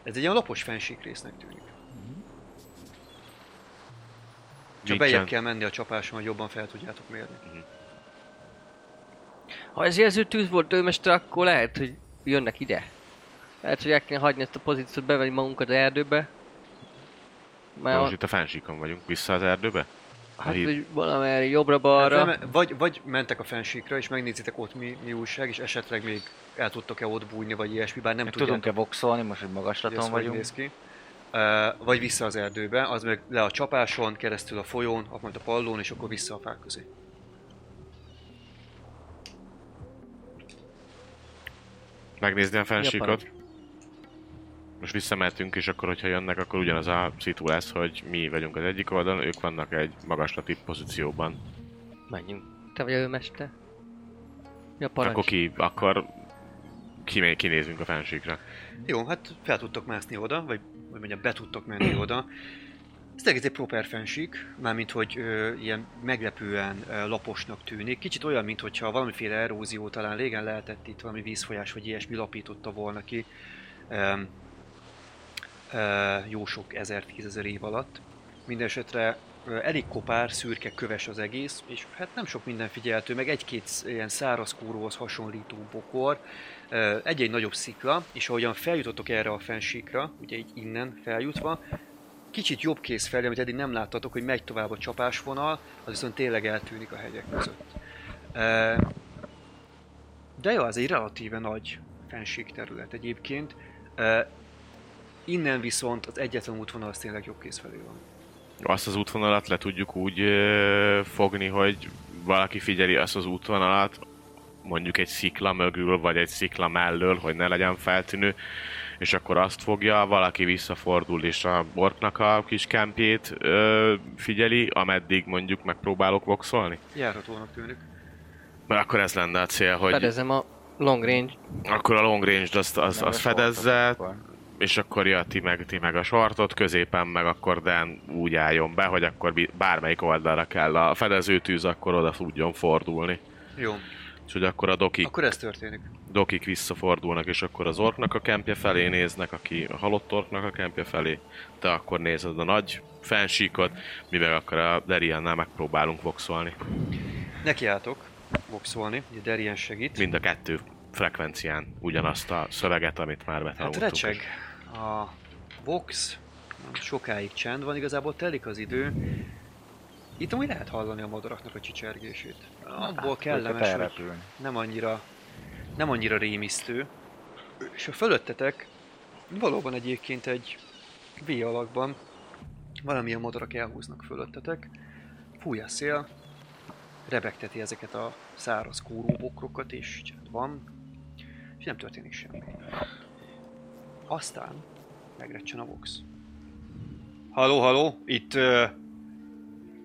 Speaker 2: Ez egy ilyen lapos fensík résznek tűnik. Csak
Speaker 5: Nincsen.
Speaker 2: bejebb kell menni a csapáson, hogy jobban fel tudjátok mérni.
Speaker 3: Ha ez jelző tűz volt őmester, akkor lehet, hogy jönnek ide. Lehet, hogy el kéne hagyni ezt a pozíciót, bevenni magunkat az erdőbe. Már
Speaker 5: Most itt a fensíkon vagyunk. Vissza az erdőbe? A
Speaker 3: hát,
Speaker 5: híd-
Speaker 3: hogy valamerre jobbra-balra.
Speaker 2: Arra. Nem, vagy, vagy mentek a fensíkra, és megnézitek ott mi, mi újság, és esetleg még el tudtok-e ott bújni, vagy ilyesmi, bár nem
Speaker 4: Meg
Speaker 2: tudjátok,
Speaker 4: tudunk-e boxolni, most,
Speaker 2: hogy
Speaker 4: hogy
Speaker 2: ez
Speaker 4: magaslaton
Speaker 2: hogy
Speaker 4: vagyunk?
Speaker 2: néz ki. Uh, vagy vissza az erdőbe, az meg le a csapáson, keresztül a folyón, akkor majd a pallón, és akkor vissza a fák közé.
Speaker 5: Megnézni a fensíkot.
Speaker 3: Japánok.
Speaker 5: Most visszamehetünk, és akkor, hogyha jönnek, akkor ugyanaz a szitu lesz, hogy mi vagyunk az egyik oldalon, ők vannak egy magaslati pozícióban.
Speaker 3: Menjünk. Te vagy őmester. Mi a parancs?
Speaker 5: Akkor ki, akkor ki, kinézünk a fensíkra.
Speaker 2: Jó, hát fel tudtok mászni oda, vagy hogy mondjam, be tudtok menni oda. Ez egész egy proper fensík, mármint hogy ö, ilyen meglepően ö, laposnak tűnik. Kicsit olyan, mintha valamiféle erózió talán régen lehetett itt valami vízfolyás vagy ilyesmi lapította volna ki ö, ö, jó sok ezer, tízezer év alatt. Mindenesetre ö, elég kopár, szürke, köves az egész, és hát nem sok minden figyeltő, meg egy-két sz- ilyen száraz kúróhoz hasonlító bokor, Ö, egy-egy nagyobb szikla, és ahogyan feljutottok erre a fensíkra, ugye így innen feljutva, kicsit jobb kéz felé, amit eddig nem láttatok, hogy megy tovább a csapásvonal, az viszont tényleg eltűnik a hegyek között. Ö, De jó, ez egy relatíve nagy fensík terület egyébként. Ö, Innen viszont az egyetlen útvonal az tényleg jobb kéz felé van.
Speaker 5: Azt az útvonalat le tudjuk úgy ö, fogni, hogy valaki figyeli azt az útvonalat, mondjuk egy szikla mögül, vagy egy szikla mellől, hogy ne legyen feltűnő, és akkor azt fogja, valaki visszafordul és a borknak a kis kempjét ö, figyeli, ameddig mondjuk megpróbálok voxolni.
Speaker 2: Járhatónak tűnik.
Speaker 5: Mert akkor ez lenne a cél, hogy
Speaker 3: Fedezem a long range.
Speaker 5: akkor a long range-t azt, azt,
Speaker 4: Meg a
Speaker 5: azt fedezze,
Speaker 4: sortot akkor.
Speaker 5: és akkor ja, ti meg, ti meg a sartot, középen meg akkor Dan úgy álljon be, hogy akkor bi- bármelyik oldalra kell a fedezőtűz, akkor oda tudjon fordulni.
Speaker 2: Jó,
Speaker 5: És hogy akkor a dokik,
Speaker 2: akkor ez történik.
Speaker 5: dokik visszafordulnak, és akkor az orknak a kempje felé néznek, aki a halott orknak a kempje felé, te akkor nézed a nagy fensíkot, mi meg akkor a Deriannál megpróbálunk voxolni.
Speaker 2: Nekiálltok boxolni, ugye Derien segít.
Speaker 5: Mind a kettő frekvencián ugyanazt a szöveget, amit már
Speaker 2: Hát
Speaker 5: betanultunk.
Speaker 2: recseg a box, sokáig csend van, igazából telik az idő. Itt amúgy lehet hallani a madaraknak a csicsergését.
Speaker 4: hát,
Speaker 2: Abból kellemes, hogy
Speaker 4: elrepülni.
Speaker 2: nem annyira, nem annyira rémisztő. És a fölöttetek valóban egyébként egy V alakban valamilyen madarak elhúznak fölöttetek. Fúj a szél, rebegteti ezeket a száraz kóróbokrokat, és csend van, és nem történik semmi. Aztán megrecsen a box. Haló, haló, itt... Uh,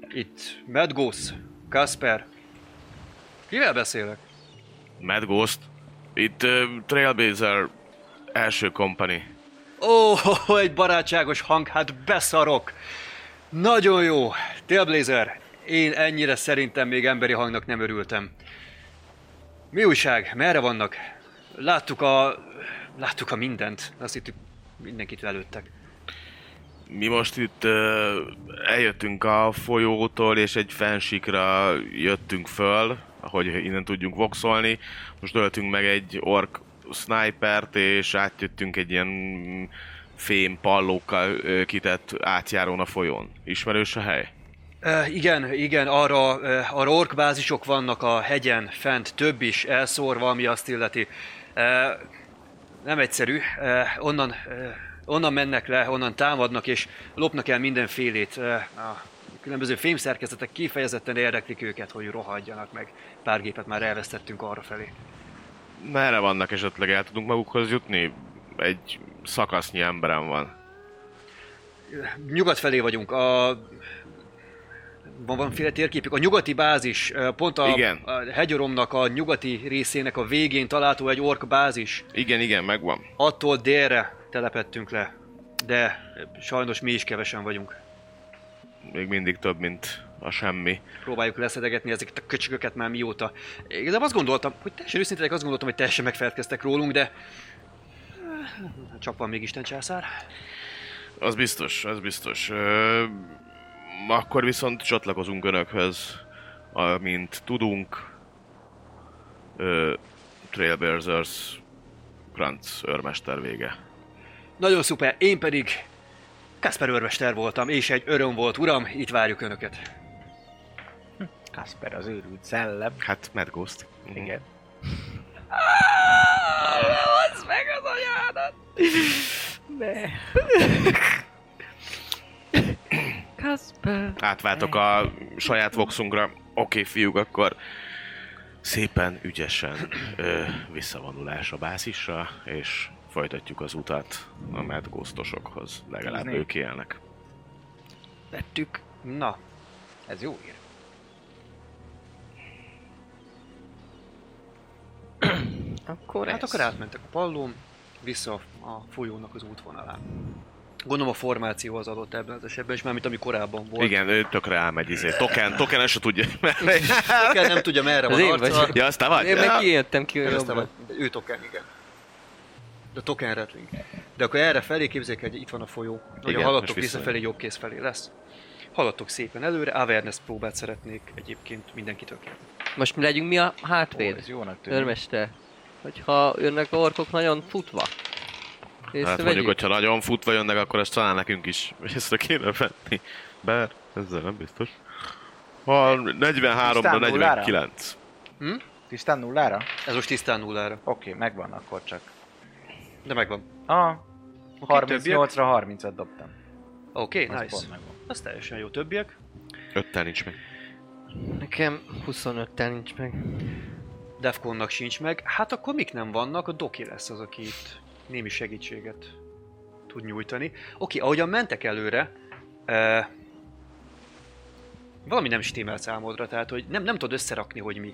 Speaker 2: itt Medgósz, Kasper. Kivel beszélek?
Speaker 5: Mad Ghost, itt uh, Trailblazer első company.
Speaker 2: Ó, egy barátságos hang, hát beszarok! Nagyon jó! Tailblazer, én ennyire szerintem még emberi hangnak nem örültem. Mi újság? Merre vannak? Láttuk a... Láttuk a mindent. Azt hittük, mindenkit lelőttek.
Speaker 5: Mi most itt ö, eljöttünk a folyótól, és egy fensikra jöttünk föl, hogy innen tudjunk voxolni. Most öltünk meg egy ork snipert, és átjöttünk egy ilyen fém pallókkal ö, kitett átjárón a folyón. Ismerős a hely?
Speaker 2: Uh, igen, igen, arra, uh, arra orkbázisok vannak a hegyen, fent több is elszórva, ami azt illeti. Uh, nem egyszerű, uh, onnan, uh, onnan mennek le, onnan támadnak és lopnak el mindenfélét. Uh, a különböző fémszerkezetek kifejezetten érdeklik őket, hogy rohadjanak meg. Pár gépet már elvesztettünk arra felé.
Speaker 5: Merre vannak esetleg? El tudunk magukhoz jutni? Egy szakasznyi emberem van.
Speaker 2: nyugat felé vagyunk. A... Van valamiféle térképük. A nyugati bázis, eh, pont a,
Speaker 5: Igen.
Speaker 2: a hegyoromnak a nyugati részének a végén található egy ork bázis.
Speaker 5: Igen, igen, megvan.
Speaker 2: Attól délre telepettünk le. De eh, sajnos mi is kevesen vagyunk.
Speaker 5: még mindig több, mint a semmi.
Speaker 2: próbáljuk leszedegetni ezeket a köcsögöket már mióta. Igazából azt gondoltam, hogy teljesen őszintén azt gondoltam, hogy teljesen megfeledkeztek rólunk, de... eh, Csak van még Isten császár.
Speaker 6: Az biztos, az biztos. Ö,
Speaker 5: Akkor viszont csatlakozunk önökhöz, amint tudunk. Ö, Trailblazers Kranz őrmester vége.
Speaker 2: Nagyon szuper, én pedig Kasper őrmester voltam, és egy öröm volt, uram, itt várjuk önöket.
Speaker 4: Kasper az őrült szellem.
Speaker 5: Hát, Mad Ghost.
Speaker 4: Igen.
Speaker 3: Kasper.
Speaker 5: Átváltok a saját voxunkra. Oké, okay, fiúk, akkor szépen, ügyesen ö, visszavonulás a bázisra, és folytatjuk az utat a Mad Ghostosokhoz. Legalább
Speaker 4: Nézni.
Speaker 5: ők élnek.
Speaker 3: Vettük.
Speaker 2: Na,
Speaker 1: Ez jó ír.
Speaker 3: Akkor
Speaker 2: hát
Speaker 3: ez.
Speaker 2: akkor átmentek a pallón, vissza a folyónak az útvonalán. Gondolom a formáció az adott ebben az esetben, és mármint ami korábban volt.
Speaker 5: Igen, ő tökre elmegy, izé. Token, token el se tudja. [laughs]
Speaker 2: Kell, Hát, nem tudja merre
Speaker 3: Az
Speaker 2: van
Speaker 3: én
Speaker 2: arca.
Speaker 3: vagyok.
Speaker 5: ja, aztán vagy?
Speaker 3: Én meg kijöttem ki
Speaker 2: Kereszte vagy.
Speaker 3: jobbra.
Speaker 2: Ő token, igen. De token rattling. De akkor erre felé képzeljük, hogy itt van a folyó. Ugye
Speaker 5: Igen,
Speaker 2: haladtok
Speaker 5: most
Speaker 2: visszafelé, jobb kéz felé lesz. Haladtok szépen előre, Averness próbát szeretnék egyébként mindenkitől kérni.
Speaker 3: Most mi legyünk mi a
Speaker 4: Ó,
Speaker 3: hátvéd?
Speaker 4: ez jónak tűnik.
Speaker 3: Örmester. Hogyha jönnek a orkok nagyon futva.
Speaker 5: Hát
Speaker 3: Észrevegyük.
Speaker 5: mondjuk, hogyha nagyon futva jönnek, akkor ezt talán nekünk is észre kéne venni. Bár ezzel nem biztos. Ha 43-ra
Speaker 4: Tisztán nullára?
Speaker 5: 49.
Speaker 4: Tisztán nullára?
Speaker 2: Ez most tisztán nullára,
Speaker 4: Oké, okay, megvan akkor csak.
Speaker 2: de megvan.
Speaker 4: Ah,
Speaker 2: többiek?
Speaker 4: 38-ra 30-at dobtam.
Speaker 2: Oké,
Speaker 4: Az
Speaker 2: okay, nice.
Speaker 4: pont megvan.
Speaker 2: Az teljesen jó többiek.
Speaker 5: Ötten nincs meg.
Speaker 3: Nekem 25-tel nincs meg.
Speaker 2: Defconnak sincs meg. Hát akkor mik nem vannak? A Doki lesz az, aki itt némi segítséget tud nyújtani. Oké, ahogyan mentek előre, uh, valami nem stimmel számodra, tehát hogy nem, nem tudod összerakni, hogy mi.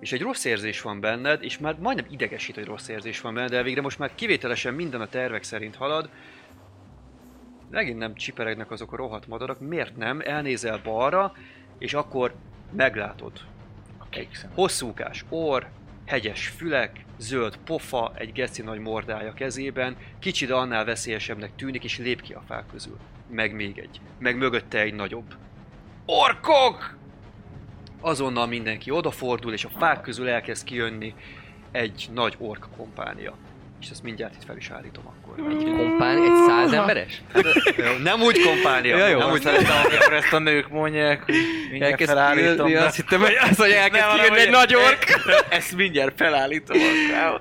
Speaker 2: És egy rossz érzés van benned, és már majdnem idegesít, hogy rossz érzés van benned, de végre most már kivételesen minden a tervek szerint halad. Megint nem csiperegnek azok a rohadt madarak, miért nem? Elnézel balra, és akkor meglátod,
Speaker 4: A kék szem.
Speaker 2: Hosszúkás orr, hegyes fülek, zöld pofa, egy geci nagy mordája kezében, kicsi, de annál veszélyesebbnek tűnik, és lép ki a fák közül. Meg még egy. Meg mögötte egy nagyobb. Orkok! Azonnal mindenki odafordul, és a fák közül elkezd kijönni egy nagy ork kompánia. És ezt mindjárt itt fel is állítom akkor.
Speaker 3: Egy kompán, egy száz emberes?
Speaker 2: Nem úgy kompánia,
Speaker 3: Ja, jó,
Speaker 2: nem úgy
Speaker 4: Úgy szeretem, amikor ezt a nők mondják, hogy mindjárt
Speaker 3: Elkezd
Speaker 4: felállítom.
Speaker 3: kijönni, azt hittem, hogy az, hogy elkezd
Speaker 4: hanem,
Speaker 3: kijönni egy
Speaker 4: hogy-
Speaker 3: nagy ork.
Speaker 4: Ezt mindjárt felállítom.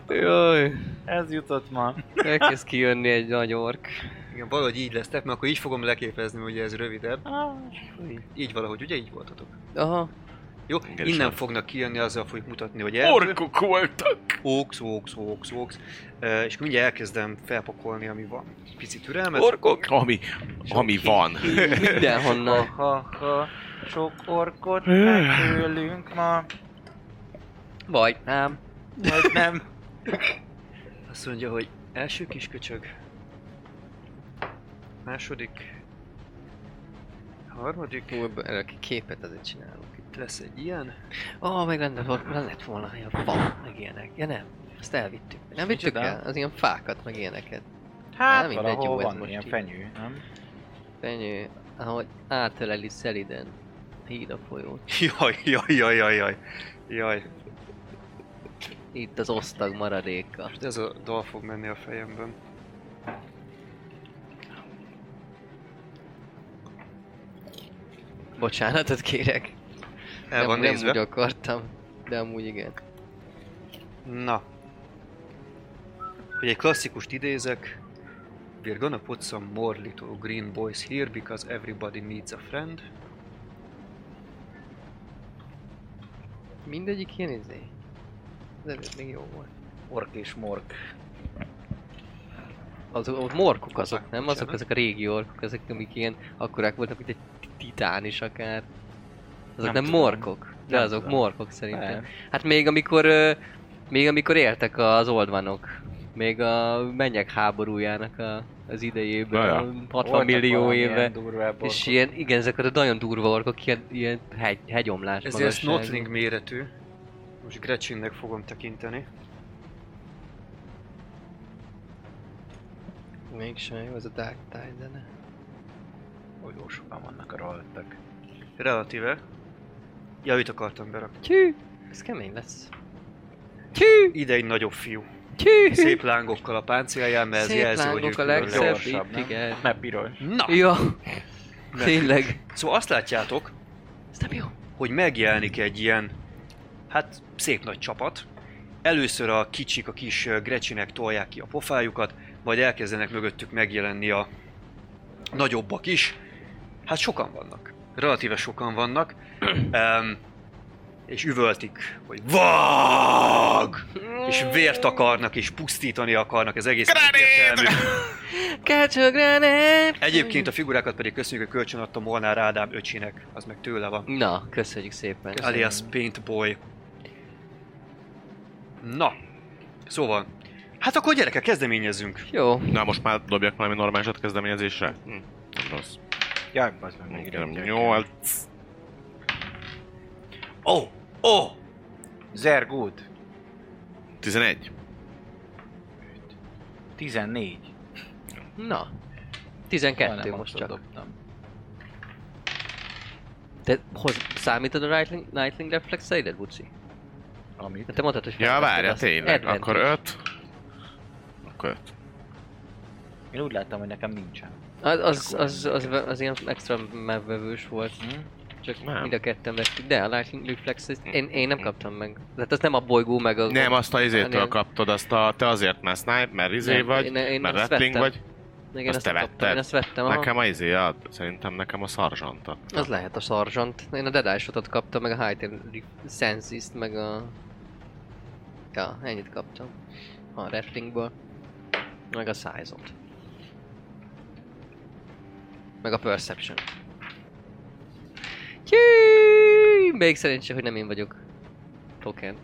Speaker 3: Jaj,
Speaker 4: Ez jutott ma.
Speaker 3: elkezd kijönni egy nagy ork.
Speaker 2: Igen, valahogy így lesztek, mert akkor így fogom leképezni, ugye ez rövidebb. Így valahogy, ugye így voltatok?
Speaker 3: Aha.
Speaker 2: Jó,
Speaker 5: Igen,
Speaker 2: innen
Speaker 5: sem.
Speaker 2: fognak kijönni, azzal fogjuk mutatni, hogy eltűnt.
Speaker 6: Orkok voltak!
Speaker 2: Ox, ox, ox, ox. Uh, és mindjárt elkezdem felpakolni, ami van. Picit türelmet.
Speaker 5: Orkok? Ami, ami van.
Speaker 4: Ha,
Speaker 3: Mindenhonnan.
Speaker 4: ha, ha, sok orkot megölünk ma,
Speaker 3: Vagy nem.
Speaker 4: vagy nem.
Speaker 2: Azt mondja, hogy első kis köcsög. Második. Harmadik.
Speaker 3: Hú, ebből- ebből ki képet azért csinálunk.
Speaker 2: Itt lesz egy ilyen.
Speaker 3: Ó, oh, meg lenne, volt- az lett volna, hogy a fa, meg ilyenek. Ja nem, ezt elvittük. Nem vittük
Speaker 4: Micsoda?
Speaker 3: el, az ilyen fákat, meg ilyeneket.
Speaker 4: Hát
Speaker 3: Nem, mindegy,
Speaker 4: valahol
Speaker 3: jó ez
Speaker 4: van
Speaker 3: most
Speaker 4: ilyen
Speaker 3: így.
Speaker 4: fenyő, nem?
Speaker 3: Fenyő, ahogy átöleli szeliden híd a folyót.
Speaker 2: Jaj, jaj, jaj, jaj, jaj. Jaj,
Speaker 3: Itt az osztag maradéka.
Speaker 2: most ez a dal fog menni a fejemben.
Speaker 3: Bocsánatot kérek.
Speaker 2: El
Speaker 3: nem,
Speaker 2: van
Speaker 3: nem
Speaker 2: nézve.
Speaker 3: úgy akartam, de amúgy igen.
Speaker 2: Na. Hogy egy klasszikust idézek. We're gonna put some more little green boys here because everybody needs a friend.
Speaker 3: Mindegyik ilyen izé. Az előtt még jó volt.
Speaker 4: Ork és mork.
Speaker 3: Az, ott morkok azok,
Speaker 2: Hoppá,
Speaker 3: nem? Azok,
Speaker 2: bocsánat.
Speaker 3: azok a régi orkok, azok, amik ilyen akkorák voltak, mint egy titán is akár. Azok nem,
Speaker 4: Nem
Speaker 3: nem
Speaker 4: tudom.
Speaker 3: morkok, de
Speaker 4: Nem
Speaker 3: azok
Speaker 4: tudom.
Speaker 3: morkok szerintem.
Speaker 4: Nem.
Speaker 3: Hát még amikor, ö, még amikor éltek az oldvanok, még a mennyek háborújának a, az idejében,
Speaker 5: Na ja.
Speaker 3: a 60
Speaker 4: Voltak
Speaker 3: millió
Speaker 4: valamilyen
Speaker 3: éve.
Speaker 4: durvább
Speaker 3: És
Speaker 4: orkok.
Speaker 3: ilyen, igen, ezek a nagyon durva orkok, ilyen, ilyen hegy, hegyomlás
Speaker 2: Ezért ez
Speaker 3: magasságú.
Speaker 2: Notling méretű. Most Gretchennek fogom tekinteni.
Speaker 3: Mégsem jó, ez a Dark Tide zene.
Speaker 4: Ó, jó sokan vannak a rajtak.
Speaker 2: Relatíve. Ja, őt akartam berakni.
Speaker 3: Tyű! Ez kemény lesz. Tyű!
Speaker 2: Ide egy nagyobb fiú.
Speaker 3: Tyű!
Speaker 2: Szép lángokkal a páncélján, mert ez
Speaker 3: Szép
Speaker 2: jelzi, hogy ő
Speaker 3: lángok a
Speaker 2: külön
Speaker 3: legszebb
Speaker 2: gyors.
Speaker 4: Gyorsabb,
Speaker 3: itt,
Speaker 4: nem?
Speaker 3: igen.
Speaker 4: Mert piros.
Speaker 2: Na,
Speaker 3: Ja,
Speaker 2: Ne.
Speaker 3: tényleg.
Speaker 2: szóval azt látjátok,
Speaker 3: Ez nem jó.
Speaker 2: hogy megjelenik egy ilyen, hát szép nagy csapat. Először a kicsik, a kis ö, grecsinek tolják ki a pofájukat, majd elkezdenek mögöttük megjelenni a nagyobbak is. Hát sokan vannak. Relatíve sokan vannak. um, és üvöltik, hogy VAG! És vért akarnak, és pusztítani akarnak, ez egész egyértelmű.
Speaker 3: Kácsó gránát!
Speaker 2: Egyébként a figurákat pedig köszönjük, hogy kölcsön adta Molnár Ádám öcsinek, az meg tőle van.
Speaker 3: Na, köszönjük szépen.
Speaker 2: alias Paintboy. Na, szóval, hát akkor gyerekek, kezdeményezzünk.
Speaker 3: Jó.
Speaker 5: Na most már dobjak valami normálisat kezdeményezésre? Hm. nem Rossz.
Speaker 4: Jaj, bazd meg, még
Speaker 5: Igen,
Speaker 4: rögtön.
Speaker 5: nyolc.
Speaker 2: Ó, oh, ó, oh,
Speaker 4: Zergút.
Speaker 5: 11.
Speaker 4: 14.
Speaker 3: Na.
Speaker 4: Majdnem
Speaker 3: 12 most
Speaker 4: abszolút
Speaker 3: csak.
Speaker 4: Dobtam.
Speaker 3: Te hoz, számítod a Nightling, Nightling reflexeidet, Buci?
Speaker 4: Amit?
Speaker 3: De te mondtad, hogy... hát
Speaker 5: Ja,
Speaker 3: felvetted
Speaker 5: várja,
Speaker 3: azt.
Speaker 5: tényleg.
Speaker 3: Advantage.
Speaker 5: Akkor 5. Akkor 5.
Speaker 4: Én úgy láttam, hogy nekem nincsen.
Speaker 3: Az, az, az, az, az ilyen extra megvevős volt.
Speaker 4: Hm?
Speaker 3: Csak
Speaker 5: Nem.
Speaker 3: nem. mind a ketten vettük, de a Lightning Reflex, ezt én, én nem kaptam meg. Tehát az nem a bolygó meg a...
Speaker 5: Nem, azt a izétől
Speaker 3: Ennél-
Speaker 5: kaptad, azt a, te azért, mert snipe, mert izé
Speaker 3: Nem,
Speaker 5: vagy,
Speaker 3: én- én
Speaker 5: mert
Speaker 3: azt
Speaker 5: rattling
Speaker 3: vettem.
Speaker 5: vagy.
Speaker 3: Igen,
Speaker 5: azt
Speaker 3: azt,
Speaker 5: te
Speaker 3: nem kaptam,
Speaker 5: vetted?
Speaker 3: én azt vettem. Aha.
Speaker 5: Nekem a izé ad, szerintem nekem a szarzsanta.
Speaker 3: Az lehet a Sargent. Én a Dead ot kaptam, meg a High Senses-t, meg a... Ja, ennyit kaptam. A Rattlingból. Meg a size -ot. Meg a Perception. Tjúúúú! Még szerencsé, hogy nem én vagyok. Token.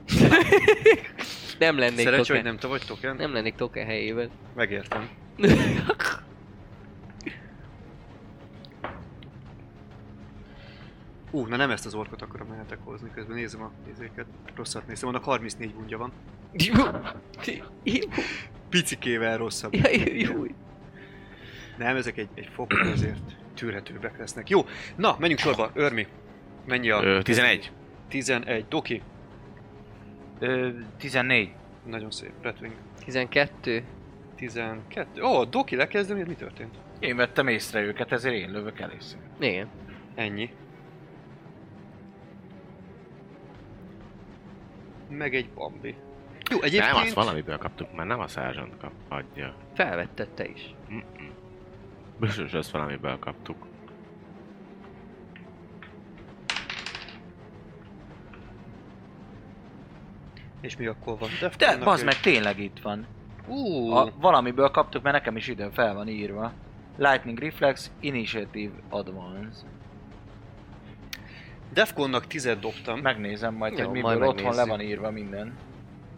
Speaker 3: nem lennék
Speaker 2: szerencsé,
Speaker 3: token.
Speaker 2: hogy nem te vagy token.
Speaker 3: nem lennék token helyében.
Speaker 2: Megértem. Ú, na nem ezt az orkot akarom mehetek hozni, közben nézem a nézéket. Rosszat néztem, annak 34 bundja van. Picikével rosszabb.
Speaker 3: Jaj, júj.
Speaker 2: Nem, ezek egy, egy fokkal azért tűrhetőbbek lesznek. Jó, na, menjünk sorba. Örmi, mennyi a...
Speaker 5: Ö, 11.
Speaker 2: 11. Doki,
Speaker 4: Ö, 14.
Speaker 2: nagyon szép. Redwing.
Speaker 3: 12.
Speaker 2: 12. Ó, Doki lekezdem, mi történt?
Speaker 4: Én vettem észre őket, ezért én lövök először.
Speaker 3: Igen.
Speaker 2: Ennyi. Meg egy Bambi. Jó, egyébként...
Speaker 5: Nem, azt valamiből kaptuk, mert nem a szarzsant kap, adja.
Speaker 3: Felvetted te is.
Speaker 5: Biztos azt valamiből kaptuk.
Speaker 2: És mi akkor van?
Speaker 4: De,
Speaker 2: Deftonnak
Speaker 4: bazd
Speaker 2: egy-
Speaker 4: meg, tényleg itt van.
Speaker 2: Ú,
Speaker 4: A, valamiből kaptuk, mert nekem is idő fel van írva. Lightning Reflex, Initiative Advance.
Speaker 2: Defconnak 10 dobtam,
Speaker 4: Megnézem majd,
Speaker 3: Jó,
Speaker 4: hogy
Speaker 3: majd
Speaker 4: miből otthon le
Speaker 3: megnézzük.
Speaker 4: van írva minden.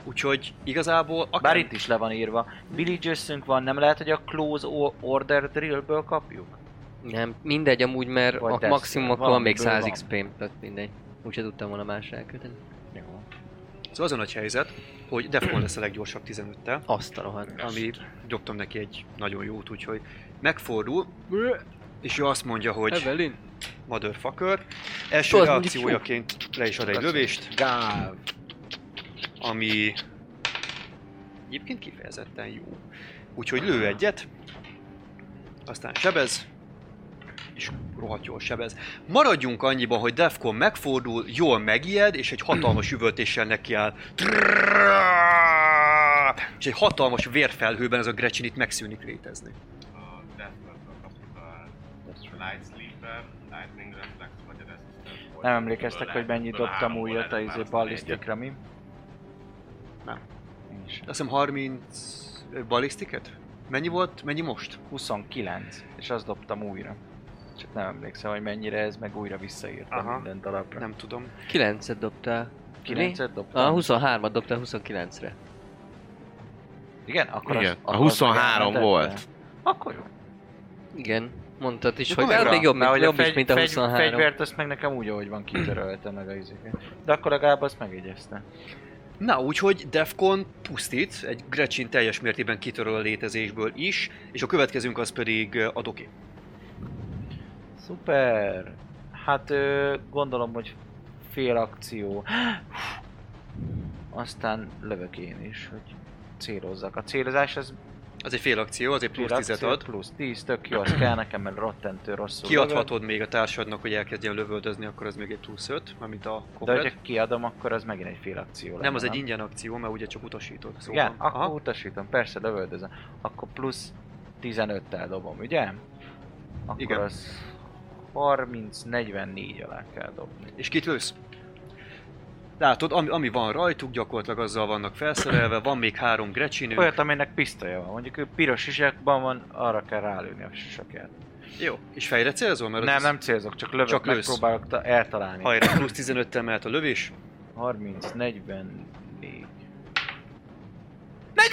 Speaker 2: úgyhogy igazából akár...
Speaker 4: Bár itt is le van írva. Villagers-ünk van, nem lehet, hogy a Close O- Order Drillből kapjuk?
Speaker 3: Nem, mindegy amúgy, mert
Speaker 4: Vagy
Speaker 3: a
Speaker 4: tesztel,
Speaker 3: maximum akkor van még
Speaker 4: valamiből
Speaker 3: 100
Speaker 4: van.
Speaker 3: XP-m, tehát mindegy. Úgyse tudtam volna más elköteni.
Speaker 4: Jó.
Speaker 2: Szóval az a nagy helyzet, hogy Defcon lesz a leggyorsabb 15-tel.
Speaker 3: Azt a rohadt.
Speaker 2: ami dobtam neki egy nagyon jót, úgyhogy megfordul, és ő azt mondja, hogy
Speaker 3: Evelyn?
Speaker 2: motherfucker. Első
Speaker 3: Azt mondja,
Speaker 2: reakciójaként le is ad egy lövést,
Speaker 4: Gáv.
Speaker 2: ami egyébként kifejezetten jó. Úgyhogy lő egyet, aztán sebez, és rohadt jól sebez. Maradjunk annyiban, hogy Defcon megfordul, jól megijed, és egy hatalmas üvöltéssel nekiáll. És egy hatalmas vérfelhőben ez a Gretchen itt megszűnik létezni.
Speaker 5: A Deathbird-ből kaptuk a Light Sleeper, Lightning Reflex vagy a Resistance volt.
Speaker 4: Nem emlékeztek, hogy mennyi dobtam újat a izé ballisztikra, mi?
Speaker 2: Nem.
Speaker 4: Én sem.
Speaker 2: Azt hiszem 30 balisztiket? Mennyi volt? Mennyi most?
Speaker 4: 29, és azt dobtam újra. Csak nem emlékszem, hogy mennyire ez, meg újra visszaírtam
Speaker 2: Aha.
Speaker 4: minden darabra.
Speaker 2: Nem tudom.
Speaker 3: 9-et dobtál.
Speaker 4: 9-et dobtam.
Speaker 3: A 23-at dobtál 29-re.
Speaker 4: Igen? Akkor
Speaker 5: Igen,
Speaker 4: azt-
Speaker 5: a
Speaker 4: akkor azt
Speaker 5: 23
Speaker 4: megjelentette.
Speaker 5: volt.
Speaker 4: Akkor jó.
Speaker 3: Igen, mondtad is,
Speaker 4: De
Speaker 3: hogy
Speaker 4: komolyan,
Speaker 3: hát még jobb, mint,
Speaker 4: mert hogy
Speaker 3: jobb is,
Speaker 4: fegy-
Speaker 3: mint a
Speaker 4: fegy-
Speaker 3: 23.
Speaker 4: fegyvert azt meg nekem úgy, ahogy van, kitörölte meg a izéket. De akkor legalább azt megjegyezte.
Speaker 2: Na, úgyhogy Defcon pusztít, egy Gretchen teljes mértében kitöröl a létezésből is, és a következőnk az pedig ö, a doki.
Speaker 4: Szuper! Hát ö, gondolom, hogy fél akció. [gasps] Aztán lövök én is, hogy célozzak. A célozás az
Speaker 2: Az egy fél akció, az egy
Speaker 4: fél
Speaker 2: plusz tizet
Speaker 4: akció,
Speaker 2: ad.
Speaker 4: plusz 10, tök jó, az kell nekem, mert rottentő rosszul lövök.
Speaker 2: Kiadhatod még a társadnak, hogy elkezdjen lövöldözni, akkor az még egy plusz 5, mint a
Speaker 4: De
Speaker 2: komplet.
Speaker 4: hogyha kiadom, akkor az megint egy fél akció lenne,
Speaker 2: Nem, az egy ingyen akció, mert ugye csak utasítod. Szóval.
Speaker 4: Igen, akkor
Speaker 2: Aha.
Speaker 4: utasítom, persze lövöldözöm. Akkor plusz 15-tel dobom, ugye? Akkor
Speaker 2: Igen.
Speaker 4: az 30-44 alá kell dobni.
Speaker 2: És kit lősz? Látod, ami, ami van rajtuk, gyakorlatilag azzal vannak felszerelve, van még három grecsinő.
Speaker 4: Olyat, aminek pisztolya van. Mondjuk ő piros sisakban van, arra kell rálőni a sisakját.
Speaker 2: Jó, és fejre célzol, mert
Speaker 4: Nem,
Speaker 2: az
Speaker 4: nem célzok, csak lövök,
Speaker 2: Csak
Speaker 4: csak
Speaker 2: lősz.
Speaker 4: megpróbálok ta- eltalálni.
Speaker 2: Hajrá, plusz 15-tel mehet a lövés.
Speaker 4: 30, 44.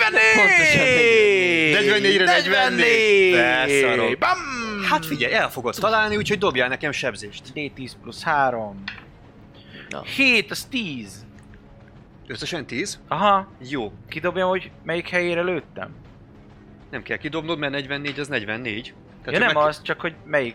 Speaker 3: Pontosan
Speaker 2: 44-re 44! Elszarod.
Speaker 6: Bam!
Speaker 2: Hát figyelj, el fogod találni, úgyhogy dobjál nekem sebzést.
Speaker 4: D10 plusz 3.
Speaker 3: Na.
Speaker 4: 7, az 10.
Speaker 2: Összesen 10.
Speaker 4: Aha,
Speaker 2: Jó,
Speaker 4: kidobjam, hogy melyik helyére lőttem.
Speaker 2: nem kell kidobnod, mert 44 az 44.
Speaker 4: Tehát ja
Speaker 2: hogy
Speaker 4: nem
Speaker 2: meg-
Speaker 4: az, csak hogy melyik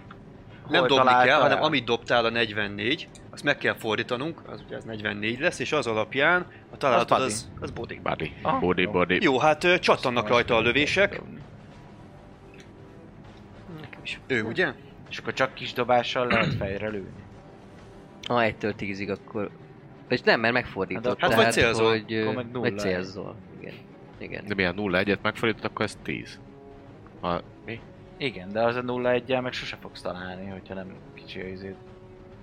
Speaker 2: nem
Speaker 4: hol
Speaker 2: dobni kell,
Speaker 4: találta
Speaker 2: hanem
Speaker 4: el.
Speaker 2: amit dobtál a 44, azt meg kell fordítanunk, az ugye az 44 lesz, és az alapján a találatod
Speaker 4: body.
Speaker 2: az, az body.
Speaker 5: Body,
Speaker 4: Ah,
Speaker 5: body,
Speaker 4: jó.
Speaker 5: body.
Speaker 2: Jó, hát ö, csattannak
Speaker 4: Szóval Azt
Speaker 2: rajta a
Speaker 4: nem
Speaker 2: lövések.
Speaker 4: kell dobni.
Speaker 2: Ő, ugye?
Speaker 4: És akkor csak kis dobással lehet fejre lőni.
Speaker 3: Ha 1-től 10-ig, akkor... És nem, mert megfordított.
Speaker 4: Hát
Speaker 2: vagy
Speaker 3: tehát,
Speaker 2: célzol,
Speaker 3: hogy, ö,
Speaker 4: akkor meg nulla.
Speaker 3: Vagy célzol. Igen. Igen.
Speaker 5: De milyen 0 1 megfordított, akkor ez 10. Ha, mi?
Speaker 4: Igen, de az a 0 1 meg sose fogsz találni, hogyha nem kicsi a izét.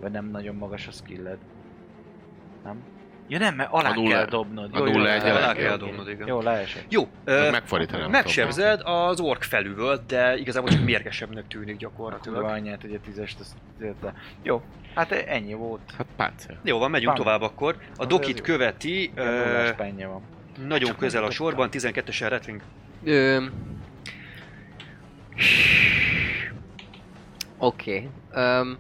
Speaker 4: Vagy nem nagyon magas a skilled. Nem? Ja nem, mert alá
Speaker 5: A nulla-
Speaker 4: kell dobnod.
Speaker 5: a
Speaker 4: Jó, jó,
Speaker 5: nulla
Speaker 4: jó,
Speaker 5: egy
Speaker 4: jó,
Speaker 2: Alá
Speaker 5: alá
Speaker 2: kell
Speaker 5: kell.
Speaker 2: dobnod, igen.
Speaker 4: Jó, leesett.
Speaker 2: Jó, ö,
Speaker 5: Hát Meg megfordítani nem
Speaker 2: megsebzed, az ork felül de igazából csak mérgesebbnek tűnik
Speaker 4: Kurva
Speaker 2: gyakorlatilag.
Speaker 4: anyját, hogy a tízest azt tette. Jó, hát ennyi volt.
Speaker 5: tudom. Hát páncél.
Speaker 2: Jó van, megyünk
Speaker 4: Bam.
Speaker 2: tovább akkor. A
Speaker 4: Az
Speaker 2: dokit
Speaker 4: jó.
Speaker 2: követi,
Speaker 4: Ö...
Speaker 2: ö,
Speaker 4: Nullás pennye van.
Speaker 2: nagyon
Speaker 4: Csak
Speaker 2: közel a
Speaker 4: nem
Speaker 2: sorban, 12-esen Retling.
Speaker 3: Ö... Oké. Okay. Um,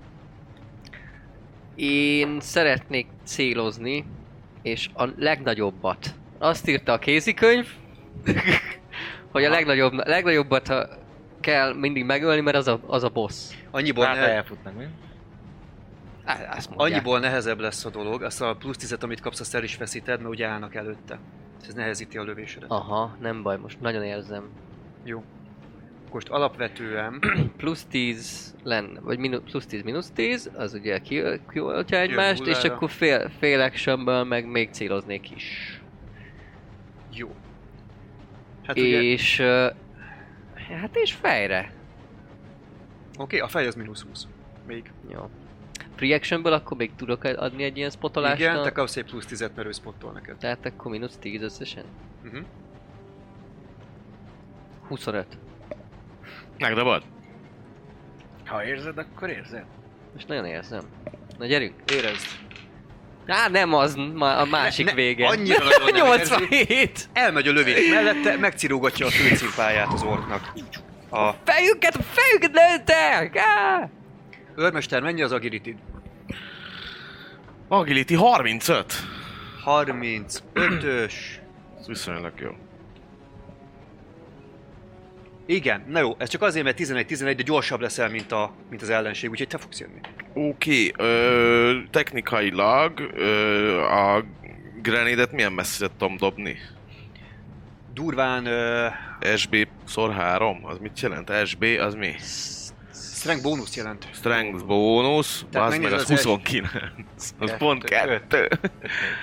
Speaker 3: én szeretnék célozni, és a legnagyobbat. Azt írta a kézikönyv, [laughs] hogy a legnagyobb, legnagyobbat ha kell mindig megölni, mert az a, az a boss.
Speaker 2: Annyiból,
Speaker 4: Hát
Speaker 2: ne,
Speaker 4: elfutnak, mi?
Speaker 3: Á, Azt mondják.
Speaker 2: annyiból nehezebb lesz a dolog, azt a plusz 10 amit kapsz, azt el is feszíted, mert ugye állnak előtte. Ez nehezíti a lövésedet.
Speaker 3: Aha, nem baj, most nagyon érzem.
Speaker 2: Most alapvetően [clears throat]
Speaker 3: Plusz 10 lenne, vagy minu, plusz 10, mínusz 10, az ugye ki- kioltja
Speaker 2: Jön
Speaker 3: egymást, és
Speaker 2: nullára.
Speaker 3: akkor fél, fél actionből meg még céloznék is.
Speaker 2: jó. Hát ugye, oké,
Speaker 3: és... ö, hát és fejre.
Speaker 2: a fej az mínusz 20. Még.
Speaker 3: Jó. Free actionből akkor még tudok adni egy ilyen spotolást.
Speaker 2: Igen, te
Speaker 3: Igen,
Speaker 2: kapsz egy plusz 10 mert ő spottol neked.
Speaker 3: Tehát akkor mínusz 10 összesen.
Speaker 2: Mhm.
Speaker 3: 25.
Speaker 5: Megdobod?
Speaker 4: Ha érzed, akkor érzed.
Speaker 3: Most nagyon érzem. Na gyerünk.
Speaker 2: Érezd.
Speaker 3: Á, nem az, ma, a másik
Speaker 2: ne,
Speaker 3: vége.
Speaker 2: annyira nagyon
Speaker 3: [laughs]
Speaker 2: nem
Speaker 3: 87!
Speaker 2: Elmegy a lövés mellette, megcirógatja a főcimpáját az orknak. A
Speaker 3: Fejüket, fejüket lőttek! Á!
Speaker 2: őrmester mennyi az agility?
Speaker 5: Agility 35!
Speaker 2: 35-ös.
Speaker 5: Ez viszonylag jó.
Speaker 2: Igen, na jó, ez csak azért, mert 11-11, de gyorsabb leszel, mint, a, mint az ellenség, úgyhogy te fogsz jönni.
Speaker 5: Oké, ö, technikailag ö, a grenédet milyen messzire tudom dobni?
Speaker 2: Durván uh,
Speaker 5: SB szor 3? Az mit jelent? SB az mi?
Speaker 2: strength bónusz jelent.
Speaker 5: Strength bónusz,
Speaker 2: Tehát
Speaker 5: az meg
Speaker 2: megnézed az
Speaker 5: az
Speaker 2: első-
Speaker 5: 29. Az pont
Speaker 4: Kettő.
Speaker 5: 2.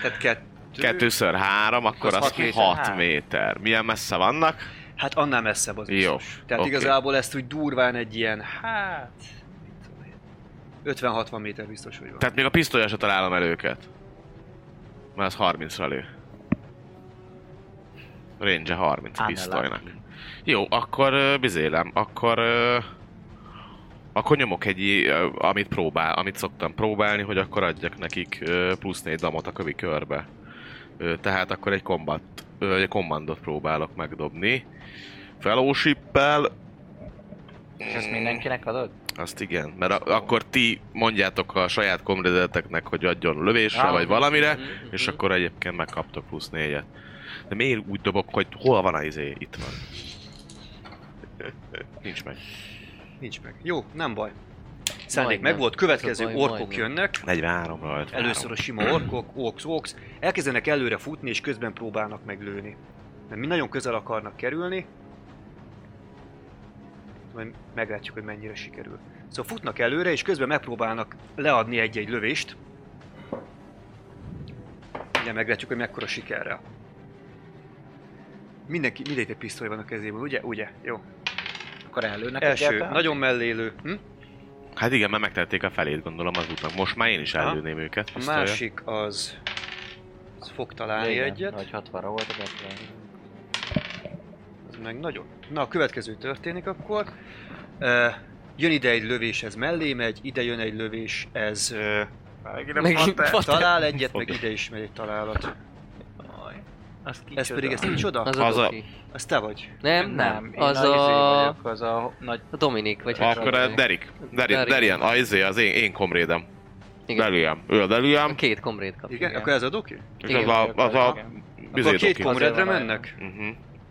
Speaker 2: Tehát kettő.
Speaker 5: Kettőször három, akkor
Speaker 4: Az
Speaker 5: az
Speaker 4: hat méter.
Speaker 5: 6
Speaker 4: Három.
Speaker 5: méter. Milyen messze vannak?
Speaker 2: Hát annál messzebb az
Speaker 5: Jó.
Speaker 2: biztos. Tehát
Speaker 5: oké.
Speaker 2: igazából ezt úgy durván egy ilyen, hát... mit tudom én, 50-60 méter biztos, hogy van.
Speaker 5: Tehát még a pisztolyra se találom el őket. Mert az 30-ra lő. Range 30 a
Speaker 4: Ám
Speaker 5: pisztolynak. Jó, akkor ö, bizélem. Akkor... ö, Akkor nyomok egy, i- ö, amit próbál, amit szoktam próbálni, hogy akkor adjak nekik ö, plusz négy damot a kövi körbe. Ö, Tehát akkor egy combat ö, vagy a kommandot próbálok megdobni. Fellowship-el,
Speaker 4: És ezt mindenkinek adod?
Speaker 5: azt igen, mert a, akkor ti mondjátok a saját komredeteknek, hogy adjon lövésre,
Speaker 4: Ah.
Speaker 5: vagy valamire,
Speaker 3: Mhm,
Speaker 2: Mhm.
Speaker 5: és akkor egyébként megkaptok plusz négyet. De miért úgy dobok, hogy hol van a izé? Itt van. [laughs] Nincs meg.
Speaker 2: Nincs meg. Jó, nem baj. Szándék
Speaker 3: Majdnem.
Speaker 2: meg volt,
Speaker 3: Ez a
Speaker 2: következő
Speaker 3: baj,
Speaker 2: orkok
Speaker 3: majdnem.
Speaker 2: jönnek.
Speaker 5: 43-ra 53.
Speaker 2: Először a sima orkok, ox, ox, elkezdenek előre futni, és közben próbálnak meglőni. Mert mi nagyon közel akarnak kerülni. Majd meglátjuk, hogy mennyire sikerül. Szóval futnak előre, és közben megpróbálnak leadni egy-egy lövést. Ugye meglátjuk, hogy mekkora sikerrel. Mindenki, mindegy egy pisztoly van a kezében, ugye? Ugye? Jó.
Speaker 4: Akkor előnek
Speaker 2: Első,
Speaker 4: egyáltalán?
Speaker 2: nagyon mellélő. Hm?
Speaker 5: Hát igen, mert megtették a felét, gondolom az útnak. Most már én is
Speaker 2: Aha.
Speaker 5: előném őket.
Speaker 2: A
Speaker 5: pisztolya.
Speaker 2: másik az... az fog találni
Speaker 4: Igen,
Speaker 2: egyet.
Speaker 4: Vagy 60-ra volt a betlen.
Speaker 2: Ez meg nagyon. Na, a következő történik akkor. Uh, jön ide egy lövés, ez mellé megy, ide jön egy lövés, ez uh,
Speaker 3: Megint
Speaker 6: Megint
Speaker 3: patent.
Speaker 2: talál egyet, meg
Speaker 5: Fogja.
Speaker 2: ide is megy egy találat.
Speaker 4: Az
Speaker 2: Ez pedig, ez micsoda?
Speaker 3: Az,
Speaker 5: Az
Speaker 3: a...
Speaker 5: a-
Speaker 3: Doki.
Speaker 2: Ez te vagy.
Speaker 3: Nem, nem.
Speaker 4: Nem, én
Speaker 3: az
Speaker 4: nagy izé
Speaker 3: a...
Speaker 4: vagyok, az a nagy...
Speaker 3: a Dominik, vagy hogy
Speaker 5: Akkor a
Speaker 3: hívják.
Speaker 5: Derik. Derik,
Speaker 3: Derik.
Speaker 5: Derian, a izé, az én, én komrédem.
Speaker 3: Igen.
Speaker 5: Delian. Ő a Delian,
Speaker 3: A két komrét kap.
Speaker 2: Igen? Akkor ez a doki?
Speaker 5: és
Speaker 3: Igen,
Speaker 5: az a... Az a...
Speaker 4: igen.
Speaker 2: Akkor a két
Speaker 5: Bizédoki.
Speaker 2: komredre
Speaker 4: Azért van
Speaker 2: mennek?
Speaker 5: Mhm.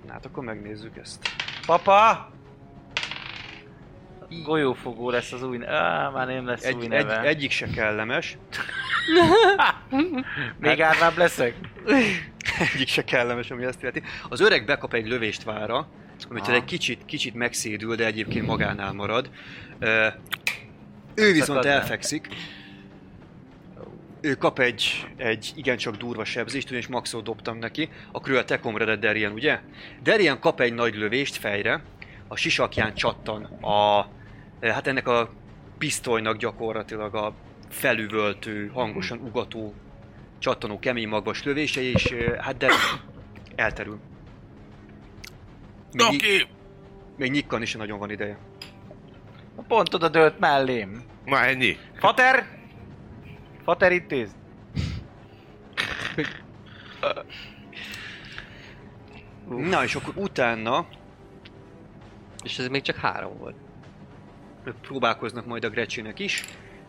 Speaker 2: Na, hát akkor megnézzük ezt.
Speaker 4: Papa! Golyófogó lesz az új... Á, már nem lesz új
Speaker 2: Egy, egy,
Speaker 4: neve.
Speaker 2: egyik se kellemes.
Speaker 4: Még árvább leszek?
Speaker 2: [laughs] egyik se kellemes, ami azt illeti. Az öreg bekap egy lövést vára, amitől
Speaker 4: Aha.
Speaker 2: egy kicsit, kicsit megszédül, de egyébként magánál marad. Ö, Ő viszont
Speaker 4: szakad el.
Speaker 2: elfekszik. Ő kap egy, egy igencsak durva sebzést, ugyanis maxot dobtam neki. Akkor ő a tekomredet Derien, ugye? Derien kap egy nagy lövést fejre, a sisakján csattan a, hát ennek a pisztolynak gyakorlatilag a felüvöltő, hangosan ugató, csattanó, kemény magvas lövése, és ö, hát de elterül. Még, okay.
Speaker 6: Doki!
Speaker 2: még nyikkan is nagyon van ideje.
Speaker 4: Pont oda dőlt mellém.
Speaker 5: Na ennyi.
Speaker 4: Fater! Fater intéz.
Speaker 2: Na, és akkor utána
Speaker 3: És ez még csak három volt.
Speaker 2: próbálkoznak majd a Grecsének is,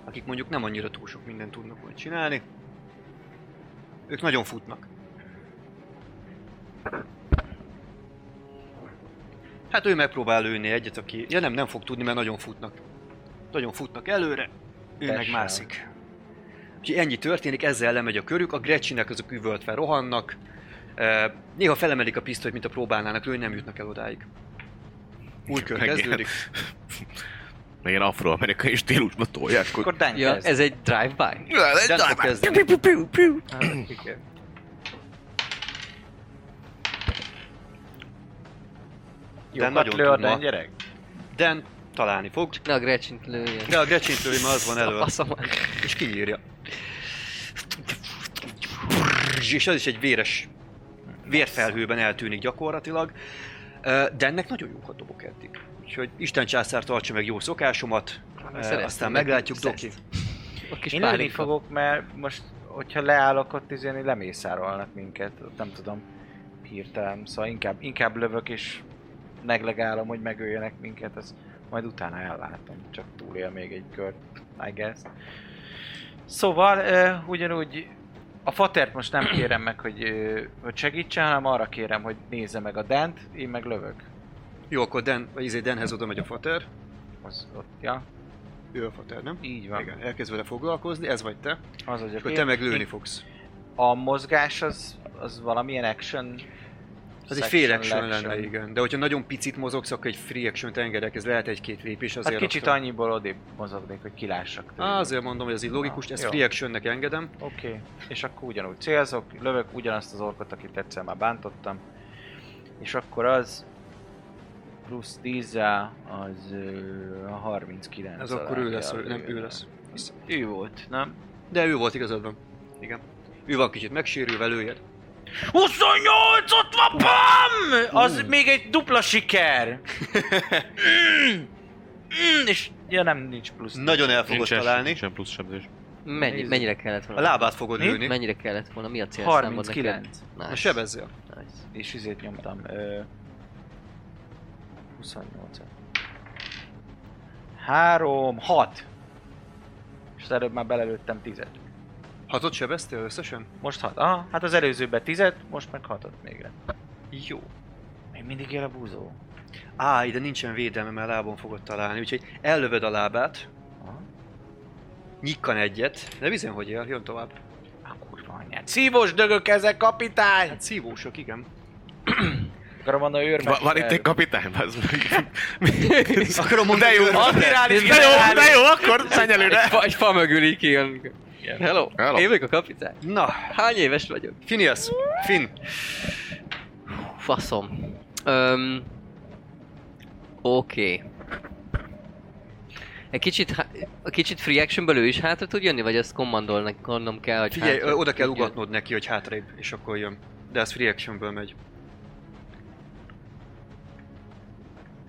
Speaker 2: akik mondjuk nem annyira túl sok mindent tudnak majd csinálni. Ők nagyon futnak. Hát ő megpróbál lőni egyet, aki... Ja nem, nem fog tudni, mert nagyon futnak. Nagyon futnak előre, ő meg
Speaker 4: Tessen.
Speaker 2: mászik. Úgyhogy ennyi történik, ezzel lemegy a körük, a Grecsinek azok üvöltve rohannak, E, néha felemelik a pisztolyt, mint a próbálnának lőni, nem jutnak el odáig. Új kör
Speaker 5: Meg-
Speaker 2: kezdődik.
Speaker 5: Még ilyen afroamerikai stílusba tolják. Akkor...
Speaker 4: Akkor Dan
Speaker 3: Ja,
Speaker 4: ja,
Speaker 3: ez egy drive-by.
Speaker 2: Dan fog kezdeni.
Speaker 4: Jó,
Speaker 2: Dan nagyon
Speaker 4: lő a
Speaker 2: tud ma.
Speaker 4: Dan gyerek?
Speaker 2: hát Dan találni fog,
Speaker 3: Ne a Gretchen-t lőjön.
Speaker 2: de a Gretchen tőle már az van elő,
Speaker 3: A faszom.
Speaker 2: és kinyírja. És az is egy véres vérfelhőben eltűnik gyakorlatilag. Ö, De ennek nagyon jókat dobok eddig. Úgyhogy Isten császár tartsa meg jó szokásomat, ö,
Speaker 3: Szereztem
Speaker 2: aztán
Speaker 3: neki
Speaker 2: meglátjuk,
Speaker 3: szeszt.
Speaker 2: Doki.
Speaker 3: A kis
Speaker 4: Én lőni fogok, mert most, hogyha leállok ott, izélni, lemészárolnak minket. Ott Nem tudom, hirtelen. Szóval inkább, inkább lövök és meglegálom, hogy megöljenek minket. Az majd utána ellátom. Csak túlél még egy kört, I guess. Szóval uh, ugyanúgy a fatert most nem kérem meg, hogy, uh, hogy segítsen, hanem arra kérem, hogy nézze meg a dent, én meg lövök.
Speaker 2: Jó, akkor Dan, vagy izé Danhez oda megy a fater.
Speaker 4: Az ott, ja,
Speaker 2: Ő a fater, nem?
Speaker 4: így van.
Speaker 2: Igen, elkezd vele foglalkozni, ez vagy te.
Speaker 4: Az vagyok
Speaker 2: Akkor
Speaker 4: én.
Speaker 2: te meg lőni
Speaker 4: Én-
Speaker 2: fogsz.
Speaker 4: A mozgás az, az valamilyen action...
Speaker 2: Az egy
Speaker 4: section,
Speaker 2: fél action lenne,
Speaker 4: lection.
Speaker 2: igen. De hogyha nagyon picit mozogsz, akkor egy free action-t engedek, ez lehet egy-két lépés
Speaker 4: Hát
Speaker 2: azért.
Speaker 4: kicsit
Speaker 2: aztán-
Speaker 4: annyiból odébb mozognék, hogy kilássak tőle.
Speaker 2: Á, azért mondom, hogy ez így logikus,
Speaker 4: Na,
Speaker 2: ezt
Speaker 4: jó.
Speaker 2: free actionnek engedem.
Speaker 4: Oké, okay. és akkor ugyanúgy célzok, lövök ugyanazt az orkot, akit egyszer már bántottam. És akkor az plusz 10 az ö, a 39
Speaker 2: Ez akkor ő
Speaker 4: alá
Speaker 2: lesz,
Speaker 4: kell
Speaker 2: ő- nem, ő
Speaker 4: lőnöm.
Speaker 2: lesz.
Speaker 4: Ő volt, nem?
Speaker 2: De ő volt igazad van. Igen. Ő van kicsit megsérülve, lőjed.
Speaker 4: 28, ott van, bam! Az még egy dupla siker! Mm, mm, és ja nem, nincs plusz.
Speaker 2: Nagyon el fogod
Speaker 5: Nincsen,
Speaker 2: találni.
Speaker 5: nincsen plusz sebzés.
Speaker 3: Mennyi, mennyire kellett
Speaker 2: A
Speaker 3: volna?
Speaker 2: lábát fogod
Speaker 4: Mi?
Speaker 2: lőni.
Speaker 3: Mennyire kellett volna? Mi a célszámod neked?
Speaker 4: 39.
Speaker 2: A
Speaker 3: Nice.
Speaker 2: sebezzél.
Speaker 3: Nice.
Speaker 4: És izét nyomtam. Ö, 28 3, 6. És az előbb már belelőttem 10
Speaker 2: Hatot sebeztél összesen?
Speaker 4: Most 6. Aha, hát az előzőben 10 most meg 6 végre.
Speaker 2: Jó.
Speaker 4: Még mindig él a búzó.
Speaker 2: Á, ide nincsen védelme, mert lábon fogod találni, úgyhogy ellövöd a lábát,
Speaker 4: Aha.
Speaker 2: nyikkan egyet, de bizony, hogy él, jön tovább.
Speaker 4: A kurva anyád. Szívós dögök ezek, kapitány!
Speaker 2: Hát szívósok, igen.
Speaker 4: Akarom mondani, őr
Speaker 5: Va- van itt egy kapitány, az meg.
Speaker 3: [laughs]
Speaker 2: Akarom mondani, de jó,
Speaker 4: Admirális
Speaker 3: De jó, de
Speaker 6: jó, akkor menj
Speaker 3: Egy, fa, egy fa mögül így kijön. Hello.
Speaker 5: Hello.
Speaker 3: Én vagyok a kapitány.
Speaker 2: Na,
Speaker 3: Hány éves vagyok?
Speaker 2: Phineas, Finn,
Speaker 3: Faszom. Öm, Oké. Egy kicsit, há- egy kicsit free actionből ő is hátra tud jönni, vagy ezt kommandolnak, gondolom kell, hogy
Speaker 2: figyelj,
Speaker 3: hátra
Speaker 2: ö, oda kell
Speaker 3: tud jönni?
Speaker 2: ugatnod neki, hogy hátrébb, és akkor jön. De ez free actionből megy.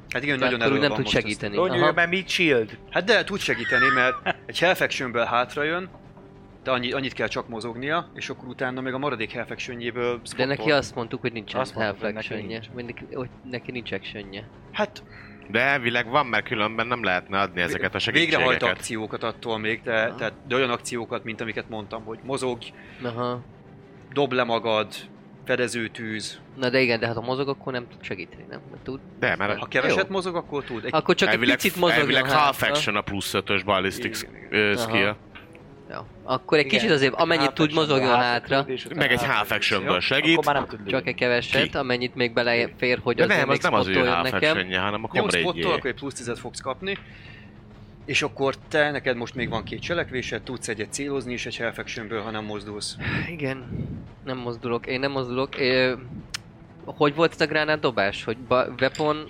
Speaker 2: Hát igen, nagyon
Speaker 3: Tehát akkor
Speaker 2: elő van
Speaker 3: úgy nem tud
Speaker 2: most ezt.
Speaker 3: segíteni.
Speaker 4: Lónyő, mert mi shield.
Speaker 2: Hát de tud segíteni, mert egy half actionből hátra jön, de annyi, annyit kell csak mozognia, és akkor utána meg a maradék half actionjéből
Speaker 3: De
Speaker 2: spottol.
Speaker 3: neki azt mondtuk, hogy nincsen
Speaker 4: Azt
Speaker 3: azt
Speaker 4: mondtuk,
Speaker 3: half
Speaker 4: hogy neki
Speaker 3: actionje.
Speaker 4: nincs.
Speaker 3: Vagy neki, hogy neki nincs actionje.
Speaker 2: Hát
Speaker 5: De elvileg van, mert különben nem lehetne adni ezeket a
Speaker 2: végrehajt
Speaker 5: segítségeket.
Speaker 2: akciókat attól még, de,
Speaker 3: Aha.
Speaker 2: tehát, de olyan akciókat, mint amiket mondtam, hogy mozog,
Speaker 3: Aha.
Speaker 2: dob le magad, fedezőtűz.
Speaker 3: Na de igen, de hát ha mozog, akkor nem tud segíteni, nem? Vagy Tud?
Speaker 5: De, mert
Speaker 2: Ha keveset
Speaker 3: Jó. Hát
Speaker 2: mozog, akkor tud. Egy,
Speaker 3: Akkor csak
Speaker 5: elvileg,
Speaker 3: egy picit mozog.
Speaker 5: elvileg half action a plusz 5-ös ballistic
Speaker 2: Igen,
Speaker 5: sk- ö,
Speaker 3: Aha.
Speaker 5: skill.
Speaker 3: Ja. Akkor egy kicsit azért, amennyit tud, mozogjon hátra.
Speaker 5: Meg egy half actionből
Speaker 4: Akkor
Speaker 5: segít.
Speaker 4: már nem tud
Speaker 3: Csak egy
Speaker 4: lőni.
Speaker 3: keveset,
Speaker 5: Ki?
Speaker 3: amennyit még belefér, hogy
Speaker 5: De
Speaker 3: azért
Speaker 5: nem, az
Speaker 3: még
Speaker 5: nem az ő
Speaker 3: spottoljon
Speaker 5: half
Speaker 3: nekem.
Speaker 5: actionje, hanem a
Speaker 2: nyomsz spottól,
Speaker 5: komrédjé.
Speaker 2: akkor egy plusz 10 fogsz kapni. És akkor te, neked most még van két cselekvésed, tudsz egyet célozni és egy half actionből, ha nem mozdulsz.
Speaker 3: Igen. Nem mozdulok, én nem mozdulok. Ö, hogy volt ez a gránát dobás? Hogy ba, weapon,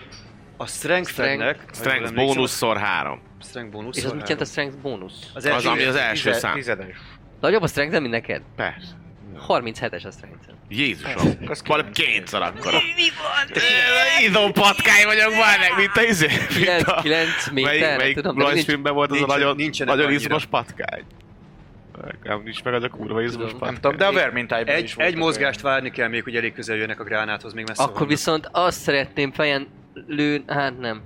Speaker 2: A strength-ednek... ha jól
Speaker 5: Strength
Speaker 2: emlékszem,
Speaker 5: bónuszszor 3.
Speaker 2: Strength bónusz.
Speaker 3: és az mit jelent a strength bónusz?
Speaker 2: Az
Speaker 5: Az,
Speaker 2: első,
Speaker 5: ami az első
Speaker 4: Tized-
Speaker 5: szám.
Speaker 4: Tizedes.
Speaker 3: Nagyobb a strength, mint neked?
Speaker 5: Persze.
Speaker 3: 37-es a strength.
Speaker 5: Jézusom.
Speaker 4: Az
Speaker 5: Valami
Speaker 4: kilenc.
Speaker 5: kétszer akkora. Mi van? Izom patkány vagyok már meg, mint a izé. mint a-
Speaker 3: 9
Speaker 5: Melyik,
Speaker 3: méter?
Speaker 5: melyik
Speaker 3: Tudom, de nincs
Speaker 5: rajzfilmben volt az a
Speaker 2: nincsen-
Speaker 5: nagyon,
Speaker 2: nincsenek
Speaker 5: nagyon
Speaker 2: annyira.
Speaker 5: izmos patkány? Nekem nincs meg az a kurva izmos
Speaker 3: Tudom.
Speaker 5: patkány.
Speaker 4: Nem tudom, de a Vermintide
Speaker 2: egy, egy mozgást várni kell még, hogy elég közel jönnek a gránáthoz, még messze
Speaker 3: Akkor
Speaker 2: vannak.
Speaker 3: viszont azt szeretném fejen lőn... Hát nem.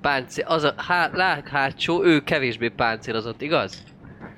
Speaker 3: Páncél, az a há, lák hátsó, ő kevésbé páncélozott, igaz?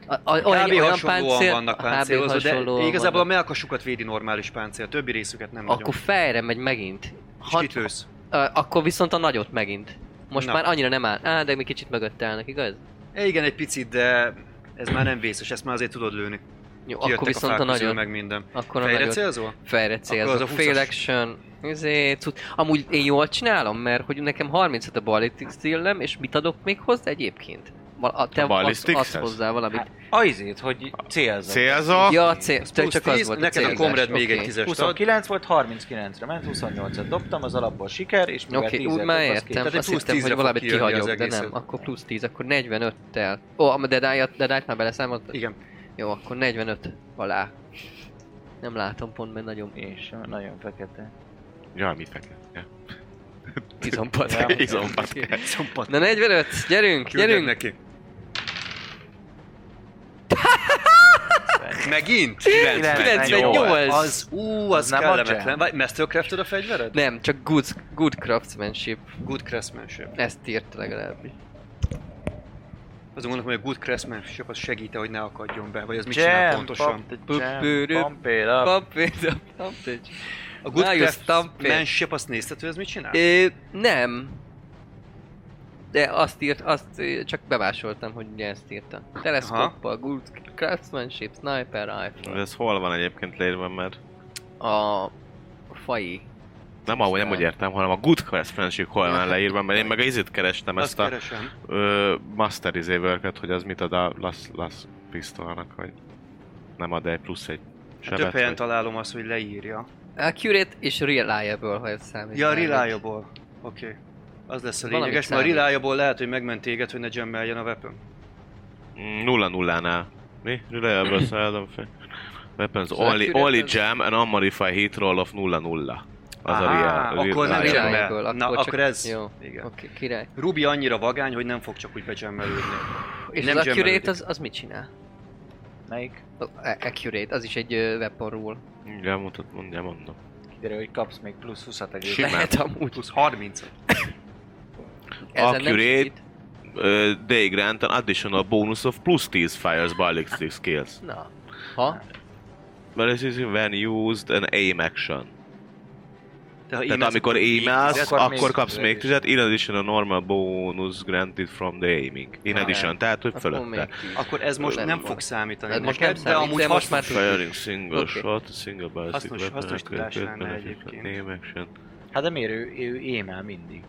Speaker 3: A, a,
Speaker 2: Kb. hasonlóan vannak
Speaker 3: kb.
Speaker 2: páncélozva, de
Speaker 3: hasonlóan
Speaker 2: igazából a
Speaker 3: vannak.
Speaker 2: melkasukat védi normális páncél, többi részüket nem
Speaker 3: Akkor fejre megy megint.
Speaker 2: nagyon. És
Speaker 3: Hat,
Speaker 2: kit lősz?
Speaker 3: ö, akkor viszont a nagyot megint. Most
Speaker 2: Na.
Speaker 3: már annyira nem áll. Á, de még kicsit mögött állnak, igaz?
Speaker 2: E, igen, egy picit, de ez már nem vészes, ezt már azért tudod lőni.
Speaker 3: Jó,
Speaker 2: Kijöttek
Speaker 3: akkor viszont
Speaker 2: a,
Speaker 3: a
Speaker 2: fák közül,
Speaker 3: nagyot.
Speaker 2: meg minden.
Speaker 3: Akkor a
Speaker 2: Fejre
Speaker 3: nagyot.
Speaker 2: célzol?
Speaker 3: Fejre
Speaker 2: az a
Speaker 3: célzok,
Speaker 2: 20-as.
Speaker 3: fail action, izé, cucc. Amúgy én jól csinálom, mert hogy nekem 35 a ballistic stillem, és mit adok még hozzá egyébként? Val- a, te
Speaker 5: A
Speaker 3: adsz,
Speaker 5: ballistics-hez?
Speaker 3: adsz hozzá valamit. Hát,
Speaker 4: A izét, hogy célzok.
Speaker 5: Célzok,
Speaker 3: ja, a cél, te
Speaker 2: Hát, plusz
Speaker 3: csak az
Speaker 2: 10,
Speaker 3: volt
Speaker 2: neked a
Speaker 3: célzás.
Speaker 2: komred még
Speaker 3: Oké.
Speaker 2: egy tízes. Test ad.
Speaker 4: 29 volt, 39-re ment, 28-at dobtam, az alapból siker, és mivel
Speaker 3: Oké,
Speaker 4: 10
Speaker 3: úgy már értem,
Speaker 2: Tehát egy
Speaker 3: azt
Speaker 2: plusz
Speaker 3: hittem,
Speaker 2: 10-re
Speaker 3: hogy
Speaker 2: fog
Speaker 3: valamit
Speaker 2: kijönni az
Speaker 3: kihagyok, de nem,
Speaker 2: egészet.
Speaker 3: akkor plusz 10, akkor 45-tel. Ó, a Dead Eye-at Dead Eye-t már beleszámoltad?
Speaker 2: Igen.
Speaker 3: Jó, akkor 45 alá. Nem látom pont, mert nagyon
Speaker 4: És nagyon fekete.
Speaker 5: Ja, mit fekete?
Speaker 3: izompat.
Speaker 4: Ja.
Speaker 5: [laughs] Izompatkány.
Speaker 2: Szompat.
Speaker 3: Na 45, gyerünk,
Speaker 2: Küldjön
Speaker 3: gyerünk!
Speaker 2: neki. Megint?
Speaker 3: 98.
Speaker 2: Az, ú, az,
Speaker 4: Az
Speaker 2: nem
Speaker 4: nem a
Speaker 2: kellemetlen.
Speaker 4: jam.
Speaker 2: Vagy Mastercrafted a fegyvered?
Speaker 3: [laughs] Nem, csak good, good craftsmanship.
Speaker 2: Good craftsmanship.
Speaker 3: Ezt írt legalábbis.
Speaker 2: Azon gondolom, hogy a good craftsmanship az segít hogy ne akadjon be, vagy az mit csinál
Speaker 4: Jam,
Speaker 2: pontosan.
Speaker 4: pump the
Speaker 3: Bö- bő- rö-
Speaker 4: jam, pump it up.
Speaker 3: Pump it up, pump it.
Speaker 2: A good
Speaker 3: Now you stamp it.
Speaker 2: craftsmanship azt nézted, hogy ez mit csinál?
Speaker 3: Ö, nem. De azt írt, azt ö, csak bevásoltam, hogy ugye ezt írta. Teleszkóppal, good craftsmanship, sniper rifle.
Speaker 5: Ez hol van egyébként leírva, mert
Speaker 3: A fai.
Speaker 5: nem ahogy nem úgy értem, hanem a Good Quest Friendship hol van leírva, mert én meg az izét kerestem
Speaker 2: Azt
Speaker 5: ezt a
Speaker 2: keresem.
Speaker 5: ö, Master izé worköt, hogy az mit ad a Las, las Pistolnak, hogy nem ad egy plusz egy
Speaker 2: Hát Több
Speaker 5: sebet.
Speaker 2: helyen
Speaker 5: vagy-
Speaker 2: találom azt, hogy leírja.
Speaker 3: Accurate és reliable, ha ez számít.
Speaker 2: Ja,
Speaker 3: valamit.
Speaker 2: reliable. Oké. Az lesz a
Speaker 3: Valamit
Speaker 2: lényeges, mert a
Speaker 3: számít.
Speaker 2: reliable lehet, hogy megment téged, hogy ne jammeljen a weapon.
Speaker 5: Mm, Nulla nullánál. Mi?
Speaker 2: [clears throat]
Speaker 5: Reliable seldom fel. Weapons only,
Speaker 2: Szóval
Speaker 3: accurate
Speaker 5: only
Speaker 3: ez?
Speaker 5: jam and unmodified hit roll of nulla nulla. Az a
Speaker 2: Á,
Speaker 5: real,
Speaker 2: akkor
Speaker 5: real
Speaker 2: nem
Speaker 5: life.
Speaker 2: csinálják.
Speaker 3: Irányból,
Speaker 2: Na, akkor ez-
Speaker 3: Jó,
Speaker 2: Igen.
Speaker 3: oké, király.
Speaker 2: Ruby annyira vagány, hogy nem fog csak úgy becsemmelődni.
Speaker 3: És
Speaker 2: Nem
Speaker 3: nem az
Speaker 2: zsömmelődik.
Speaker 3: Accurate az, az mit csinál?
Speaker 4: Melyik?
Speaker 3: A- a- Accurate, az is egy ö, weapon rule.
Speaker 5: Ja, mutat, mondja, mondom.
Speaker 4: Kiderül, hogy kapsz még plusz 20 egész.
Speaker 5: Simán.
Speaker 3: Lehet amúgy.
Speaker 2: Plusz 30
Speaker 3: Ezen nem
Speaker 5: Accurate.
Speaker 3: segít.
Speaker 5: Uh, they grant an additional bonus of plus 10 fires ballistic skills.
Speaker 3: Na. Ha?
Speaker 5: But this is when used an aim action.
Speaker 2: De ha
Speaker 5: Tehát
Speaker 2: aim-elsz,
Speaker 5: amikor
Speaker 2: akkor
Speaker 5: aimelsz,
Speaker 2: tizet,
Speaker 4: akkor még
Speaker 5: akkor kapsz
Speaker 4: tizet
Speaker 5: még
Speaker 4: is.
Speaker 5: tizet, in addition a normal bonus granted from the aiming. In
Speaker 3: Ah,
Speaker 5: addition, tehát hogy
Speaker 3: Akkor még
Speaker 5: fölötte.
Speaker 3: tíz.
Speaker 2: Akkor ez most
Speaker 3: Nem
Speaker 2: nem,
Speaker 3: van.
Speaker 2: fog számítani
Speaker 3: Ez most
Speaker 2: neked,
Speaker 3: nem
Speaker 2: de
Speaker 3: számít,
Speaker 2: amúgy
Speaker 3: de most már
Speaker 2: hasznos-
Speaker 5: Firing single
Speaker 3: Oké.
Speaker 5: shot, single ballistic
Speaker 2: Hasznos-
Speaker 5: weapon,
Speaker 2: hasznos
Speaker 5: accurate
Speaker 2: tudás lenne
Speaker 5: benefit,
Speaker 2: egyébként.
Speaker 5: aim action.
Speaker 4: Hát de miért ő, ő émel mindig?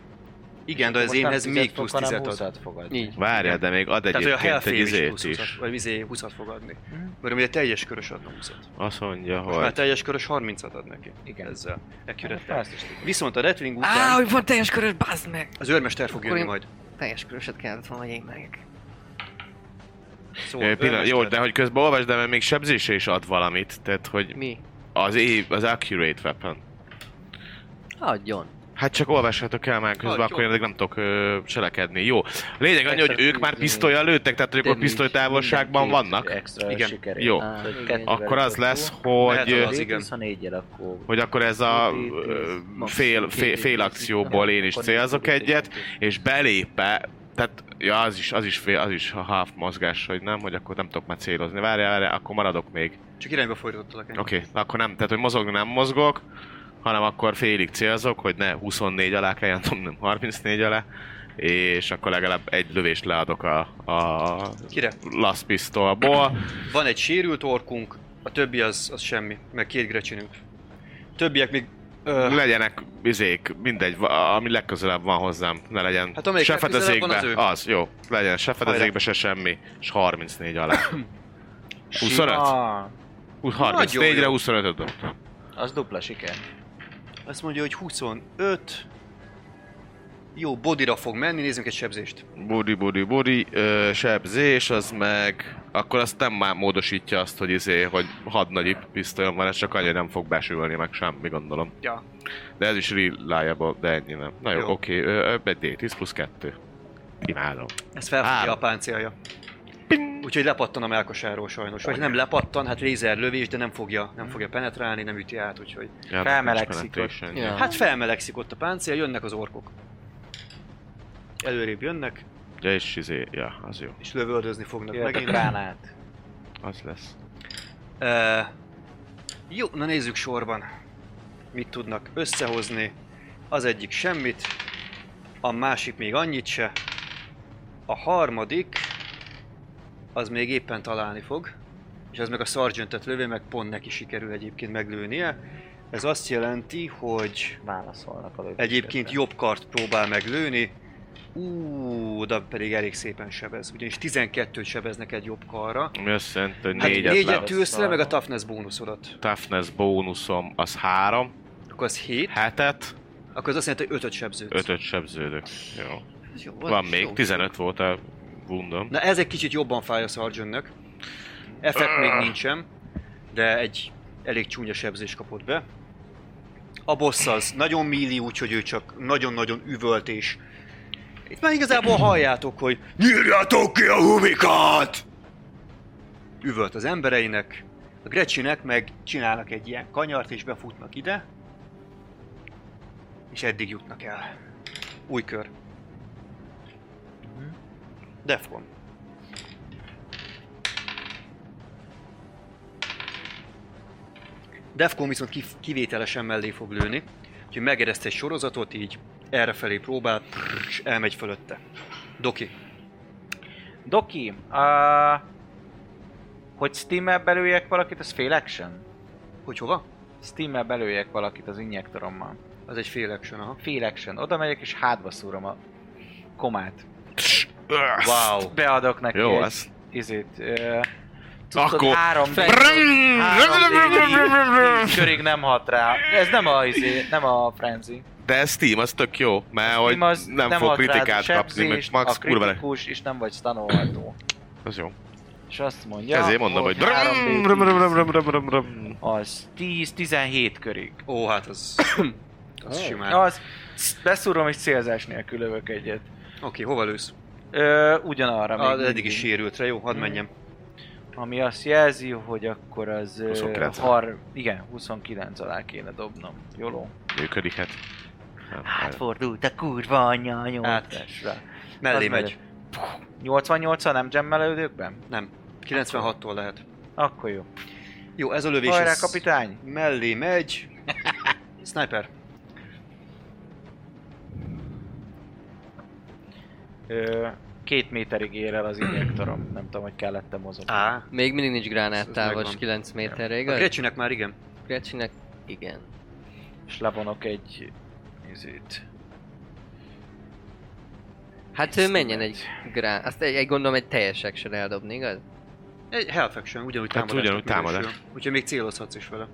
Speaker 2: Igen, de
Speaker 4: Akkor
Speaker 2: az
Speaker 4: most nem
Speaker 2: émhez
Speaker 4: 10-et
Speaker 2: még
Speaker 4: fog,
Speaker 2: plusz
Speaker 4: hanem
Speaker 2: 10-et ad.
Speaker 4: 20-at fogad.
Speaker 3: Így.
Speaker 5: Várjál, de még ad
Speaker 2: Tehát, hogy a
Speaker 5: egyébként egy
Speaker 2: Hellfame is
Speaker 5: izét
Speaker 2: plusz 20
Speaker 5: is.
Speaker 2: vagy izé 20-at fog adni.
Speaker 3: Mhm.
Speaker 2: Mert ugye teljes körös adna 20
Speaker 5: Azt mondja,
Speaker 2: Most már
Speaker 5: hogy...
Speaker 2: teljes körös 30-at ad neki.
Speaker 4: Igen.
Speaker 2: Ezzel.
Speaker 4: Hát,
Speaker 2: Ekürettel.
Speaker 4: Ezt is tudom.
Speaker 2: Viszont a Redwing
Speaker 3: Á,
Speaker 2: után
Speaker 3: hogy van teljes körös, bazd meg!
Speaker 2: az őrmester fog
Speaker 3: Akkor
Speaker 2: jönni
Speaker 3: én-
Speaker 2: majd.
Speaker 3: Teljes köröset kellett volna, hogy én meg.
Speaker 2: Szóval
Speaker 5: Ö, Pillanat, jó,
Speaker 2: őrmester-
Speaker 5: de hogy közben olvasd, de mert még sebzése is ad valamit, tehát hogy
Speaker 3: Mi?
Speaker 5: az, év, az accurate weapon.
Speaker 3: Adjon.
Speaker 5: Hát csak olvashatok el már közben,
Speaker 2: Ah,
Speaker 5: akkor
Speaker 2: jó.
Speaker 5: én addig nem tudok ö, cselekedni. Jó. Lényeg annyi, hogy
Speaker 4: Extra
Speaker 5: ők már
Speaker 4: tűzni.
Speaker 5: pisztolyjal lőttek, tehát hogy akkor
Speaker 3: Damage.
Speaker 5: pisztolytávolságban vannak.
Speaker 4: Extra
Speaker 2: Igen.
Speaker 4: sikerét.
Speaker 5: Jó.
Speaker 3: Á,
Speaker 4: Hogy
Speaker 3: igen.
Speaker 4: kettővel
Speaker 5: Akkor az
Speaker 4: több
Speaker 5: lesz,
Speaker 4: túl.
Speaker 5: hogy,
Speaker 2: Lehet,
Speaker 5: ö,
Speaker 2: az
Speaker 4: Két
Speaker 2: igen.
Speaker 4: 24-jel akkor...
Speaker 5: hogy akkor ez a ö, fél, fél, fél akcióból én is célzok egyet, és belépe, tehát ja, az is, az is, fél, az is a half mozgás, hogy nem, hogy akkor nem tudok már célozni. Várjál, várjál, akkor maradok még.
Speaker 2: Csak irányba fordítottalak engem.
Speaker 5: Oké, okay, akkor nem, tehát hogy mozogni nem mozgok, hanem akkor félig célzok, hogy ne 24 alá kelljen nem 34 alá, és akkor legalább egy lövést leadok a, a
Speaker 2: Kire?
Speaker 5: last pistolból.
Speaker 2: Van egy sérült orkunk, a többi az, az semmi, meg két grecsinünk. Többiek még... Ö,
Speaker 5: Legyenek izék, mindegy, va- ami legközelebb van hozzám, ne legyen
Speaker 2: Hát amelyik
Speaker 5: se
Speaker 2: legközelebb
Speaker 5: fedezékbe,
Speaker 2: van, az ő.
Speaker 5: az jó, legyen se fedezékbe, se semmi, és 34 alá.
Speaker 2: [coughs]
Speaker 5: 25?
Speaker 4: Sima.
Speaker 5: 34-re
Speaker 2: jó.
Speaker 5: 25-öt dobtam.
Speaker 4: Az dupla siker.
Speaker 2: azt mondja, hogy 25... Jó, bodira fog menni, nézzünk egy sebzést.
Speaker 5: Budi, budi, budi, ö, sebzés, az meg... Akkor azt nem már módosítja azt, hogy izé, hogy hadnagyi pisztolyom van, ez csak annyira nem fog besülni, meg semmi, gondolom.
Speaker 2: Ja.
Speaker 5: De ez is reliable, de ennyi nem. Na jó,
Speaker 2: Jó.
Speaker 5: oké, okay, egy D10 plusz 2. Imádom.
Speaker 2: Ez felfogja
Speaker 5: Három.
Speaker 2: a páncélja. Úgyhogy lepattan a melkasáról sajnos. Vagy nem lepattan, hát lézer lövés, de nem fogja, nem fogja penetrálni, nem üti át, úgyhogy...
Speaker 5: Ja,
Speaker 4: Felmelegszik
Speaker 5: nincs penetration.
Speaker 3: Ja.
Speaker 2: Hát felmelegszik ott a páncél, jönnek az orkok. Előrébb jönnek,
Speaker 5: Ja, és izé, ja, az jó,
Speaker 2: és lövöldözni fognak
Speaker 4: Jöhet a
Speaker 2: megint.
Speaker 4: gránát.
Speaker 5: az lesz.
Speaker 2: Uh, jó, na nézzük sorban. Mit tudnak összehozni. Az egyik semmit, a másik még annyit se. A harmadik, az még éppen találni fog. És az meg a sergeantet lövi, meg pont neki sikerül egyébként meglőnie. Ez azt jelenti, hogy
Speaker 4: Válaszolnak a lövésre.
Speaker 2: egyébként jobb kart próbál meglőni. Ú, de pedig elég szépen sebez. Ugyanis 12-t sebeznek egy jobb karra.
Speaker 5: Ami azt jelenti, hogy
Speaker 2: Hát négyet
Speaker 5: négyet, négyet le...
Speaker 2: tűzsz le, meg a toughness bónuszodat.
Speaker 5: Toughness bónuszom az 3,
Speaker 2: Akkor az 7,
Speaker 5: Hát 7-et,
Speaker 2: akkor az azt jelenti, hogy 5-öt sebződsz.
Speaker 5: 5-öt sebződök. Jó.
Speaker 3: Ez jó,
Speaker 5: Van még,
Speaker 3: jó.
Speaker 5: 15 volt a wundom.
Speaker 2: Na ez egy kicsit jobban fáj a Sargentnek. Effekt még nincsen, de egy elég csúnya sebzés kapott be. A boss az nagyon míli, úgyhogy ő csak nagyon-nagyon üvölt és... Itt már igazából halljátok, hogy Nyírjátok ki a humikat! Üvölt az embereinek, a Grecsinek meg csinálnak egy ilyen kanyart és befutnak ide. És eddig jutnak el. Új kör. Defcon. Defcon viszont kif- kivételesen mellé fog lőni, úgyhogy megereszt egy sorozatot, így errefelé próbál, és elmegy fölötte. Doki.
Speaker 4: Doki, uh, hogy Steam-mel belőjek valakit, ez fél action?
Speaker 2: Hogy hova?
Speaker 4: Steam-mel belőjek valakit az injektorommal.
Speaker 2: Az egy fél action, aha.
Speaker 4: Fél action. Oda megyek és hátba szúrom a komát.
Speaker 5: Wow.
Speaker 4: Beadok neki
Speaker 5: Jó,
Speaker 4: egy
Speaker 5: az.
Speaker 4: izét. Uh,
Speaker 5: Akkor-
Speaker 4: Három d körig nem hat rá. Ez nem a izé, nem a frenzy.
Speaker 5: De ez Steam, az tök jó, mert hogy
Speaker 4: Steam az
Speaker 5: nem,
Speaker 4: nem
Speaker 5: fog
Speaker 4: hat rád a
Speaker 5: kritikát kapni, meg
Speaker 4: sebzést,
Speaker 5: max
Speaker 4: a
Speaker 5: kurva le.
Speaker 4: kritikus, és nem vagy stanolható.
Speaker 5: Az jó.
Speaker 4: És azt mondja,
Speaker 5: Ja, Ezért mondom, hogy...
Speaker 4: 3D10.
Speaker 5: Brum, brum, brum, brum, brum, brum.
Speaker 4: Az 10-17 körig.
Speaker 2: Ó, hát az... Az simán. Oké,
Speaker 4: Az, beszúrom és célzás nélkül lövök egyet.
Speaker 2: hova lősz?
Speaker 4: Ö, ugyanarra
Speaker 2: Az
Speaker 4: még
Speaker 2: eddig is
Speaker 4: mindig.
Speaker 2: sérültre, jó? Hadd
Speaker 4: Mm.
Speaker 2: menjem.
Speaker 4: Ami azt jelzi, hogy akkor az... ö,
Speaker 5: 29 alá.
Speaker 4: Har, igen, 29 alá kéne dobnom. Jóló.
Speaker 5: Működik, hát. Nem, nem.
Speaker 4: Átfordult a kurva anyja a nyolcasra.
Speaker 2: Mellé
Speaker 4: Az
Speaker 2: megy.
Speaker 4: 88 a nem gemmelődőkben?
Speaker 2: Nem. 96-tól lehet.
Speaker 4: Akkor jó.
Speaker 2: Jó, ez a lövés.
Speaker 4: Hajrá,
Speaker 2: ez
Speaker 4: kapitány!
Speaker 2: Mellé megy. Sniper.
Speaker 4: Ö, két méterig ér el az injektorom. Nem tudom, hogy kellett-e mozogni.
Speaker 2: Á.
Speaker 3: Még mindig nincs
Speaker 2: Ez- ez
Speaker 3: gránáttávos
Speaker 2: megvan.
Speaker 3: 9 méterre,
Speaker 2: A
Speaker 3: igaz?
Speaker 2: Gretcsinek már igen.
Speaker 3: Gretcsinek igen.
Speaker 4: És levonok egy... Izét.
Speaker 3: Hát ő menjen egy grán... Azt egy, egy gondolom egy teljes action eldobni, igaz?
Speaker 2: Egy Health Faction, ugyanúgy
Speaker 5: Hát
Speaker 2: támadás.
Speaker 5: ugyanúgy támadás.
Speaker 2: Úgyhogy még célozhatsz is vele.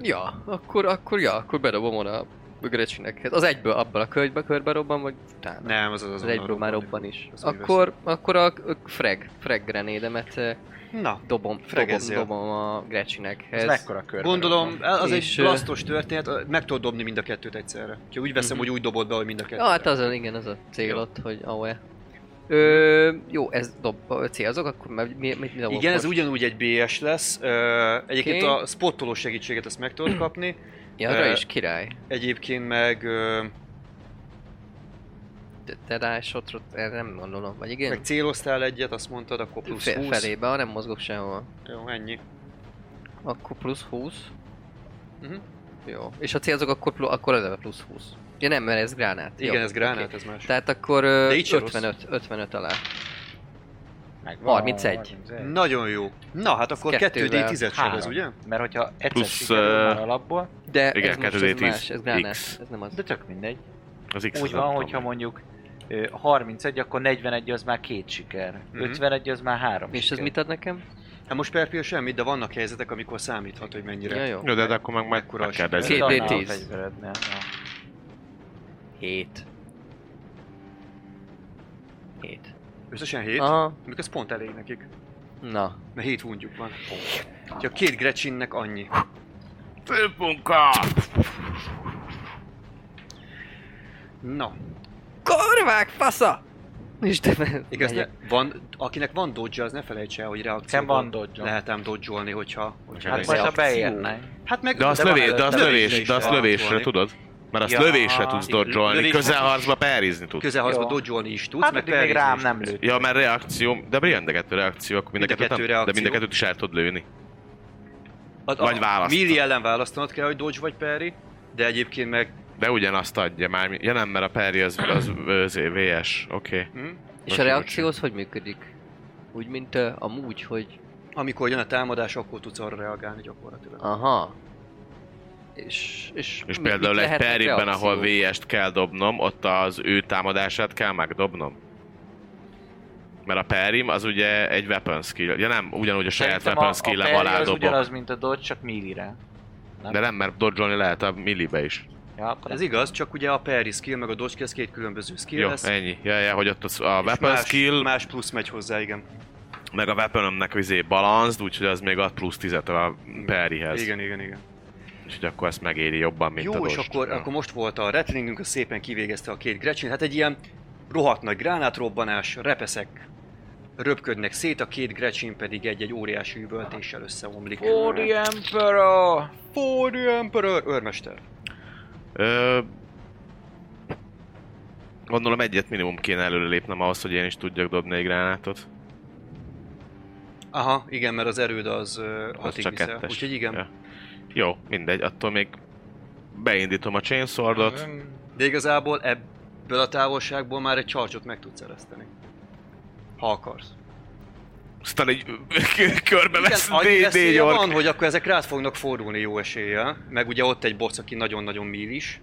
Speaker 3: Ja, akkor, akkor ja, akkor bedobom oda a Gretcsinek. Hát Az egyből abban a könyvbe, körbe robban, vagy utána?
Speaker 2: Nem, az az
Speaker 3: Az
Speaker 2: azonnal
Speaker 3: egyből már
Speaker 2: robban.
Speaker 3: robban is.
Speaker 2: Azt mi
Speaker 3: Akkor, akkor a ö, frag, frag grenédemet ö,
Speaker 2: Na,
Speaker 3: dobom, dobom,
Speaker 2: Fregezzél.
Speaker 3: dobom a
Speaker 4: Ez
Speaker 3: Gretcsinekhez.
Speaker 4: mekkora kör?
Speaker 2: Gondolom, az egy
Speaker 3: És, ö,
Speaker 2: blastos történet, meg tudod dobni mind a kettőt egyszerre. Úgyhogy úgy veszem,
Speaker 3: Mhm.
Speaker 2: hogy úgy dobod be, hogy mind a kettőt.
Speaker 3: Ja, hát az a, igen, az a cél ott, hogy ahol. Ö, jó, ez dob, ö, célzok, akkor mert mi, mit, mit dobok
Speaker 2: Igen, ez
Speaker 3: most?
Speaker 2: ugyanúgy egy BS lesz. Ö, egyébként
Speaker 3: Oké.
Speaker 2: a spottoló segítséget azt meg tudod kapni.
Speaker 3: Ja, arra
Speaker 2: ö,
Speaker 3: is király.
Speaker 2: Egyébként meg, ö,
Speaker 3: De, de rá shot, erre nem gondolom, vagy igen?
Speaker 2: meg céloztál egyet, azt mondtad, akkor plusz
Speaker 3: Fe,
Speaker 2: 20.
Speaker 3: felébe, ha nem mozgok sehol.
Speaker 2: Jó, ennyi.
Speaker 3: Akkor plusz 20.
Speaker 2: Mhm.
Speaker 3: Jó. És ha célzok, akkor, plu- akkor eleve plusz 20. Ja nem, mert ez gránát.
Speaker 2: Igen,
Speaker 3: Jó,
Speaker 2: ez gránát,
Speaker 3: oké.
Speaker 2: ez más.
Speaker 3: Tehát akkor ö,
Speaker 2: De így se rossz.
Speaker 3: 55, 55 alá.
Speaker 4: Meg
Speaker 3: 31.
Speaker 2: Nagyon jó. Na, hát akkor
Speaker 3: kettővel
Speaker 2: 2D10-et sebez,
Speaker 4: három.
Speaker 2: ugye?
Speaker 4: Mert hogyha egyszer
Speaker 5: Plusz,
Speaker 4: Plusz, sikerül
Speaker 5: ö,
Speaker 4: már alapból,
Speaker 3: De
Speaker 5: Igen,
Speaker 3: ez most ez
Speaker 5: 2D10
Speaker 3: más, ez gránát,
Speaker 5: X.
Speaker 3: ez nem az.
Speaker 4: de tök mindegy.
Speaker 5: Az X
Speaker 4: Úgy van, hogyha mondjuk ö, 31, akkor 41 az már két siker.
Speaker 2: Mhm.
Speaker 4: 51 az már három
Speaker 3: És ez
Speaker 4: siker.
Speaker 3: mit ad nekem?
Speaker 2: Hát most per pillanat semmit, de vannak helyzetek, amikor számíthat, hogy mennyire.
Speaker 3: Ja, jó.
Speaker 5: Jó, de, de akkor meg majd
Speaker 2: Mekkora a
Speaker 4: Ez
Speaker 5: megkérdezzük.
Speaker 3: siker?
Speaker 4: annál a
Speaker 3: 2D10.
Speaker 4: fegyverednél, ja.
Speaker 3: 7. 7.
Speaker 2: Összesen 7, Aha.
Speaker 3: Aha.
Speaker 2: ez pont elég nekik,
Speaker 3: Na.
Speaker 2: mert 7 hundjuk van. Úgyhogy a két Gretchennek annyi.
Speaker 6: Több munka!
Speaker 2: Na,
Speaker 3: Korvák fasza! És te
Speaker 2: igaz, ne,
Speaker 3: megyek.
Speaker 2: van, akinek van dodge, az ne felejtse el, hogy
Speaker 4: Nekem
Speaker 2: reakcióban
Speaker 4: van dodge
Speaker 2: lehet ám dodge hogyha... hogyha
Speaker 4: Hát
Speaker 5: Ez
Speaker 4: majd ha
Speaker 3: reakció.
Speaker 4: beérnek.
Speaker 2: hát meg...
Speaker 5: De azt,
Speaker 4: De van
Speaker 5: lövés, de azt
Speaker 4: előtte
Speaker 5: lövés,
Speaker 4: lövés
Speaker 5: de azt
Speaker 4: is
Speaker 5: lövésre tudod? Mert azt
Speaker 4: Ja.
Speaker 5: lövésre tudsz dodgyolni,
Speaker 2: Lövés-
Speaker 5: közelharcba perizni tudsz.
Speaker 2: Közelharcba
Speaker 4: Jó.
Speaker 2: dodge is tudsz,
Speaker 4: Hát
Speaker 2: meg
Speaker 4: pedig még
Speaker 2: parry-zni
Speaker 4: rám
Speaker 2: is
Speaker 4: nem
Speaker 2: tudsz.
Speaker 4: lőtt.
Speaker 5: Ja, mert reakció, de mind a kettő reakció, akkor mind a
Speaker 2: Mind a
Speaker 5: kettőt
Speaker 2: kettő
Speaker 5: nem- de mind a
Speaker 2: reakció.
Speaker 5: kettőt is el tudod lőni.
Speaker 2: A,
Speaker 5: Vagy választod.
Speaker 2: Milli ellen választanod kell, hogy dodge vagy parry, de egyébként meg...
Speaker 5: De ugyanazt adja már, ja nem, mert a peri az, az, az VS, oké. Okay.
Speaker 2: Hm?
Speaker 3: És a reakció az hogy működik? Úgy, mint uh, amúgy, hogy...
Speaker 2: Amikor jön a támadás, akkor tudsz arra reagálni gyakorlatilag.
Speaker 3: Aha. És, és,
Speaker 5: És
Speaker 3: mi-
Speaker 5: például
Speaker 3: mit
Speaker 5: egy
Speaker 3: lehetnek
Speaker 5: periben, ahol
Speaker 3: reakciók?
Speaker 5: VS-t kell dobnom, ott az ő támadását kell megdobnom. Mert a perim az ugye egy weapon skill. Ja nem, ugyanúgy a saját
Speaker 4: Szerintem
Speaker 5: weapon
Speaker 4: a- a
Speaker 5: skill-em
Speaker 4: parry
Speaker 5: alá
Speaker 4: az
Speaker 5: dobok.
Speaker 4: ugyanaz, mint a dodge, csak millire.
Speaker 5: De nem, mert dodge lehet a millibe is.
Speaker 4: Ja, akkor
Speaker 2: Ez igaz, csak ugye a parry skill meg a dodge skill, ez két különböző skill
Speaker 5: Jó,
Speaker 2: lesz.
Speaker 5: ennyi. Ja, ja, hogy ott az a
Speaker 2: és
Speaker 5: weapon
Speaker 2: más,
Speaker 5: skill,
Speaker 2: Más plusz megy hozzá, igen.
Speaker 5: meg a weaponomnek vizé balanced, úgyhogy az még ad plusz 10 a perihez.
Speaker 2: Igen, igen, igen.
Speaker 5: És hogy akkor ezt megéri jobban, mint
Speaker 2: Jó,
Speaker 5: a
Speaker 2: és
Speaker 5: dodge.
Speaker 2: akkor,
Speaker 5: Ja.
Speaker 2: akkor most volt a retteningünk, az szépen kivégezte a két Gretchen. Hát egy ilyen rohadt nagy gránátrobbanás, repeszek röpködnek szét, a két Gretchen pedig egy-egy óriási üvöltéssel összeomlik.
Speaker 4: For the Emperor!
Speaker 2: For the Emperor! Őrmester.
Speaker 5: Ö, gondolom egyet minimum kéne előlépnem ahhoz, hogy én is tudjak dobni egy gránátot.
Speaker 2: Aha, igen, mert az erőd az ö,
Speaker 5: Az
Speaker 2: hatig
Speaker 5: csak
Speaker 2: viszel.
Speaker 5: kettes.
Speaker 2: Úgyhogy igen.
Speaker 5: Ja. Jó, mindegy, attól még beindítom a chainswordot.
Speaker 2: De igazából ebből a távolságból már egy charge meg tudsz ereszteni. Ha akarsz.
Speaker 5: Aztán egy [laughs] körbe vesz
Speaker 2: Igen, annyi
Speaker 5: D- D
Speaker 2: veszélye van,
Speaker 5: gyork.
Speaker 2: hogy akkor ezek rád fognak fordulni jó eséllyel. Meg ugye ott egy boss, aki nagyon-nagyon mílis.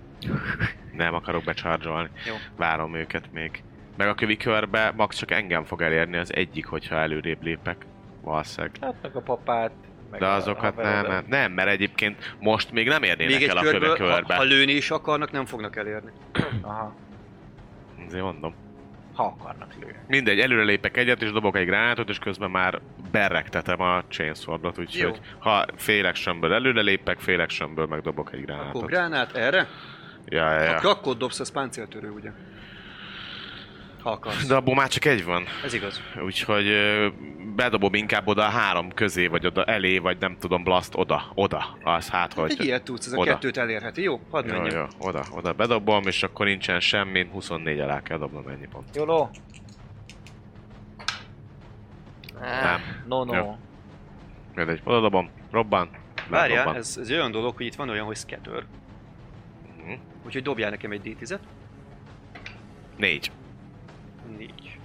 Speaker 5: Nem akarok becsárgyolni.
Speaker 2: Jó.
Speaker 5: Várom őket még. Meg a kövi körbe max csak engem fog elérni az egyik, hogyha előrébb lépek. Valószínűleg.
Speaker 4: Hát meg a papát. Meg
Speaker 5: De
Speaker 4: a
Speaker 5: azokat nem,
Speaker 4: haverodat.
Speaker 5: nem, nem, mert egyébként most még nem érnének
Speaker 2: Még egy
Speaker 5: el a kövi
Speaker 2: körből, ha,
Speaker 5: körbe. Hát
Speaker 2: ha lőni is akarnak, nem fognak elérni.
Speaker 4: Aha.
Speaker 5: Azért mondom.
Speaker 4: ha akarnak lőni.
Speaker 5: Mindegy, előrelépek egyet, és dobok egy gránátot, és közben már berregtetem a chainswordot,
Speaker 2: Jó.
Speaker 5: úgyhogy ha fél actionből előrelépek, fél actionből meg dobok egy gránátot.
Speaker 2: Akkor gránát erre?
Speaker 5: ja, ja,
Speaker 2: Ja.
Speaker 5: ja.
Speaker 2: Akkor dobsz, az páncéltörő, ugye? Ha akarsz.
Speaker 5: De abból már csak egy van,
Speaker 2: Ez igaz.
Speaker 5: úgyhogy ö, bedobom inkább oda a három közé, vagy oda elé, vagy nem tudom, blast oda, oda, az hát,
Speaker 2: Hogy
Speaker 5: hogy...
Speaker 2: egy ilyet tudsz, ez a
Speaker 5: oda.
Speaker 2: kettőt elérheti. Jó, hadd
Speaker 5: Jó,
Speaker 2: menjen.
Speaker 5: jó, oda, oda bedobom, és akkor nincsen semmi, 24 alá kell dobnom ennyi pont.
Speaker 4: Jóló?
Speaker 3: Ah.
Speaker 5: Nem,
Speaker 4: No, no.
Speaker 5: Jó. mindegy, oda dobom, robban,
Speaker 2: Várjál,
Speaker 5: lerobban.
Speaker 2: ez, ez olyan dolog, hogy itt van olyan, hogy scatter.
Speaker 5: Mhm.
Speaker 2: Úgyhogy dobjál nekem egy D10-et.
Speaker 5: Négy.
Speaker 2: Négy.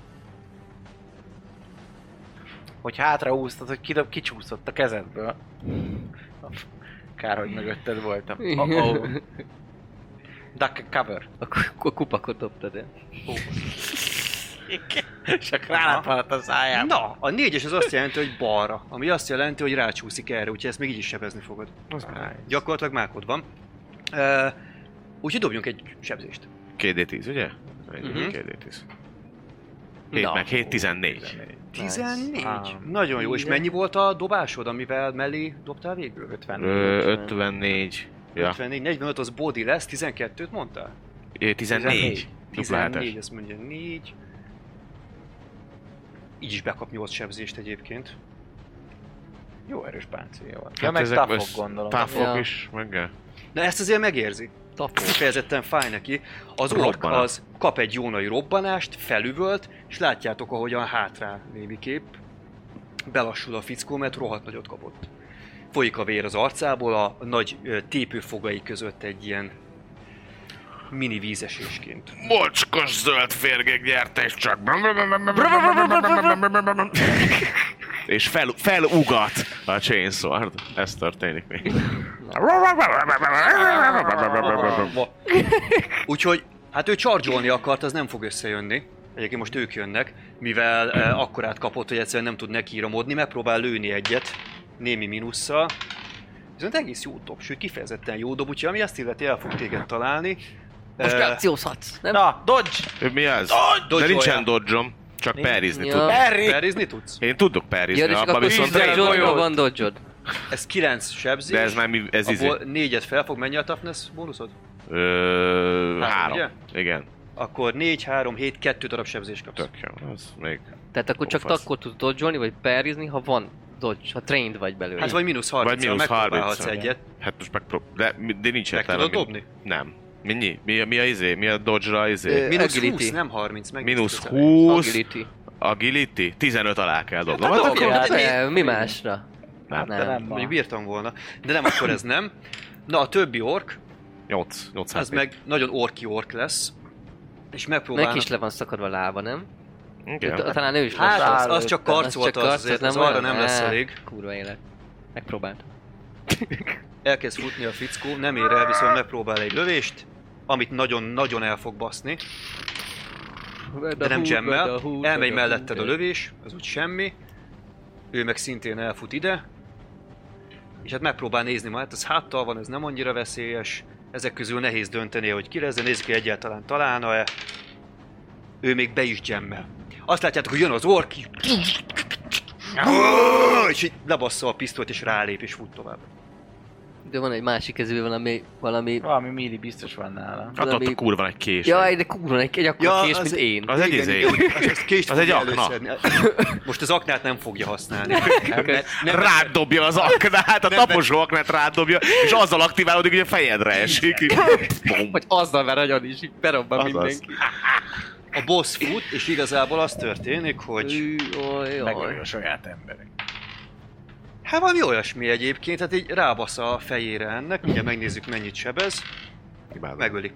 Speaker 4: Hogy hátraúztad, hogy kidob, kicsúszott a kezedből. Kár, hogy mögötted voltam. Oh-oh. Duck cover.
Speaker 3: A, ku- a kupakot dobtad el.
Speaker 4: Csak rálápalhat a szájám.
Speaker 2: Na, a négyes az azt jelenti, hogy balra, ami azt jelenti, hogy rácsúszik erre, úgyhogy ezt még így is sebezni fogod.
Speaker 5: Az már
Speaker 2: Gyakorlatilag mákod van. Uh, úgyhogy dobjunk egy sebzést.
Speaker 5: 2D10, ugye?
Speaker 2: Mhm.
Speaker 5: Uh-huh. 2D10. 7 meg 7, 14.
Speaker 2: 14.
Speaker 4: Ám.
Speaker 2: Nagyon jó, és
Speaker 4: Igen.
Speaker 2: mennyi volt a dobásod, amivel mellé dobtál végül?
Speaker 4: 50.
Speaker 5: Ö, 54. Ja,
Speaker 2: 54, 45 az body lesz, 12-t mondtál?
Speaker 5: Ö, 14. Dupla hetes.
Speaker 2: 14, ezt mondja 4. Így is bekap 8 sebzést egyébként.
Speaker 4: Jó erős páncélja van. Ja,
Speaker 5: Hát
Speaker 4: meg
Speaker 5: ezek
Speaker 4: tafok
Speaker 5: össz-
Speaker 4: gondolom.
Speaker 5: Táfok
Speaker 3: Ja.
Speaker 5: is, meg ja.
Speaker 2: Na ezt azért megérzi.
Speaker 3: Tapó.
Speaker 2: Kifejezetten fáj neki. Az ork
Speaker 5: Robbanás.
Speaker 2: az kap egy jó nagy robbanást, felüvölt, és látjátok, ahogyan hátrá némiképp. Belassul a fickó, mert rohadt nagyot kapott. Folyik a vér az arcából, a nagy ö, tépőfogai között egy ilyen mini vízesésként.
Speaker 6: Mocskos zöld férgék gyertek csak.
Speaker 5: És fel, felugat a chainsword. Ez történik még.
Speaker 2: [laughs] Úgyhogy, hát ő csargyolni akart, az nem fog összejönni. Egyébként most ők jönnek, mivel eh, akkorát kapott, hogy egyszerűen nem tud nekiíramodni, megpróbál lőni egyet, némi minusszal. Viszont egész jó dob, sőt kifejezetten jó dob, úgyhogy ami azt illeti el fog téged találni.
Speaker 3: Most
Speaker 2: Eh,
Speaker 3: reakciózhatsz, nem?
Speaker 4: Na, dodge!
Speaker 5: Ö, Mi az? De
Speaker 2: dodge-olja.
Speaker 5: nincsen dodge csak perizni
Speaker 3: Ja.
Speaker 5: tudok.
Speaker 4: Perry!
Speaker 2: Perrizni tudsz?
Speaker 5: Én tudok
Speaker 3: Ja,
Speaker 5: perizni,
Speaker 3: és
Speaker 5: abban
Speaker 3: akkor
Speaker 5: viszont...
Speaker 3: viszont
Speaker 5: rég
Speaker 3: Zsolnyó
Speaker 5: vagyok.
Speaker 3: van dodge
Speaker 2: Ez 9 sebzés,
Speaker 5: De ez már mi, ez izé.
Speaker 2: abból 4-et fel fog menni a toughness bónuszod?
Speaker 5: Ö,
Speaker 2: Három,
Speaker 5: három. Igen,
Speaker 2: Akkor 4, 3, 7, 2 darab sebzést kapsz.
Speaker 5: tök jó. Az még
Speaker 3: Tehát akkor
Speaker 5: Ó,
Speaker 3: csak
Speaker 5: fasz.
Speaker 3: akkor tudsz dodge vagy perizni, ha van dodge, ha trained vagy belőle.
Speaker 2: Hát vagy mínusz
Speaker 5: Vagy
Speaker 2: 30
Speaker 5: mínusz
Speaker 2: megpróbálhatsz
Speaker 5: 30-szal,
Speaker 2: egyet.
Speaker 5: Hát most megprób... De, mi- de nincs
Speaker 2: Meg
Speaker 5: értelme.
Speaker 2: tudod
Speaker 5: mi-
Speaker 2: dobni?
Speaker 5: Nem. Mi, mi, mi, mi a izé? Mi a dodge-ra izé?
Speaker 3: Ö,
Speaker 2: Mínusz
Speaker 3: Agility.
Speaker 2: 20, nem 30. Meg
Speaker 5: Mínusz 20,
Speaker 3: Agility.
Speaker 5: agility, 15 alá kell dobnom.
Speaker 2: Hát
Speaker 5: Hát
Speaker 2: dobjál.
Speaker 5: akkor
Speaker 2: Hát
Speaker 3: De mi másra?
Speaker 5: Nem.
Speaker 4: De nem
Speaker 2: Mondjuk
Speaker 4: van.
Speaker 2: bírtam volna, de nem, akkor ez nem. Na, a többi ork,
Speaker 5: 8, 8
Speaker 2: az meg nagyon orki ork lesz, és megpróbálnak...
Speaker 3: Neki is le van szakadva a lába, nem?
Speaker 5: Igen.
Speaker 3: Ta- Talán ő is
Speaker 2: Hát,
Speaker 3: lassan.
Speaker 2: az, az csak karc volt az, azért, az arra
Speaker 3: olyan?
Speaker 2: nem lesz
Speaker 3: Á,
Speaker 2: elég.
Speaker 3: Kurva élet. Megpróbált.
Speaker 2: Elkezd futni a fickó, nem ér el, viszont megpróbál egy lövést, amit nagyon-nagyon el fog baszni, de nem jemmel. Elmegy melletted a lövés, az úgy semmi. Ő meg szintén elfut ide. És hát megpróbál nézni, ma hát ez háttal van, ez nem annyira veszélyes. Ezek közül nehéz dönteni, hogy ki lesz, de nézzük, hogy egyáltalán találna-e. Ő még be is jemmel. Azt látjátok, hogy jön az ork, így- és így lebassza a pisztolyt, és rálép, és fut tovább.
Speaker 3: De van egy másik kezű, valami... valami...
Speaker 4: Valami milli biztos van nála.
Speaker 5: Hát ott a
Speaker 3: valami-
Speaker 5: kurva egy kés.
Speaker 3: Jaj, de kurva, egy, egy akkor
Speaker 2: Ja,
Speaker 3: kés,
Speaker 2: az-
Speaker 3: mint én.
Speaker 5: Az egy izé.
Speaker 2: Ez kést
Speaker 5: Az egy
Speaker 2: fogja
Speaker 5: akna.
Speaker 2: előszedni. Most az aknát nem fogja [laughs] használni. Nem, mert
Speaker 5: Nem, rád dobja az aknát, a taposó aknát rád dobja, és azzal aktiválódik, hogy a fejedre esik. Bum.
Speaker 3: Vagy azzal már nagyon is, így berobban
Speaker 5: Azaz.
Speaker 3: mindenki.
Speaker 2: a boss fut, és igazából az történik, hogy...
Speaker 3: Ő, oj,
Speaker 4: Megölj
Speaker 3: oj.
Speaker 4: a saját emberek.
Speaker 2: Hát valami olyasmi egyébként, tehát így rábasz a fejére ennek, ugye megnézzük mennyit sebez,
Speaker 5: Imádom.
Speaker 2: megöli.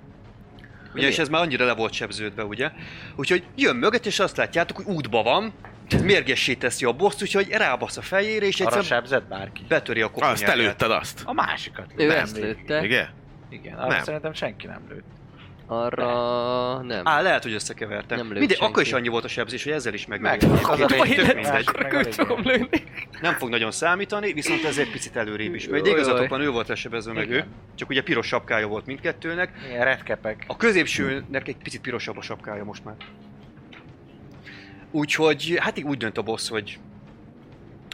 Speaker 2: Ugye, és ez már annyira le volt sebződve, ugye? Úgyhogy jön mögött, és azt látjátok, hogy útba van, mérgessé teszi a boszt, úgyhogy rábasz a fejére, és
Speaker 4: Arra
Speaker 2: egyszer
Speaker 4: sebzett bárki?
Speaker 2: betöri a
Speaker 5: Azt
Speaker 2: koponyáját.
Speaker 5: előtted azt.
Speaker 4: A másikat.
Speaker 3: Ő
Speaker 4: Nem,
Speaker 3: ezt
Speaker 4: még-
Speaker 3: lőtte,
Speaker 5: Igen?
Speaker 4: Igen, arra
Speaker 5: Nem.
Speaker 4: szerintem senki nem lőtt.
Speaker 3: arra nem.
Speaker 2: Á, lehet, hogy összekevertem.
Speaker 3: Nem lőtt
Speaker 2: Mindegy, akkor is
Speaker 3: senki.
Speaker 2: annyi volt a sebzés, hogy ezzel is
Speaker 4: Meg.
Speaker 2: megöli.
Speaker 4: Az a
Speaker 2: Tök
Speaker 4: lényeg.
Speaker 2: mindegy.
Speaker 4: Akkor meg a
Speaker 3: Akkor
Speaker 4: végén.
Speaker 3: tudom lőni.
Speaker 2: Nem fog nagyon számítani, viszont ez egy picit előrébb is megy. De
Speaker 3: Jaj,
Speaker 2: igazatok
Speaker 3: jaj.
Speaker 2: van, ő volt lesebezve meg ő,
Speaker 4: Igen.
Speaker 2: csak ugye piros sapkája volt mindkettőnek.
Speaker 4: Ilyen retkepek.
Speaker 2: A középsőnek egy picit pirosabb a sapkája most már. Úgyhogy, hát így úgy dönt a boss, hogy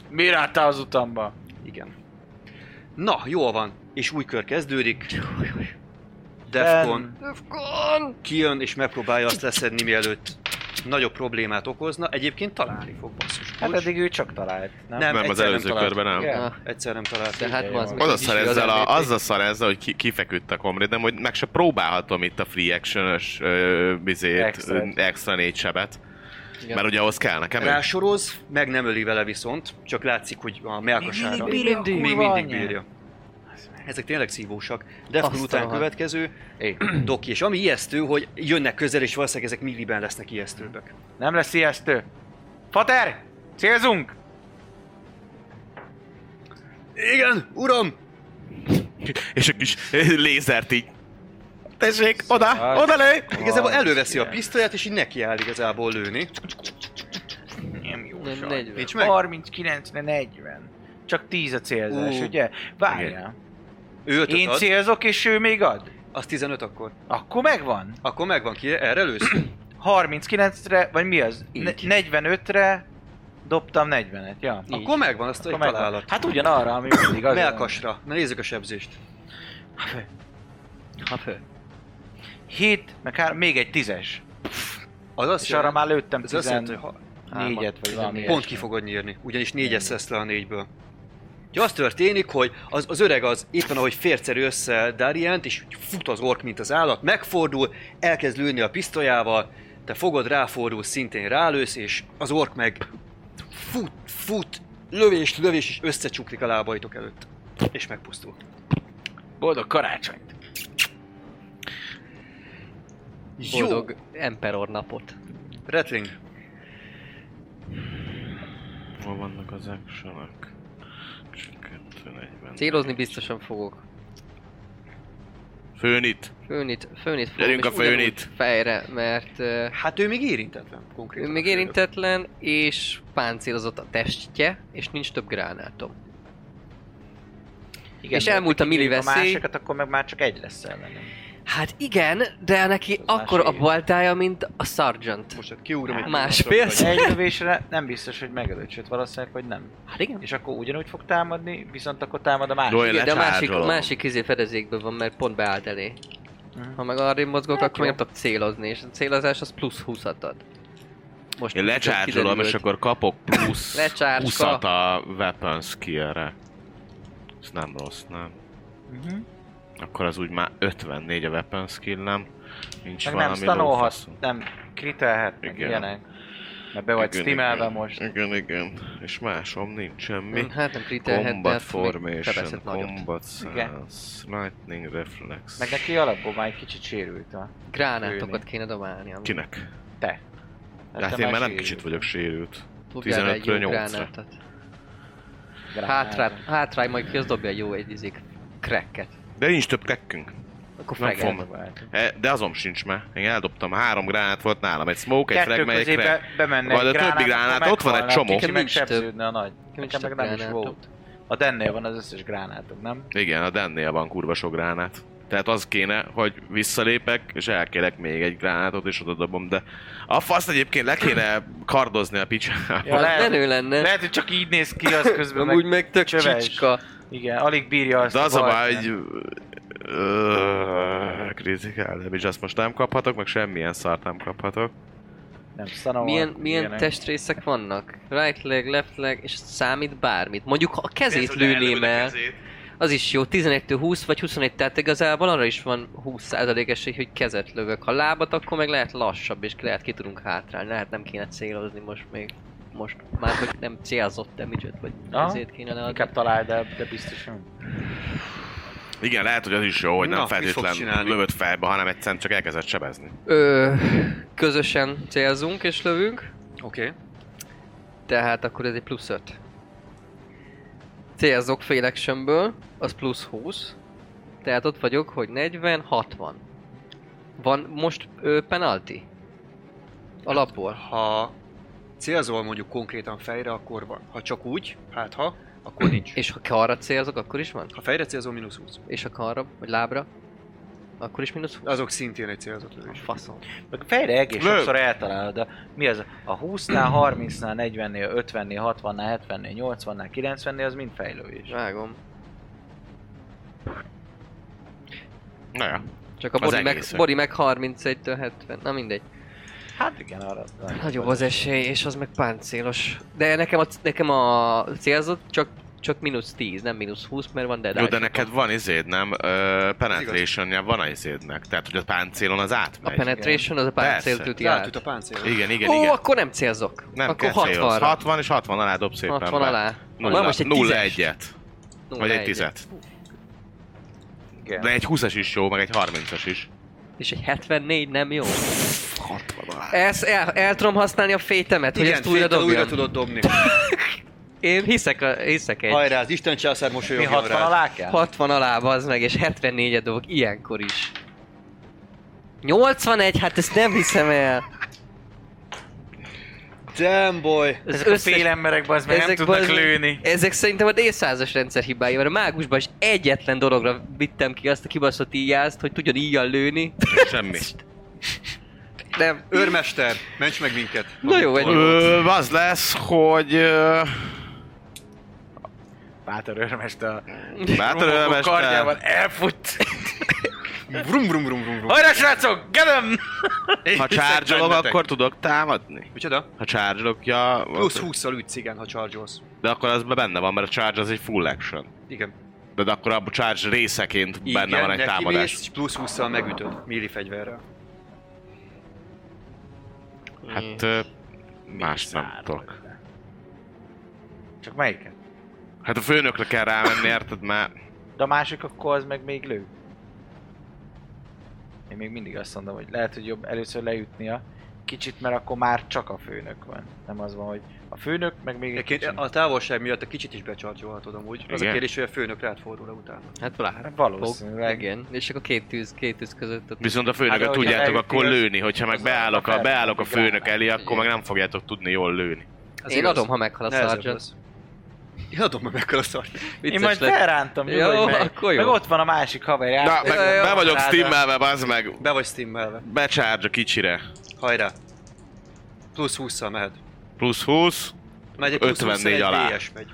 Speaker 4: Mi ráttál az utamba?
Speaker 2: igen. Na, jól van. És új kör kezdődik. Defcon.
Speaker 3: Defcon!
Speaker 2: Kijön és megpróbálja azt leszedni, mielőtt nagyobb problémát okozna. Egyébként találni fog basszus.
Speaker 4: Hát
Speaker 2: Úgy-
Speaker 4: eddig ő csak talált, nem?
Speaker 2: Nem,
Speaker 5: Nem, az
Speaker 2: egyszer nem
Speaker 5: előző
Speaker 2: talált.
Speaker 5: körben nem.
Speaker 4: Igen.
Speaker 3: Na,
Speaker 2: Egyszer nem talált.
Speaker 3: de hát ma az
Speaker 5: Az a
Speaker 3: meg
Speaker 5: szar
Speaker 3: is
Speaker 5: ezzel,
Speaker 3: igazán
Speaker 5: a, az
Speaker 3: lépés.
Speaker 5: a szar ezzel, hogy ki, kifeküdt a komré, de hogy meg se próbálhatom itt a free action-ös ö, bizét,
Speaker 4: Extrát.
Speaker 5: extra. extra négy sebet.
Speaker 3: Igen.
Speaker 5: Mert ugye ahhoz kell nekem. ő.
Speaker 2: Rásoroz, meg nem öli vele viszont, csak látszik, hogy a melkasára
Speaker 4: Még mindig bírja,
Speaker 2: még
Speaker 4: kurva
Speaker 2: mindig
Speaker 4: anyja.
Speaker 2: bírja. Ezek tényleg szívósak. Defcon
Speaker 3: Azt a
Speaker 2: után
Speaker 3: rohadt.
Speaker 2: következő,
Speaker 4: É.
Speaker 2: [clears throat] Doki, és ami ijesztő, hogy jönnek közel, és valószínűleg ezek milliben lesznek ijesztőbbek.
Speaker 4: Nem lesz ijesztő. Fater! Célzunk!
Speaker 2: Igen, uram!
Speaker 5: És egy kis [laughs] lézert így. Tessék, oda, oda lő!
Speaker 2: Igazából előveszi a pisztolyát, és így nekiáll igazából lőni.
Speaker 4: Nem jó
Speaker 3: Nem,
Speaker 4: sor.
Speaker 3: 40.
Speaker 2: Nincs meg?
Speaker 4: 39 40. Csak 10 a célzás,
Speaker 2: Ú.
Speaker 4: ugye? Várjál.
Speaker 2: Ő ötöt
Speaker 4: Én
Speaker 2: ad,
Speaker 4: célzok, és ő még ad?
Speaker 2: az 15 akkor.
Speaker 4: Akkor megvan.
Speaker 2: Akkor megvan ki, erre lősz?
Speaker 4: 39-re, vagy mi az? Ne-
Speaker 2: Így.
Speaker 4: 45-re dobtam 40-et, ja.
Speaker 3: Így.
Speaker 2: Akkor megvan, azt egy
Speaker 4: Akkor megvan.
Speaker 2: találat.
Speaker 4: Hát ugyanarra, ami mindig az.
Speaker 2: Melkasra. Na nézzük a sebzést.
Speaker 4: 7, Hát meg 3, még egy 10-es.
Speaker 2: Az azt
Speaker 4: És arra
Speaker 2: jelenti-
Speaker 4: már lőttem
Speaker 2: ez azt jelenti, hogy
Speaker 4: 14-et,
Speaker 2: ha-
Speaker 4: vagy valami
Speaker 2: Pont
Speaker 4: ilyesmi.
Speaker 2: ki fogod nyírni, ugyanis négyes szesz le a négyből. Ugye az történik, hogy az, az öreg az éppen ahogy fércerő össze Darient, és fut az ork, mint az állat, megfordul, elkezd lőni a pisztolyával, te fogod, ráfordul, szintén rálősz, és az ork meg fut, fut, lövés, lövés, és összecsuklik a lábaitok előtt. És megpusztul.
Speaker 4: Boldog karácsonyt!
Speaker 3: Boldog Emperor napot.
Speaker 2: Jó, Rattling,
Speaker 5: Hol vannak az action
Speaker 3: Célozni biztosan fogok.
Speaker 5: Főnit.
Speaker 3: Főnit, főnit fogom.
Speaker 5: Gyerünk
Speaker 3: és
Speaker 5: a főnit.
Speaker 3: ugyanúgy Fejre, mert ö,
Speaker 2: hát ő még érintetlen
Speaker 3: ő
Speaker 2: konkrétan.
Speaker 3: még érintetlen, és páncélozott a testje, és nincs több gránátom.
Speaker 4: Igen,
Speaker 3: És
Speaker 4: de
Speaker 3: elmúlt a milli
Speaker 4: kivívjuk
Speaker 3: veszély.
Speaker 4: A másikat, akkor meg már csak egy lesz ellenem.
Speaker 3: [laughs] Hát igen, de neki
Speaker 4: Az
Speaker 3: akkor a
Speaker 4: másfél.
Speaker 3: baltája, mint a Sergeant.
Speaker 2: Most hát kiugrom egy
Speaker 3: Másfél
Speaker 2: pillanatra,
Speaker 4: Egy lövésre nem biztos, hogy megölöd, sőt valószínűleg, hogy nem.
Speaker 3: Hát igen.
Speaker 4: És akkor ugyanúgy fog támadni, viszont akkor támad a másik.
Speaker 5: Jó,
Speaker 3: igen de a másik, a
Speaker 5: lecsárgyalom.
Speaker 3: másik izé fedezékben van, mert pont beállt elé.
Speaker 4: Mhm.
Speaker 3: Ha meg arrébb mozgok,
Speaker 4: Hát
Speaker 3: akkor meg
Speaker 4: jó.
Speaker 3: nem tudok célozni, és a célozás az plusz 20 ad. Most
Speaker 5: Én
Speaker 3: csak
Speaker 5: lecsárgyalom,
Speaker 3: kiderült.
Speaker 5: és akkor kapok
Speaker 3: [laughs]
Speaker 5: plusz
Speaker 3: Lecsárka.
Speaker 5: 20 a weapon skill-re. Ez nem rossz, nem?
Speaker 4: Mhm.
Speaker 5: Akkor az úgy már 54 a weapon skill-nem. Nincs
Speaker 4: Meg nem
Speaker 5: valami
Speaker 4: stanolhat,
Speaker 5: lófaszom.
Speaker 4: nem kritelhet, meg
Speaker 5: Igen.
Speaker 4: ilyenek. Mert be vagy
Speaker 5: Igen,
Speaker 4: stimelve
Speaker 5: igen.
Speaker 4: most. Mm,
Speaker 5: Igen, igen. És másom nincs semmi.
Speaker 3: Hm, Hát nem kritelhet, de
Speaker 5: Combat
Speaker 3: hát még
Speaker 5: formation,
Speaker 3: sebezhet nagyot.
Speaker 5: combat
Speaker 4: Igen.
Speaker 5: sense, lightning reflex.
Speaker 4: Meg neki alapból már egy kicsit sérült a...
Speaker 3: Gránátokat
Speaker 4: lőni.
Speaker 3: kéne dobálni. ami-
Speaker 5: Kinek?
Speaker 4: Te.
Speaker 5: Hát, én
Speaker 4: te már
Speaker 5: már nem
Speaker 4: sérült.
Speaker 5: kicsit vagyok sérült.
Speaker 3: Dobjál egy jó
Speaker 5: 15-ről 8-ra.
Speaker 3: gránátot.
Speaker 4: Gránát.
Speaker 5: Hát,
Speaker 3: Hátrá, hátrá, majd ki az dobja egy jó egy izék. Cracket.
Speaker 5: De nincs több kekkünk.
Speaker 3: Akkor
Speaker 5: Nem
Speaker 3: fregel.
Speaker 5: fogom.
Speaker 4: Dobáltuk.
Speaker 5: E, De azon sincs már. Én eldobtam, három gránát volt nálam. Egy smoke, egy
Speaker 4: Kettő
Speaker 5: frag, meg egy
Speaker 4: közé
Speaker 5: crack.
Speaker 4: be, bemenne
Speaker 5: Majd
Speaker 4: egy
Speaker 5: a többi
Speaker 4: gránát,
Speaker 5: gránát,
Speaker 4: akkor
Speaker 5: ott van egy
Speaker 4: meghalna
Speaker 5: csomó.
Speaker 4: Kicsi
Speaker 3: Nekem
Speaker 4: meg
Speaker 3: nincs több.
Speaker 4: sebződne a nagy. Nekem
Speaker 3: több
Speaker 4: meg nem is
Speaker 3: gránátom.
Speaker 4: volt. A dennél van az összes gránátok, nem?
Speaker 5: Igen, a Dennél van kurva sok gránát. Tehát az kéne, hogy visszalépek, és elkérek még egy gránátot, és oda dobom, de a fasz egyébként le kéne kardozni a picsába.
Speaker 4: Ja,
Speaker 3: Az
Speaker 4: lehet-
Speaker 3: menő lenne.
Speaker 4: Lehet, hogy csak így néz ki
Speaker 3: [laughs]
Speaker 4: az közben
Speaker 3: Amúgy meg tök
Speaker 4: csöves.
Speaker 3: csicska.
Speaker 4: Igen, alig bírja azt
Speaker 5: De az a baj,
Speaker 4: bajt,
Speaker 5: hogy
Speaker 4: nem?
Speaker 5: Ö, kritikál, de bizony azt most nem kaphatok, meg semmilyen szart nem kaphatok.
Speaker 4: Nem, szanova.
Speaker 3: Milyen, milyen testrészek vannak? Right leg, left leg, és számít bármit. Mondjuk ha a kezét lőném el, az is jó, 11-től 20 vagy 21, tehát igazából arra is van 20% esély, hogy kezet lövök. Ha lábat, akkor meg lehet lassabb, és lehet ki tudunk hátrálni, lehet nem kéne célozni most még. Most már, hogy nem célzott damage vagy
Speaker 4: Aha.
Speaker 3: ezért kéne leadni.
Speaker 4: Inkább talál, de, de biztos nem.
Speaker 5: Igen, lehet, hogy az is jó, hogy nem
Speaker 2: Na,
Speaker 5: Na,
Speaker 2: mit fogsz
Speaker 5: feltétlen
Speaker 2: csinálni?
Speaker 5: lövött fejbe, hanem egyszerűen csak elkezdett sebezni.
Speaker 3: Ö, közösen célzunk és lövünk,
Speaker 2: Oké.
Speaker 3: tehát akkor ez egy plusz 5. Célzok fél actionből, az plusz 20. Tehát ott vagyok, hogy 40, 60. Van most ö, penalty? Alapból.
Speaker 2: Hát, Ha célzol mondjuk konkrétan fejre, akkor van. Ha csak úgy, hát ha, akkor nincs.
Speaker 3: És ha karra célzok, akkor is van?
Speaker 2: Ha fejre célzol, mínusz 20.
Speaker 3: És ha karra, vagy lábra? Akkor is mínusz 20.
Speaker 2: Azok szintén egy célzott lövés.
Speaker 3: Faszom.
Speaker 4: Meg fejre egész
Speaker 6: Lő.
Speaker 4: sokszor eltalálod, de mi az a 20-nál, 30-nál, 40-nél, 50-nél, 60-nál, 70-nél, 80-nál, 90-nél, az mind fejlővés.
Speaker 3: Vágom.
Speaker 6: Na ja.
Speaker 3: Csak a
Speaker 6: Az
Speaker 3: Bori meg,
Speaker 6: egészek.
Speaker 3: Bori meg 31-től 70. Na mindegy.
Speaker 4: Hát igen, arra.
Speaker 3: Nagyobb az esély, és az meg páncélos. De nekem a, nekem a célzott csak, csak mínusz 10, nem mínusz 20, mert van dead
Speaker 5: Jó, de
Speaker 3: eye-sok.
Speaker 5: neked van izéd, nem? Ö, penetration van a izédnek. Tehát, hogy a páncélon az
Speaker 3: A
Speaker 5: átmegy.
Speaker 3: penetration az a páncélt
Speaker 5: Persze.
Speaker 3: üti
Speaker 2: Ráüt
Speaker 3: át.
Speaker 2: a páncél.
Speaker 5: Igen, igen,
Speaker 3: Ó,
Speaker 5: igen.
Speaker 3: akkor nem célzok.
Speaker 5: Nem
Speaker 3: akkor
Speaker 5: kell célhoz.
Speaker 3: 60-ra.
Speaker 5: 60 és 60 alá dob szépen
Speaker 3: 60
Speaker 5: be.
Speaker 3: alá.
Speaker 5: Nulla,
Speaker 3: Van most egy
Speaker 5: nulla
Speaker 3: tízes.
Speaker 5: egyet.
Speaker 3: Nulla
Speaker 5: Vagy egy
Speaker 3: egyet.
Speaker 5: tizet.
Speaker 4: Igen.
Speaker 5: De egy 20-as is jó, meg egy 30-as is.
Speaker 3: És egy 74 nem jó.
Speaker 5: 60 alá.
Speaker 3: Ezt el, el tudom használni a fétemet, hogy ezt újra
Speaker 2: féttel
Speaker 3: dobjam.
Speaker 2: újra tudod dobni.
Speaker 3: Én hiszek, a, hiszek egy.
Speaker 2: Hajrá, az Isten császár
Speaker 4: Mi
Speaker 2: mosolyogjon
Speaker 4: 60
Speaker 2: rá.
Speaker 4: alá kell?
Speaker 3: 60 alá az meg, és 74-et dobok ilyenkor is. 81, hát ezt nem hiszem el.
Speaker 2: Damn boy.
Speaker 3: Az
Speaker 4: Ezek a fél emberek, bazd meg, Hát, nem
Speaker 3: ezek
Speaker 4: tudnak
Speaker 3: bazd-
Speaker 4: lőni.
Speaker 3: Ezek szerintem a D100-as rendszer hibája, mert a mágusban is egyetlen dologra vittem ki azt a kibaszott íjázt, hogy tudjon íjjal lőni.
Speaker 5: Semmi.
Speaker 3: [laughs] Nem.
Speaker 2: Őrmester, ments meg minket.
Speaker 3: Na jó, egy
Speaker 5: Ö, az lesz,
Speaker 3: [laughs]
Speaker 5: hogy... ö,
Speaker 4: Bátor örmest a
Speaker 5: Bátor
Speaker 4: rumbogó
Speaker 5: ölmester.
Speaker 4: kardjával elfut.
Speaker 2: Vrum, vrum, vrum, vrum, vrum.
Speaker 4: Hajrá, srácok, gelem!
Speaker 5: Ha charge
Speaker 2: bennetek.
Speaker 5: akkor tudok támadni?
Speaker 2: Micsoda?
Speaker 5: Ha charge ja...
Speaker 2: Plusz 20-szal ütsz, igen, ha charge
Speaker 5: De akkor az benne van, mert a charge az egy full action.
Speaker 2: Igen.
Speaker 5: De, de akkor a charge részeként
Speaker 2: igen
Speaker 5: benne van egy
Speaker 2: neki
Speaker 5: támadás.
Speaker 2: mész, plusz 20-szal megütöd, milli fegyverrel.
Speaker 5: Hát... ö, Más nem tudok.
Speaker 4: Csak melyiket?
Speaker 5: Hát a főnökre kell rámenni, érted? Már
Speaker 4: De a másik akkor az meg még lő. Én még mindig azt mondom, hogy lehet, hogy jobb először leütnia kicsit, mert akkor már csak a főnök van. Nem az van, hogy a főnök, meg még egy
Speaker 2: Egyébként
Speaker 4: kicsit.
Speaker 2: a távolság miatt a kicsit is becsargyolhatod amúgy. Az a
Speaker 5: Igen.
Speaker 2: kérdés, hogy a főnök rád fordul utána.
Speaker 3: Hát valahol.
Speaker 4: Valószínűleg.
Speaker 3: Igen, és akkor két tűz, két tűz között ott
Speaker 5: Viszont a főnököt
Speaker 4: Hát,
Speaker 5: hát,
Speaker 4: hogyha
Speaker 5: tudjátok
Speaker 4: beütik,
Speaker 5: akkor
Speaker 4: az-
Speaker 5: lőni, hogyha meg
Speaker 4: az
Speaker 5: beállok a,
Speaker 4: fel-
Speaker 5: beállok a főnök
Speaker 4: igen.
Speaker 5: elé, akkor meg nem fogjátok tudni jól lőni.
Speaker 2: Ez
Speaker 3: Én
Speaker 2: igaz.
Speaker 3: adom, ha meghal a
Speaker 2: Nehezebb
Speaker 3: sergeant.
Speaker 2: lesz. Én adom, ha meghal a sergeant.
Speaker 4: Én
Speaker 3: Vicces
Speaker 4: majd
Speaker 3: lett.
Speaker 4: felrántom,
Speaker 3: Jó,
Speaker 4: jó, meg,
Speaker 3: akkor jó.
Speaker 4: meg ott van a másik haver.
Speaker 5: Na,
Speaker 4: játszik.
Speaker 5: meg,
Speaker 3: Jaj, jó.
Speaker 5: be vagyok
Speaker 4: Ráda.
Speaker 5: steamelve, bazd meg,
Speaker 2: Be vagy steamelve.
Speaker 5: becsárgy a kicsire.
Speaker 2: Hajrá. Plusz 20-szal mehet.
Speaker 5: Plusz 20,
Speaker 2: Megy egy plusz
Speaker 5: 54
Speaker 2: 24
Speaker 5: alá.
Speaker 2: alá. DS megy.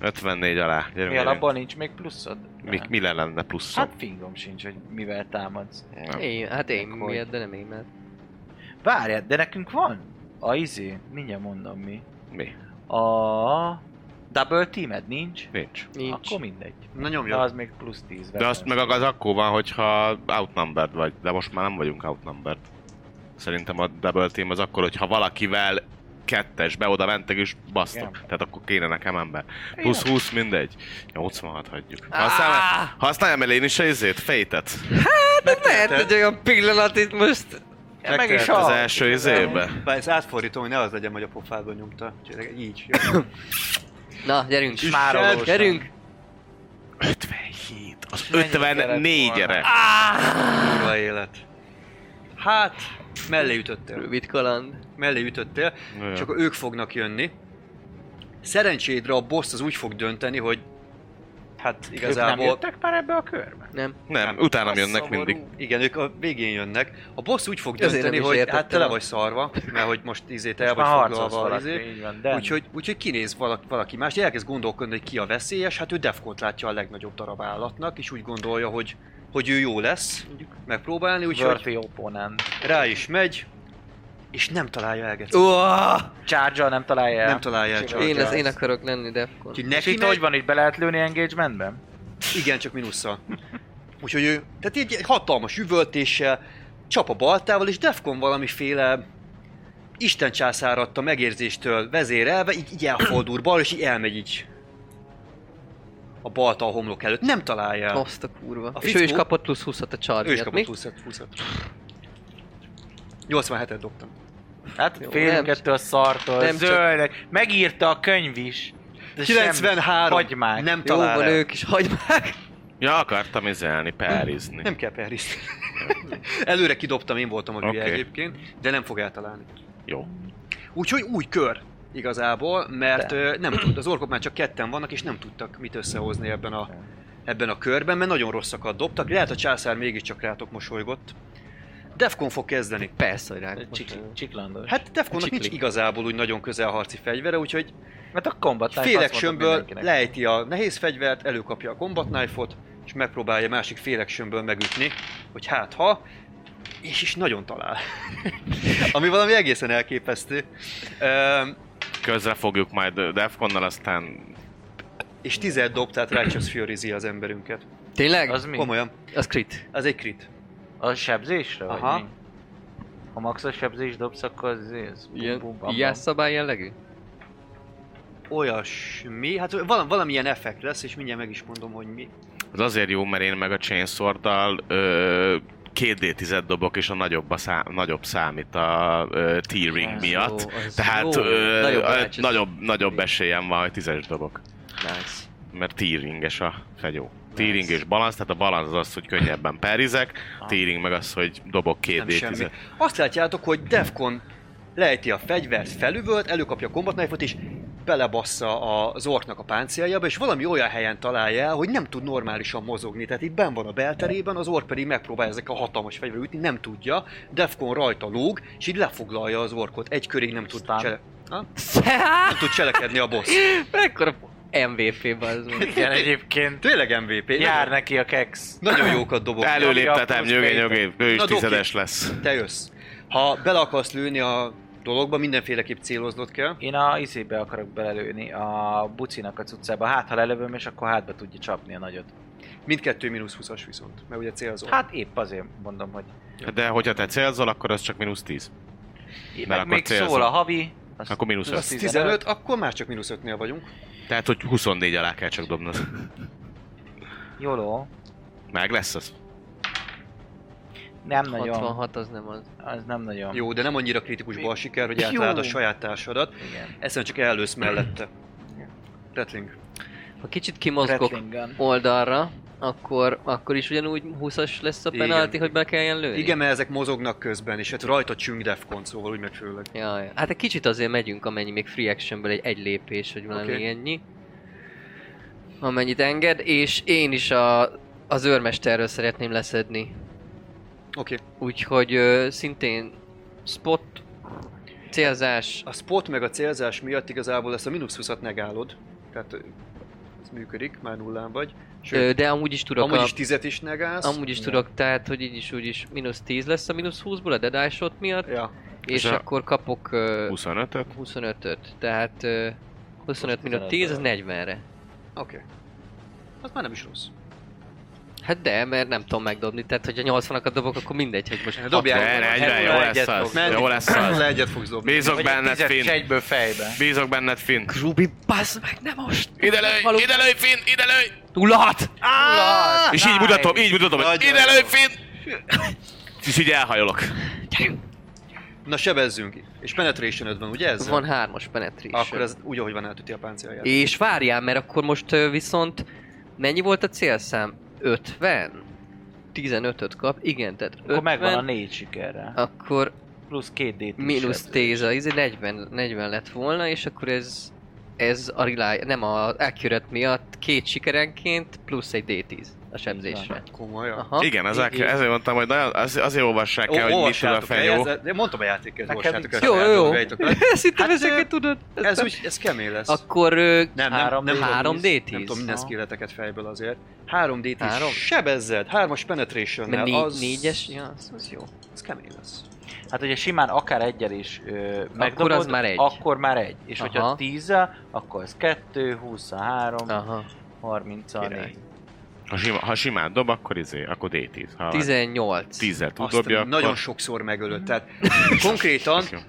Speaker 5: 54 alá. Gyerünk,
Speaker 4: Mi
Speaker 5: gyerünk.
Speaker 4: alapból nincs még pluszod?
Speaker 5: Mi, mi lenne plusz?
Speaker 4: Hát fingom sincs, hogy mivel támadsz.
Speaker 5: Nem.
Speaker 3: Én, hát én
Speaker 4: Akkor-
Speaker 3: miatt, de nem én, mert...
Speaker 4: Várjál, de nekünk van? A izé, mindjárt mondom mi.
Speaker 5: Mi?
Speaker 4: A... Double teamed nincs?
Speaker 5: Nincs.
Speaker 3: Nincs.
Speaker 4: Akkor mindegy.
Speaker 2: Na
Speaker 4: Ja.
Speaker 2: nyomja.
Speaker 4: Az még plusz 10
Speaker 5: De azt meg az akkor van, hogyha outnumbered vagy, de most már nem vagyunk outnumbered. Szerintem a double team az akkor, hogyha valakivel kettesbe oda mentek és basztok.
Speaker 4: Igen.
Speaker 5: Tehát akkor kéne nekem ember. Plusz 20 mindegy. 86 hagyjuk. Használj,
Speaker 3: Ah,
Speaker 5: használjam el én is a izét, fejtet.
Speaker 3: de lehet, hogy olyan pillanat itt most...
Speaker 4: Ja, meg is
Speaker 2: megtehet
Speaker 4: az
Speaker 5: Hát Az első izébe.
Speaker 2: Bár ezt átfordítom, hogy ne az legyen, hogy a pofádba nyomta. Úgyhogy így.
Speaker 3: Na, gyerünk!
Speaker 4: Smárolósan.
Speaker 3: Gyerünk!
Speaker 5: 57. Az
Speaker 4: Mennyi kellett
Speaker 5: 54-re.
Speaker 2: Kurva élet. Hát, mellé ütöttél.
Speaker 3: Rövid kaland.
Speaker 2: Mellé ütöttél.
Speaker 5: Jaj.
Speaker 2: Csak ők fognak jönni. Szerencsédre a boss az úgy fog dönteni, hogy hát
Speaker 4: Igazából... nem
Speaker 2: igazából
Speaker 4: jöttek már ebbe a körbe?
Speaker 3: Nem.
Speaker 5: Nem, utána jönnek mindig.
Speaker 2: Igen, ők a végén jönnek. A boss úgy fog
Speaker 3: Azért
Speaker 2: dönteni,
Speaker 3: nem is
Speaker 2: hogy hát
Speaker 3: értettem.
Speaker 2: tele vagy szarva, mert hogy most izét el vagy
Speaker 4: Már harcolsz
Speaker 2: foglalva.
Speaker 4: valaki,
Speaker 2: Izé.
Speaker 4: így van, de...
Speaker 2: Úgyhogy, úgyhogy kinéz valaki, valaki más, elkezd gondolkodni, hogy ki a veszélyes, hát ő Defcont látja a legnagyobb darab állatnak, és úgy gondolja, hogy, hogy ő jó lesz megpróbálni, úgyhogy
Speaker 4: Worthy opponent.
Speaker 2: rá is megy, és nem találja el, Geci.
Speaker 3: Uah!
Speaker 4: Charge nem találja el.
Speaker 2: Nem találja el
Speaker 4: Csak
Speaker 2: csak.
Speaker 3: Én, az, én
Speaker 4: az.
Speaker 3: akarok lenni Defcon.
Speaker 2: Úgyhogy
Speaker 4: És
Speaker 2: neki
Speaker 4: itt
Speaker 2: megy,
Speaker 4: hogy van, így be lehet lőni engagementben?
Speaker 2: Igen, csak minusszal. Úgyhogy ő, tehát így egy hatalmas üvöltéssel, csap a baltával, és Defcon valamiféle Isten császáradta megérzéstől vezérelve, így, így elfordul bal, és így elmegy így a balta a homlok előtt. Nem találja el.
Speaker 3: Azt a kurva.
Speaker 2: A
Speaker 3: és ő
Speaker 2: fickó-
Speaker 3: is kapott plusz 20-at a charge
Speaker 2: Ő is
Speaker 3: miatt, mi?
Speaker 2: kapott 20 20 87-et dobtam.
Speaker 4: Hát
Speaker 3: Jó,
Speaker 4: félünk
Speaker 3: nem.
Speaker 4: ettől a szartól,
Speaker 3: Nem
Speaker 4: nem
Speaker 3: csak-
Speaker 4: zöldek. Megírta a könyv is. De semmi.
Speaker 2: 93.
Speaker 4: Hagymák.
Speaker 2: Nem
Speaker 3: Jó
Speaker 2: talál
Speaker 3: van
Speaker 2: el.
Speaker 3: ők is, hagyd meg!
Speaker 5: Ja, akartam izelni, perizni.
Speaker 2: Nem kell perrizni. Előre kidobtam, én voltam a hülye
Speaker 5: Oké.
Speaker 2: egyébként, de nem fog eltalálni.
Speaker 5: Jó.
Speaker 2: Úgyhogy új kör igazából, mert ö, nem tud, az orkok már csak ketten vannak, és nem tudtak mit összehozni ebben a ebben a körben, mert nagyon rosszakat dobtak. Lehet a császár mégiscsak rátok mosolygott. Defcon fog kezdeni.
Speaker 3: Persze, hogy ránk.
Speaker 4: Csik,
Speaker 3: most-
Speaker 4: Csiklandor. Hát,
Speaker 2: Hát Defconnak nincs
Speaker 3: Csikli.
Speaker 2: igazából úgy nagyon közel harci fegyvere, úgyhogy
Speaker 4: mert Hát a combat type
Speaker 2: Félek
Speaker 4: azt mondom
Speaker 2: sömből
Speaker 4: mindenkinek.
Speaker 2: lejti a nehéz fegyvert, előkapja a combat knife-ot, és megpróbálja másik félek sömből megütni, hogy hát ha, és is nagyon talál. [laughs] Ami valami egészen elképesztő. Üm,
Speaker 5: Közre fogjuk majd ö, Defconnal, aztán
Speaker 2: és tized dob, tehát Righteous fury az emberünket.
Speaker 3: Tényleg?
Speaker 4: Az
Speaker 3: Az,
Speaker 4: mi?
Speaker 2: Komolyan,
Speaker 3: az crit.
Speaker 2: ez egy crit.
Speaker 4: A sebzésre?
Speaker 2: Aha.
Speaker 4: Vagy mi? ha maxos sebzés dobsz, akkor az ez bum, bum,
Speaker 3: Ilyen,
Speaker 4: bam,
Speaker 3: ilyen
Speaker 4: bam.
Speaker 3: szabály jellegű?
Speaker 2: Olyasmi, hát val- valamilyen effekt lesz, és mindjárt meg is mondom, hogy mi.
Speaker 5: az azért jó, mert én meg a Chainsword-dal ö, 2D10 dobok, és a nagyobb, a szá- nagyobb számít a ö, T-ring
Speaker 4: Az
Speaker 5: miatt.
Speaker 3: Jó, az
Speaker 5: Tehát
Speaker 3: jó. Nagyobb
Speaker 5: ö, nagyobb, ö,
Speaker 3: barátság.
Speaker 5: nagyobb, nagyobb esélyem van, hogy tízes dobok.
Speaker 3: Nice.
Speaker 5: Mert T-ringes a fegyó. T-ring és balansz, tehát a balansz az az, hogy könnyebben perizek, T-ring meg az, hogy dobok két
Speaker 2: Ah. Nem
Speaker 5: d
Speaker 2: semmi. Azt látjátok, hogy Defcon lejti a fegyvert felüvölt, előkapja a combat knife-ot, és belebassza az orknak a páncéljába, és valami olyan helyen találja el, hogy nem tud normálisan mozogni. Tehát itt ben van a belterében, az ork pedig megpróbálja ezek a hatalmas fegyverre ütni, nem tudja. Defcon rajta lóg, és így lefoglalja az orkot. Egy körig nem tud,
Speaker 4: Aztán-
Speaker 2: csele... Ha? nem tud cselekedni a boss.
Speaker 3: [laughs] Mekkora MVP az meg.
Speaker 4: Igen, egyébként
Speaker 2: Tényleg MVP.
Speaker 4: jár neki a kex.
Speaker 2: Nagyon jókat dobok.
Speaker 5: Előléptetem, nyöge, nyöge, ő is
Speaker 2: Na, dobj ki.
Speaker 5: tizedes lesz.
Speaker 2: Te jössz. Ha bele akarsz lőni a dologba, mindenféleképp céloznod kell.
Speaker 4: Én a izébe akarok belelőni, a bucinak a cuccába. Hát, ha lelövöm, és akkor hátba tudja csapni a nagyot.
Speaker 2: Mindkettő mínusz 20-as viszont, mert ugye célzol. Hát,
Speaker 4: Hát épp azért mondom, hogy...
Speaker 5: De hogyha te célzol, akkor az csak mínusz 10.
Speaker 4: Meg
Speaker 5: akkor
Speaker 4: még
Speaker 5: célzol.
Speaker 4: szól a havi, azt
Speaker 5: Akkor mínusz
Speaker 4: az
Speaker 5: 5.
Speaker 2: 15, 15, akkor már csak mínusz 5-nél vagyunk.
Speaker 5: Tehát, hogy 24 alá kell csak dobnod.
Speaker 4: jóló.
Speaker 5: Meg lesz az.
Speaker 4: Nem nagyon,
Speaker 3: 66 az nem az.
Speaker 4: az nem nagyon.
Speaker 2: Jó, de nem annyira kritikus bal siker, hogy
Speaker 4: Jó.
Speaker 2: átláld a saját társadat.
Speaker 4: Igen.
Speaker 2: Egyszerűen csak elősz mellette. Rattling.
Speaker 3: Ha kicsit kimozgok
Speaker 4: Rattling gun.
Speaker 3: oldalra, akkor, akkor is ugyanúgy 20-as lesz a
Speaker 2: Igen.
Speaker 3: penalti, hogy be kelljen lőni?
Speaker 2: Igen, mert ezek mozognak közben, és hát rajta csüng defcon, szóval úgy megy főleg.
Speaker 3: Jaj, hát egy kicsit azért megyünk, amennyi még free actionből egy, egy lépés, hogy valami
Speaker 2: Oké.
Speaker 3: okay. ennyi. Amennyit enged, és én is a, az őrmesterről szeretném leszedni.
Speaker 2: Oké.
Speaker 3: Úgyhogy ö, szintén spot, célzás,
Speaker 2: A spot meg a célzás miatt igazából ezt a mínusz 20-at negálod. Tehát ö, ez működik, már nullán vagy.
Speaker 3: ö,
Speaker 2: Sőt,
Speaker 3: de amúgy is tudok
Speaker 2: amúgy
Speaker 3: a...
Speaker 2: is tizet is negálsz.
Speaker 3: Amúgy is
Speaker 4: Igen.
Speaker 3: tudok, tehát hogy így is úgy is mínusz 10 lesz a mínusz 20-ból a Dead Eye Shot miatt,
Speaker 2: Ja,
Speaker 3: és
Speaker 5: És a-
Speaker 3: akkor kapok ö,
Speaker 5: 25-öt.
Speaker 3: 25-öt, tehát ö, 25 minus 10 az 40-re.
Speaker 2: oké. Az már nem is rossz.
Speaker 3: Hát de, mert nem tudom megdobni, tehát hogyha 80-akat dobok, akkor mindegy, hogy
Speaker 5: Hát
Speaker 3: most...
Speaker 2: Dobjál.
Speaker 5: Ne, ne, egyre jó lesz az.
Speaker 2: Menni-
Speaker 5: Jó lesz az.
Speaker 2: Le egyet fogsz dobni.
Speaker 5: Bízok
Speaker 4: Vagy egy
Speaker 5: benned,
Speaker 4: tizet
Speaker 5: Finn.
Speaker 4: se egyből fejbe.
Speaker 5: Bízok benned, Finn.
Speaker 3: Rubi, bassz meg, nem most!
Speaker 5: Ide lőj,
Speaker 3: Való-
Speaker 5: ide lőj, Finn, ide lőj!
Speaker 3: 06!
Speaker 5: És így mutatom, így mutatom, hogy
Speaker 2: Nagyon
Speaker 5: ide lőj,
Speaker 2: jó.
Speaker 5: Finn! [laughs] És így elhajolok.
Speaker 3: Gyerünk!
Speaker 2: Na sebezzünk. És penetration van, ugye ez?
Speaker 3: Van 3-as penetration.
Speaker 2: Akkor ez úgy, ahogy van átüti a páncélját.
Speaker 3: És várjál, mert akkor most ö, viszont mennyi volt a célszám? 50? 15-öt kap, igen, tehát 50,
Speaker 4: Akkor megvan a négy sikerre.
Speaker 3: akkor
Speaker 4: Plusz két d
Speaker 3: mínusz 10, ez 40, 40 lett volna, és akkor ez ez a rely, nem a accurate miatt két sikerenként plusz egy D10 a sebzésre.
Speaker 2: Komolyan.
Speaker 3: Aha.
Speaker 5: Igen, az
Speaker 4: így- így.
Speaker 5: ezért mondtam, hogy nagyon, az, azért olvassák el, hogy mit tud a fejó.
Speaker 2: De mondtam a játékért,
Speaker 4: Nekem
Speaker 2: olvassátok
Speaker 4: nincs.
Speaker 2: el a
Speaker 3: Jó,
Speaker 2: saját
Speaker 3: jó.
Speaker 2: dolgaitok.
Speaker 3: Szerintem
Speaker 2: Hát,
Speaker 3: ezeket
Speaker 2: ö,
Speaker 3: tudod.
Speaker 2: Ez úgy, ez kemény lesz.
Speaker 3: Akkor ö,
Speaker 2: nem, nem,
Speaker 4: három
Speaker 2: nem,
Speaker 4: D10.
Speaker 2: három
Speaker 3: 3D10.
Speaker 2: Nem tudom minden
Speaker 4: Aha.
Speaker 2: skilleteket fejből azért. 3D10.
Speaker 3: Három?
Speaker 2: Sebezzed, 3-as penetration
Speaker 3: mert négy,
Speaker 2: az...
Speaker 3: az... négyes, ja, az, az jó.
Speaker 2: Ez kemény lesz.
Speaker 4: Hát ugye simán akár egyel is ö, megdobod,
Speaker 3: az már egy.
Speaker 4: Akkor már egy. És
Speaker 3: Aha.
Speaker 4: hogyha 10 akkor az 2, 23,
Speaker 3: Aha.
Speaker 4: 30 a
Speaker 2: Király.
Speaker 4: 4.
Speaker 5: Ha, sima, ha simán dob, akkor izé, akkor D10. Ha
Speaker 3: 18.
Speaker 5: 10 tud
Speaker 2: Azt
Speaker 5: dobja,
Speaker 2: nagyon
Speaker 5: akkor-
Speaker 2: sokszor megölöd. Tehát konkrétan
Speaker 5: [laughs]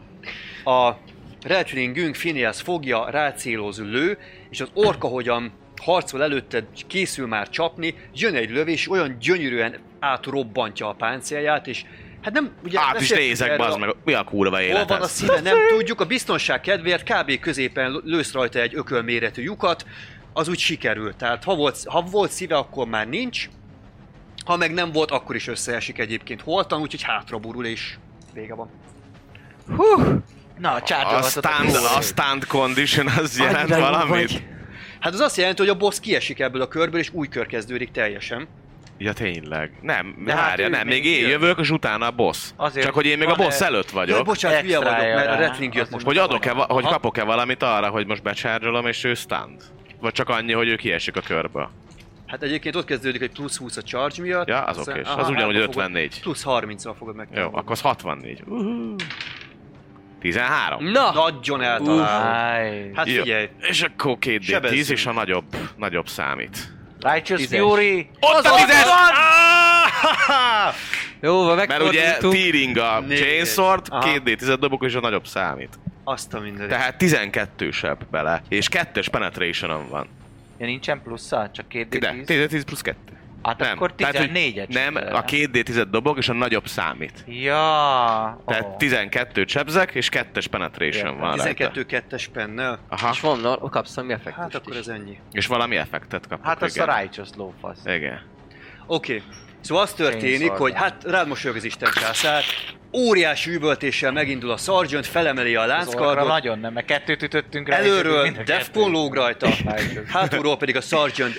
Speaker 5: Jó.
Speaker 2: a Retlingünk Phineas fogja, rácéloz, lő, és az orka hogyan harcol előtted, készül már csapni, jön egy lövés, olyan gyönyörűen átrobbantja a páncélját, és hát nem... Ugye,
Speaker 5: Át is
Speaker 2: beszéltünk
Speaker 5: nézek,
Speaker 2: erről
Speaker 5: bazd
Speaker 2: a-
Speaker 5: meg, mi a kurva
Speaker 2: Hol
Speaker 5: élet
Speaker 2: van a
Speaker 5: ez?
Speaker 2: szíve, nem tudjuk, a biztonság kedvéért kb. középen lősz rajta egy ökölméretű lyukat, az úgy sikerült. Tehát ha volt, ha volt szíve, akkor már nincs, ha meg nem volt, akkor is összeesik egyébként holtan, úgyhogy hátra burul és vége van.
Speaker 4: Na,
Speaker 5: A
Speaker 4: csácsolatot
Speaker 5: stand, a stand condition az jelent valamit?
Speaker 2: Hát az azt jelenti, hogy a boss kiesik ebből a körből, és új kör kezdődik teljesen.
Speaker 5: Ja tényleg. Nem,
Speaker 4: De
Speaker 5: De
Speaker 4: hát
Speaker 5: várja,
Speaker 4: ő
Speaker 5: nem,
Speaker 4: még
Speaker 5: még én
Speaker 4: jön.
Speaker 5: jövök, és utána a boss.
Speaker 4: Azért
Speaker 5: Azért Csak hogy én még a
Speaker 4: van-e-
Speaker 5: boss előtt
Speaker 2: Jaj,
Speaker 5: vagyok.
Speaker 2: bocsánat, hülye vagyok,
Speaker 4: extra-ja
Speaker 2: mert a
Speaker 4: rá.
Speaker 2: Rattling jött
Speaker 4: Az
Speaker 2: most.
Speaker 5: Hogy adok-e, va- hogy kapok-e valamit arra, hogy most becsárgyalom, és ő stunned? Vagy csak annyi, hogy ő kiesik a körből.
Speaker 2: Hát egyébként ott kezdődik, hogy plusz 20 a charge miatt.
Speaker 5: Ja, az
Speaker 2: Aztán-
Speaker 5: oké, és
Speaker 2: aha, hát
Speaker 5: az ugyanúgy
Speaker 2: akkor fogod-
Speaker 5: 54.
Speaker 2: Plusz 30-al fogod meg.
Speaker 5: Jó, akkor az 64. Uhú. 13.
Speaker 3: Na!
Speaker 2: Nagyon eltalál.
Speaker 4: Áj.
Speaker 2: Hát
Speaker 5: Jó.
Speaker 2: figyelj,
Speaker 5: És akkor 2D10,
Speaker 2: Sebezzünk.
Speaker 5: és a nagyobb, nagyobb számít.
Speaker 4: Righteous
Speaker 3: Tízes.
Speaker 4: Fury!
Speaker 5: Ott a 10
Speaker 3: Jó, van,
Speaker 5: Mert ugye
Speaker 3: megfordultunk.
Speaker 5: tearing a
Speaker 2: Négy.
Speaker 5: chainsword,
Speaker 2: Aha.
Speaker 5: 2D10 dobok, és a nagyobb számít.
Speaker 2: azt a mindenit.
Speaker 5: Tehát 12-sebb bele, és kettős penetration van.
Speaker 4: Ja, nincsen plusza? Csak két d
Speaker 5: De, 10-10 plusz 2.
Speaker 4: Hát akkor
Speaker 5: Tehát, hogy
Speaker 4: 14-et
Speaker 5: Nem, a 2D10 dobok, és a nagyobb számít.
Speaker 4: Ja.
Speaker 5: Tehát
Speaker 4: Ó.
Speaker 5: 12 csebzek, és 2-es penetration
Speaker 4: Igen,
Speaker 5: van rajta.
Speaker 2: 12-2-es pennel.
Speaker 5: Aha,
Speaker 3: És van, na, kapsz valami effektust
Speaker 2: Hát akkor
Speaker 3: is.
Speaker 2: ez ennyi.
Speaker 5: és valami effektet kapok.
Speaker 4: Hát az
Speaker 5: igen.
Speaker 4: a righteous lófasz.
Speaker 5: Igen.
Speaker 2: Oké. Okay. Szóval az történik,
Speaker 4: Chainsaw
Speaker 2: hogy
Speaker 4: Gun.
Speaker 2: hát rád mosolyog az Isten császár, óriási üvöltéssel megindul a sergeant, felemeli a
Speaker 4: Az orra
Speaker 2: lánckardot,
Speaker 4: nagyon nem, mert kettőt ütöttünk rá. és
Speaker 2: előről
Speaker 4: mind a
Speaker 2: Defcon
Speaker 4: kettőt.
Speaker 2: lóg rajta,
Speaker 4: [laughs]
Speaker 2: Hát,
Speaker 4: Righteous.
Speaker 2: hátulról pedig a sergeant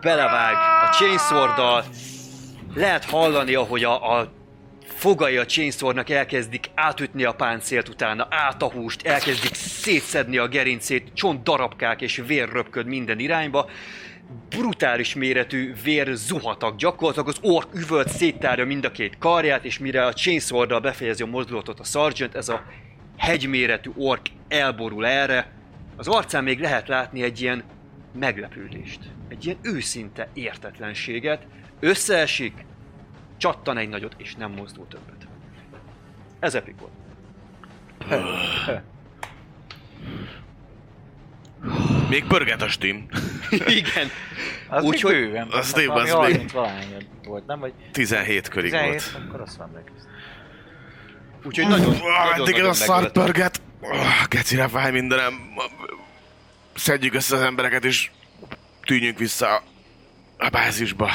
Speaker 2: belevág a chainsworddal. Lehet hallani, ahogy a, a fogai a chainsawnak elkezdik átütni a páncélt utána, át a húst, elkezdik szétszedni a gerincét, csont darabkák és vér röpköd minden irányba. Brutális méretű vér zuhatak gyakorlatilag, az ork üvölt széttárja mind a két karját, és mire a chainsworddal befejezi a mozdulatot a sergeant, ez a hegyméretű ork elborul erre. Az arcán még lehet látni egy ilyen meglepődést, egy ilyen őszinte értetlenséget, összeesik, csattan egy nagyot, és nem mozdul többet. Ez epik
Speaker 6: [laughs]
Speaker 2: volt.
Speaker 5: Még pörget a stim.
Speaker 2: Igen.
Speaker 4: Az még
Speaker 2: Úgyhogy-
Speaker 4: bőven.
Speaker 5: az
Speaker 4: Hát
Speaker 5: még-
Speaker 4: valami
Speaker 5: az még-
Speaker 4: 30 valahány volt, nem? Vagy
Speaker 5: 17 körig
Speaker 4: 17,
Speaker 5: volt.
Speaker 4: akkor azt van meg.
Speaker 2: Úgyhogy nagyon, nagyon,
Speaker 6: Eddig ez a
Speaker 2: nagyon
Speaker 6: szart
Speaker 2: meglepett.
Speaker 6: pörget. Ah, Kecire fáj mindenem. Szedjük össze az embereket, és tűnjünk vissza a- a bázisba.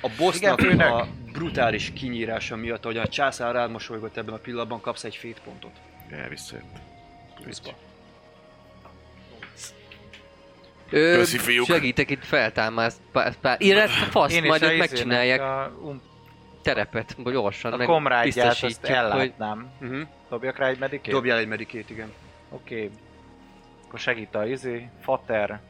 Speaker 2: A bossnak
Speaker 4: Igen, főnök.
Speaker 2: a brutális kinyírása miatt, ahogy a császár rád mosolygott ebben a pillanatban, kapsz egy fét pontot.
Speaker 5: Ja, visszajött.
Speaker 2: Pluszba.
Speaker 3: Ö,
Speaker 6: Köszi, fiúk.
Speaker 3: Segítek itt feltámaszt. Pá, pá, én ezt a fasz,
Speaker 4: Én is
Speaker 3: majd
Speaker 4: a
Speaker 3: ott
Speaker 4: izének
Speaker 3: megcsinálják
Speaker 4: A, um,
Speaker 3: terepet, vagy gyorsan,
Speaker 4: a
Speaker 3: meg
Speaker 4: komrádját azt
Speaker 3: biztosítjuk, hogy
Speaker 4: ellátnám.
Speaker 6: Mhm.
Speaker 2: Uh-huh.
Speaker 4: Dobjak rá egy medikét?
Speaker 2: Dobjál egy medikét, igen.
Speaker 4: Oké. Akkor segít a izé, fater.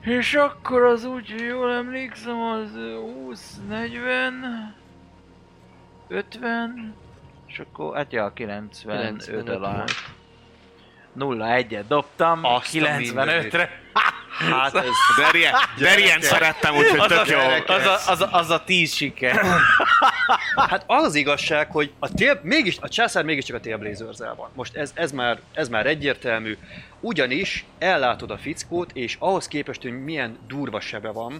Speaker 4: És akkor az úgy, hogy jól emlékszem, az ö, 20, 40, 50, és akkor hát ja, a 95
Speaker 3: 95
Speaker 4: alá.
Speaker 3: volt.
Speaker 4: 0 1 dobtam,
Speaker 2: Azt a
Speaker 4: [laughs] 95-re.
Speaker 2: Hát ez...
Speaker 5: Derien, Derien szerettem, úgyhogy tök jó.
Speaker 4: Az a, az, a, az a 10 siker.
Speaker 2: Hát az az igazság, hogy a, tél, mégis, a császár mégiscsak a Tailblazer-zel van. Most ez, ez, már, ez már egyértelmű. Ugyanis ellátod a fickót, és ahhoz képest, hogy milyen durva sebe van,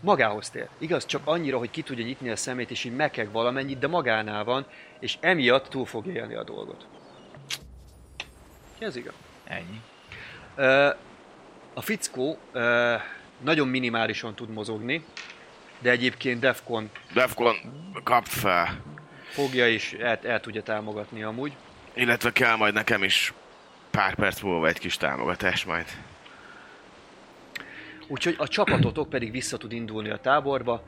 Speaker 2: magához tér. Igaz, csak annyira, hogy ki tudja nyitni a szemét, és így mekeg valamennyit, de magánál van, és emiatt túl fog élni a dolgot. Ez igaz.
Speaker 4: Ennyi.
Speaker 2: Ö, A fickó ö, nagyon minimálisan tud mozogni, de egyébként Defcon
Speaker 6: Defcon, kap fel.
Speaker 2: fogja és el, el tudja támogatni amúgy.
Speaker 6: Illetve kell majd nekem is pár perc múlva egy kis támogatás majd.
Speaker 2: Úgyhogy a csapatotok pedig vissza tud indulni a táborba,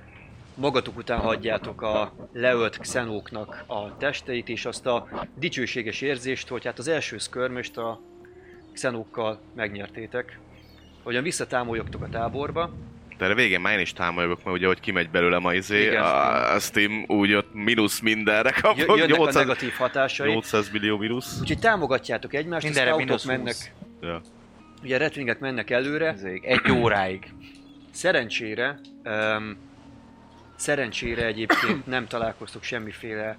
Speaker 2: magatok után hagyjátok a leölt xenóknak a testeit, és azt a dicsőséges érzést, hogy hát az első szkörmöst a xenókkal megnyertétek. Ahogyan visszatámoljogtok a táborba,
Speaker 5: De a végén már én is támogatok, mert ugye, hogy kimegy belőle ma izé,
Speaker 2: Igen.
Speaker 5: a, a Steam úgy ott mínusz mindenre [laughs]
Speaker 2: jö-
Speaker 5: kapok,
Speaker 2: jönnek a
Speaker 5: 800,
Speaker 2: negatív hatásai,
Speaker 5: 800 millió mínusz.
Speaker 2: úgyhogy támogatjátok egymást,
Speaker 4: Mindenre
Speaker 2: a scoutok
Speaker 4: mínusz
Speaker 2: mennek,
Speaker 4: 20.
Speaker 5: Ja.
Speaker 2: ugye a retvingek mennek előre,
Speaker 4: Ezért Egy óráig.
Speaker 2: Szerencsére, um, szerencsére egyébként nem találkoztok semmiféle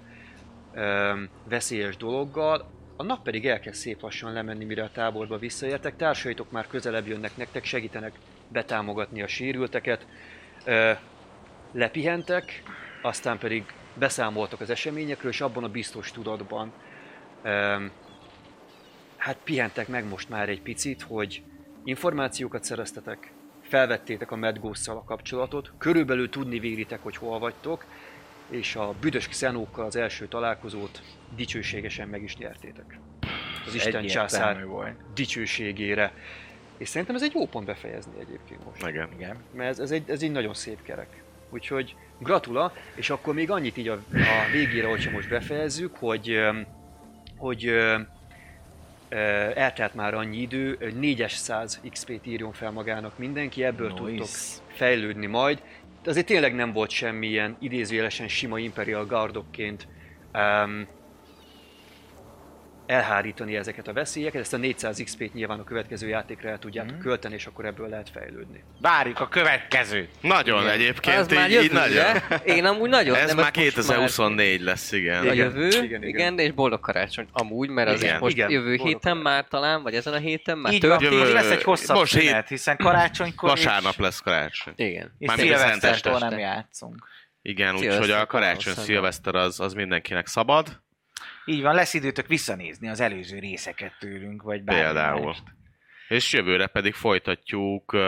Speaker 2: um, veszélyes dologgal, a nap pedig elkezd szép lassan lemenni, mire a táborba visszaértek, társaitok már közelebb jönnek nektek, segítenek betámogatni a sérülteket, Ö, lepihentek, aztán pedig beszámoltak az eseményekről, és abban a biztos tudatban um, hát pihentek meg most már egy picit, hogy információkat szereztetek, felvettétek a medgósszal a kapcsolatot, körülbelül tudni véritek, hogy hol vagytok, és a büdös xenókkal az első találkozót dicsőségesen meg is nyertétek. Az Isten
Speaker 4: Egyértelmű
Speaker 2: császár
Speaker 4: volt.
Speaker 2: dicsőségére. És szerintem ez egy jó pont befejezni egyébként most.
Speaker 5: Igen.
Speaker 4: Igen.
Speaker 2: Mert ez, ez, egy, ez egy nagyon szép kerek. Úgyhogy gratula, és akkor még annyit így a, a végére, hogyha most befejezzük, hogy, öm, hogy öm, ö, eltelt már annyi idő, ö, 400 XP-t írjon fel magának mindenki, ebből nice. tudtok fejlődni majd. De Azért tényleg nem volt semmilyen idézőjelesen sima Imperial Guardokként um, elhárítani ezeket a veszélyeket, ezt a 400 XP-t nyilván a következő játékra el tudjátok mm. költeni, és akkor ebből lehet fejlődni.
Speaker 4: Várjuk a következőt.
Speaker 5: Nagyon igen. egyébként,
Speaker 3: Az
Speaker 5: így,
Speaker 3: már
Speaker 5: így
Speaker 3: jövő,
Speaker 5: nagyon.
Speaker 3: ugye? Én amúgy nagyon.
Speaker 5: Ez
Speaker 3: nem,
Speaker 5: már
Speaker 3: most
Speaker 5: 2024 lesz, igen.
Speaker 3: A
Speaker 5: igen.
Speaker 3: jövő, igen, igen, igen, és boldog karácsony amúgy, mert az
Speaker 5: Igen.
Speaker 3: most
Speaker 2: Igen,
Speaker 3: jövő
Speaker 2: boldog
Speaker 3: héten már talán, vagy ezen a héten már
Speaker 4: Így
Speaker 3: tört.
Speaker 4: van,
Speaker 5: Jövő-
Speaker 4: így lesz egy hosszabb
Speaker 5: most
Speaker 4: most
Speaker 5: hét-
Speaker 4: szünet, hiszen karácsonykor
Speaker 5: Vasárnap lesz karácsony.
Speaker 3: Igen.
Speaker 4: és, és
Speaker 5: mármint a szenteste
Speaker 4: szilvesztertől nem
Speaker 3: este.
Speaker 4: játszunk.
Speaker 5: Igen,
Speaker 3: Szilveszter
Speaker 5: úgyhogy a karácsony
Speaker 3: valószínűleg.
Speaker 5: szilveszter az, az mindenkinek szabad.
Speaker 4: Így van, lesz időtök visszanézni az előző részeket tőlünk, vagy bármi
Speaker 5: Például.
Speaker 4: mást.
Speaker 5: És jövőre pedig folytatjuk, uh,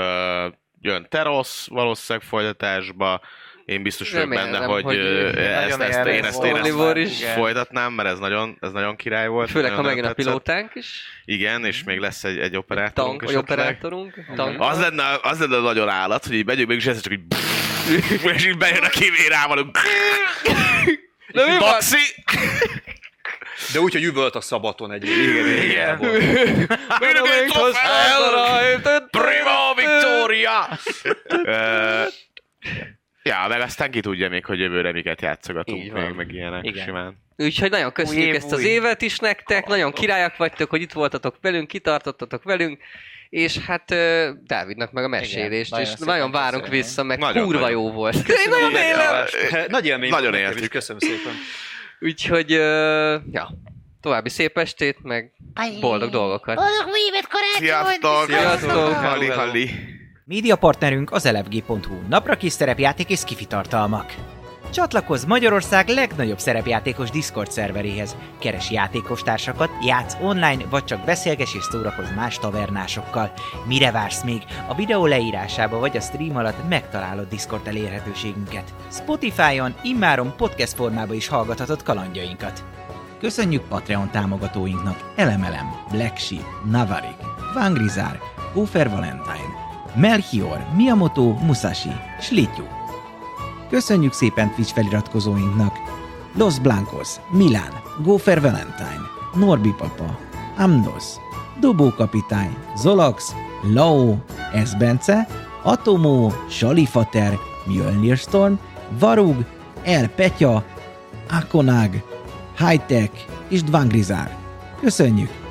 Speaker 5: jön Terosz valószínűleg folytatásba, én biztos vagyok
Speaker 3: Remélem,
Speaker 5: benne, hogy,
Speaker 3: hogy
Speaker 5: hogy
Speaker 3: nagyon
Speaker 5: ezt, ezt, ezt,
Speaker 4: élvezzük
Speaker 5: én ezt, én
Speaker 4: volna.
Speaker 5: ezt
Speaker 3: Oliver is.
Speaker 4: Igen.
Speaker 5: folytatnám, mert ez nagyon, ez nagyon király volt.
Speaker 3: Főleg, ha
Speaker 5: nagyon
Speaker 3: megint a
Speaker 5: tetszett.
Speaker 3: pilótánk is,
Speaker 5: Igen, és még lesz egy, egy
Speaker 3: tank,
Speaker 5: operátorunk
Speaker 3: vagy
Speaker 5: esetleg.
Speaker 3: operátorunk, tank.
Speaker 5: Az lenne, az lenne a nagyon állat, hogy így megyünk mégis egyszer csak
Speaker 3: [laughs]
Speaker 5: így [laughs] és így bejön a kivérával,
Speaker 3: Na mi van?
Speaker 5: [laughs]
Speaker 3: [laughs]
Speaker 5: taxi!
Speaker 2: De úgy, hogy üvölt a szabaton egy igen, igen. volt.
Speaker 3: Mire még hozzá?
Speaker 5: Prima Victoria! Ö, ja, meg aztán ki tudja még, hogy jövőre miket játszogatunk
Speaker 3: Így
Speaker 5: még,
Speaker 3: van.
Speaker 5: meg ilyenek
Speaker 4: Igen.
Speaker 5: simán.
Speaker 3: Úgyhogy nagyon köszönjük
Speaker 4: Új év,
Speaker 3: ezt az
Speaker 4: új.
Speaker 3: évet is nektek, nagyon királyak vagytok, hogy itt voltatok velünk, kitartottatok velünk, és hát ö, Dávidnak meg a mesélést,
Speaker 4: nagyon
Speaker 3: és
Speaker 4: szépen
Speaker 3: nagyon várunk
Speaker 4: köszönjük.
Speaker 3: vissza, meg
Speaker 5: Nagyon,
Speaker 3: kurva
Speaker 5: nagyon.
Speaker 3: jó volt. Én nagyon
Speaker 5: Igen,
Speaker 3: élem!
Speaker 5: ö,
Speaker 2: Nagy élmény.
Speaker 5: Nagyon
Speaker 2: volt nekem is,
Speaker 5: értjük.
Speaker 2: Köszönöm szépen.
Speaker 3: Úgyhogy, ö, ja, további szép estét, meg boldog dolgokat.
Speaker 7: Boldog évet karácsonyt!
Speaker 5: Sziasztok!
Speaker 3: Sziasztok!
Speaker 5: Halli, halli!
Speaker 1: Média partnerünk az elefg.hu, napra kis szerepjáték és kifi tartalmak. Csatlakozz Magyarország legnagyobb szerepjátékos Discord szerveréhez. Keres játékostársakat, játsz online, vagy csak beszélges és szórakozz más tavernásokkal. Mire vársz még? A videó leírásába vagy a stream alatt megtalálod Discord elérhetőségünket. Spotify-on immáron podcast formába is hallgathatod kalandjainkat. Köszönjük Patreon támogatóinknak Elemelem, Black Sheep, Navarik, Vangrizár, Ufer Valentine, Melchior, Miyamoto, Musashi, Slityu. Köszönjük szépen Twitch feliratkozóinknak Los Blancos, Milán, Gófer Valentine, Norbi Papa, Amnos, Dobó Kapitány, Zolax, Lao, Esbence, Atomó, Salifater, Mjölnir Storm, Varug, El Petya, Akonag, Hightech és Dvangrizár. Köszönjük!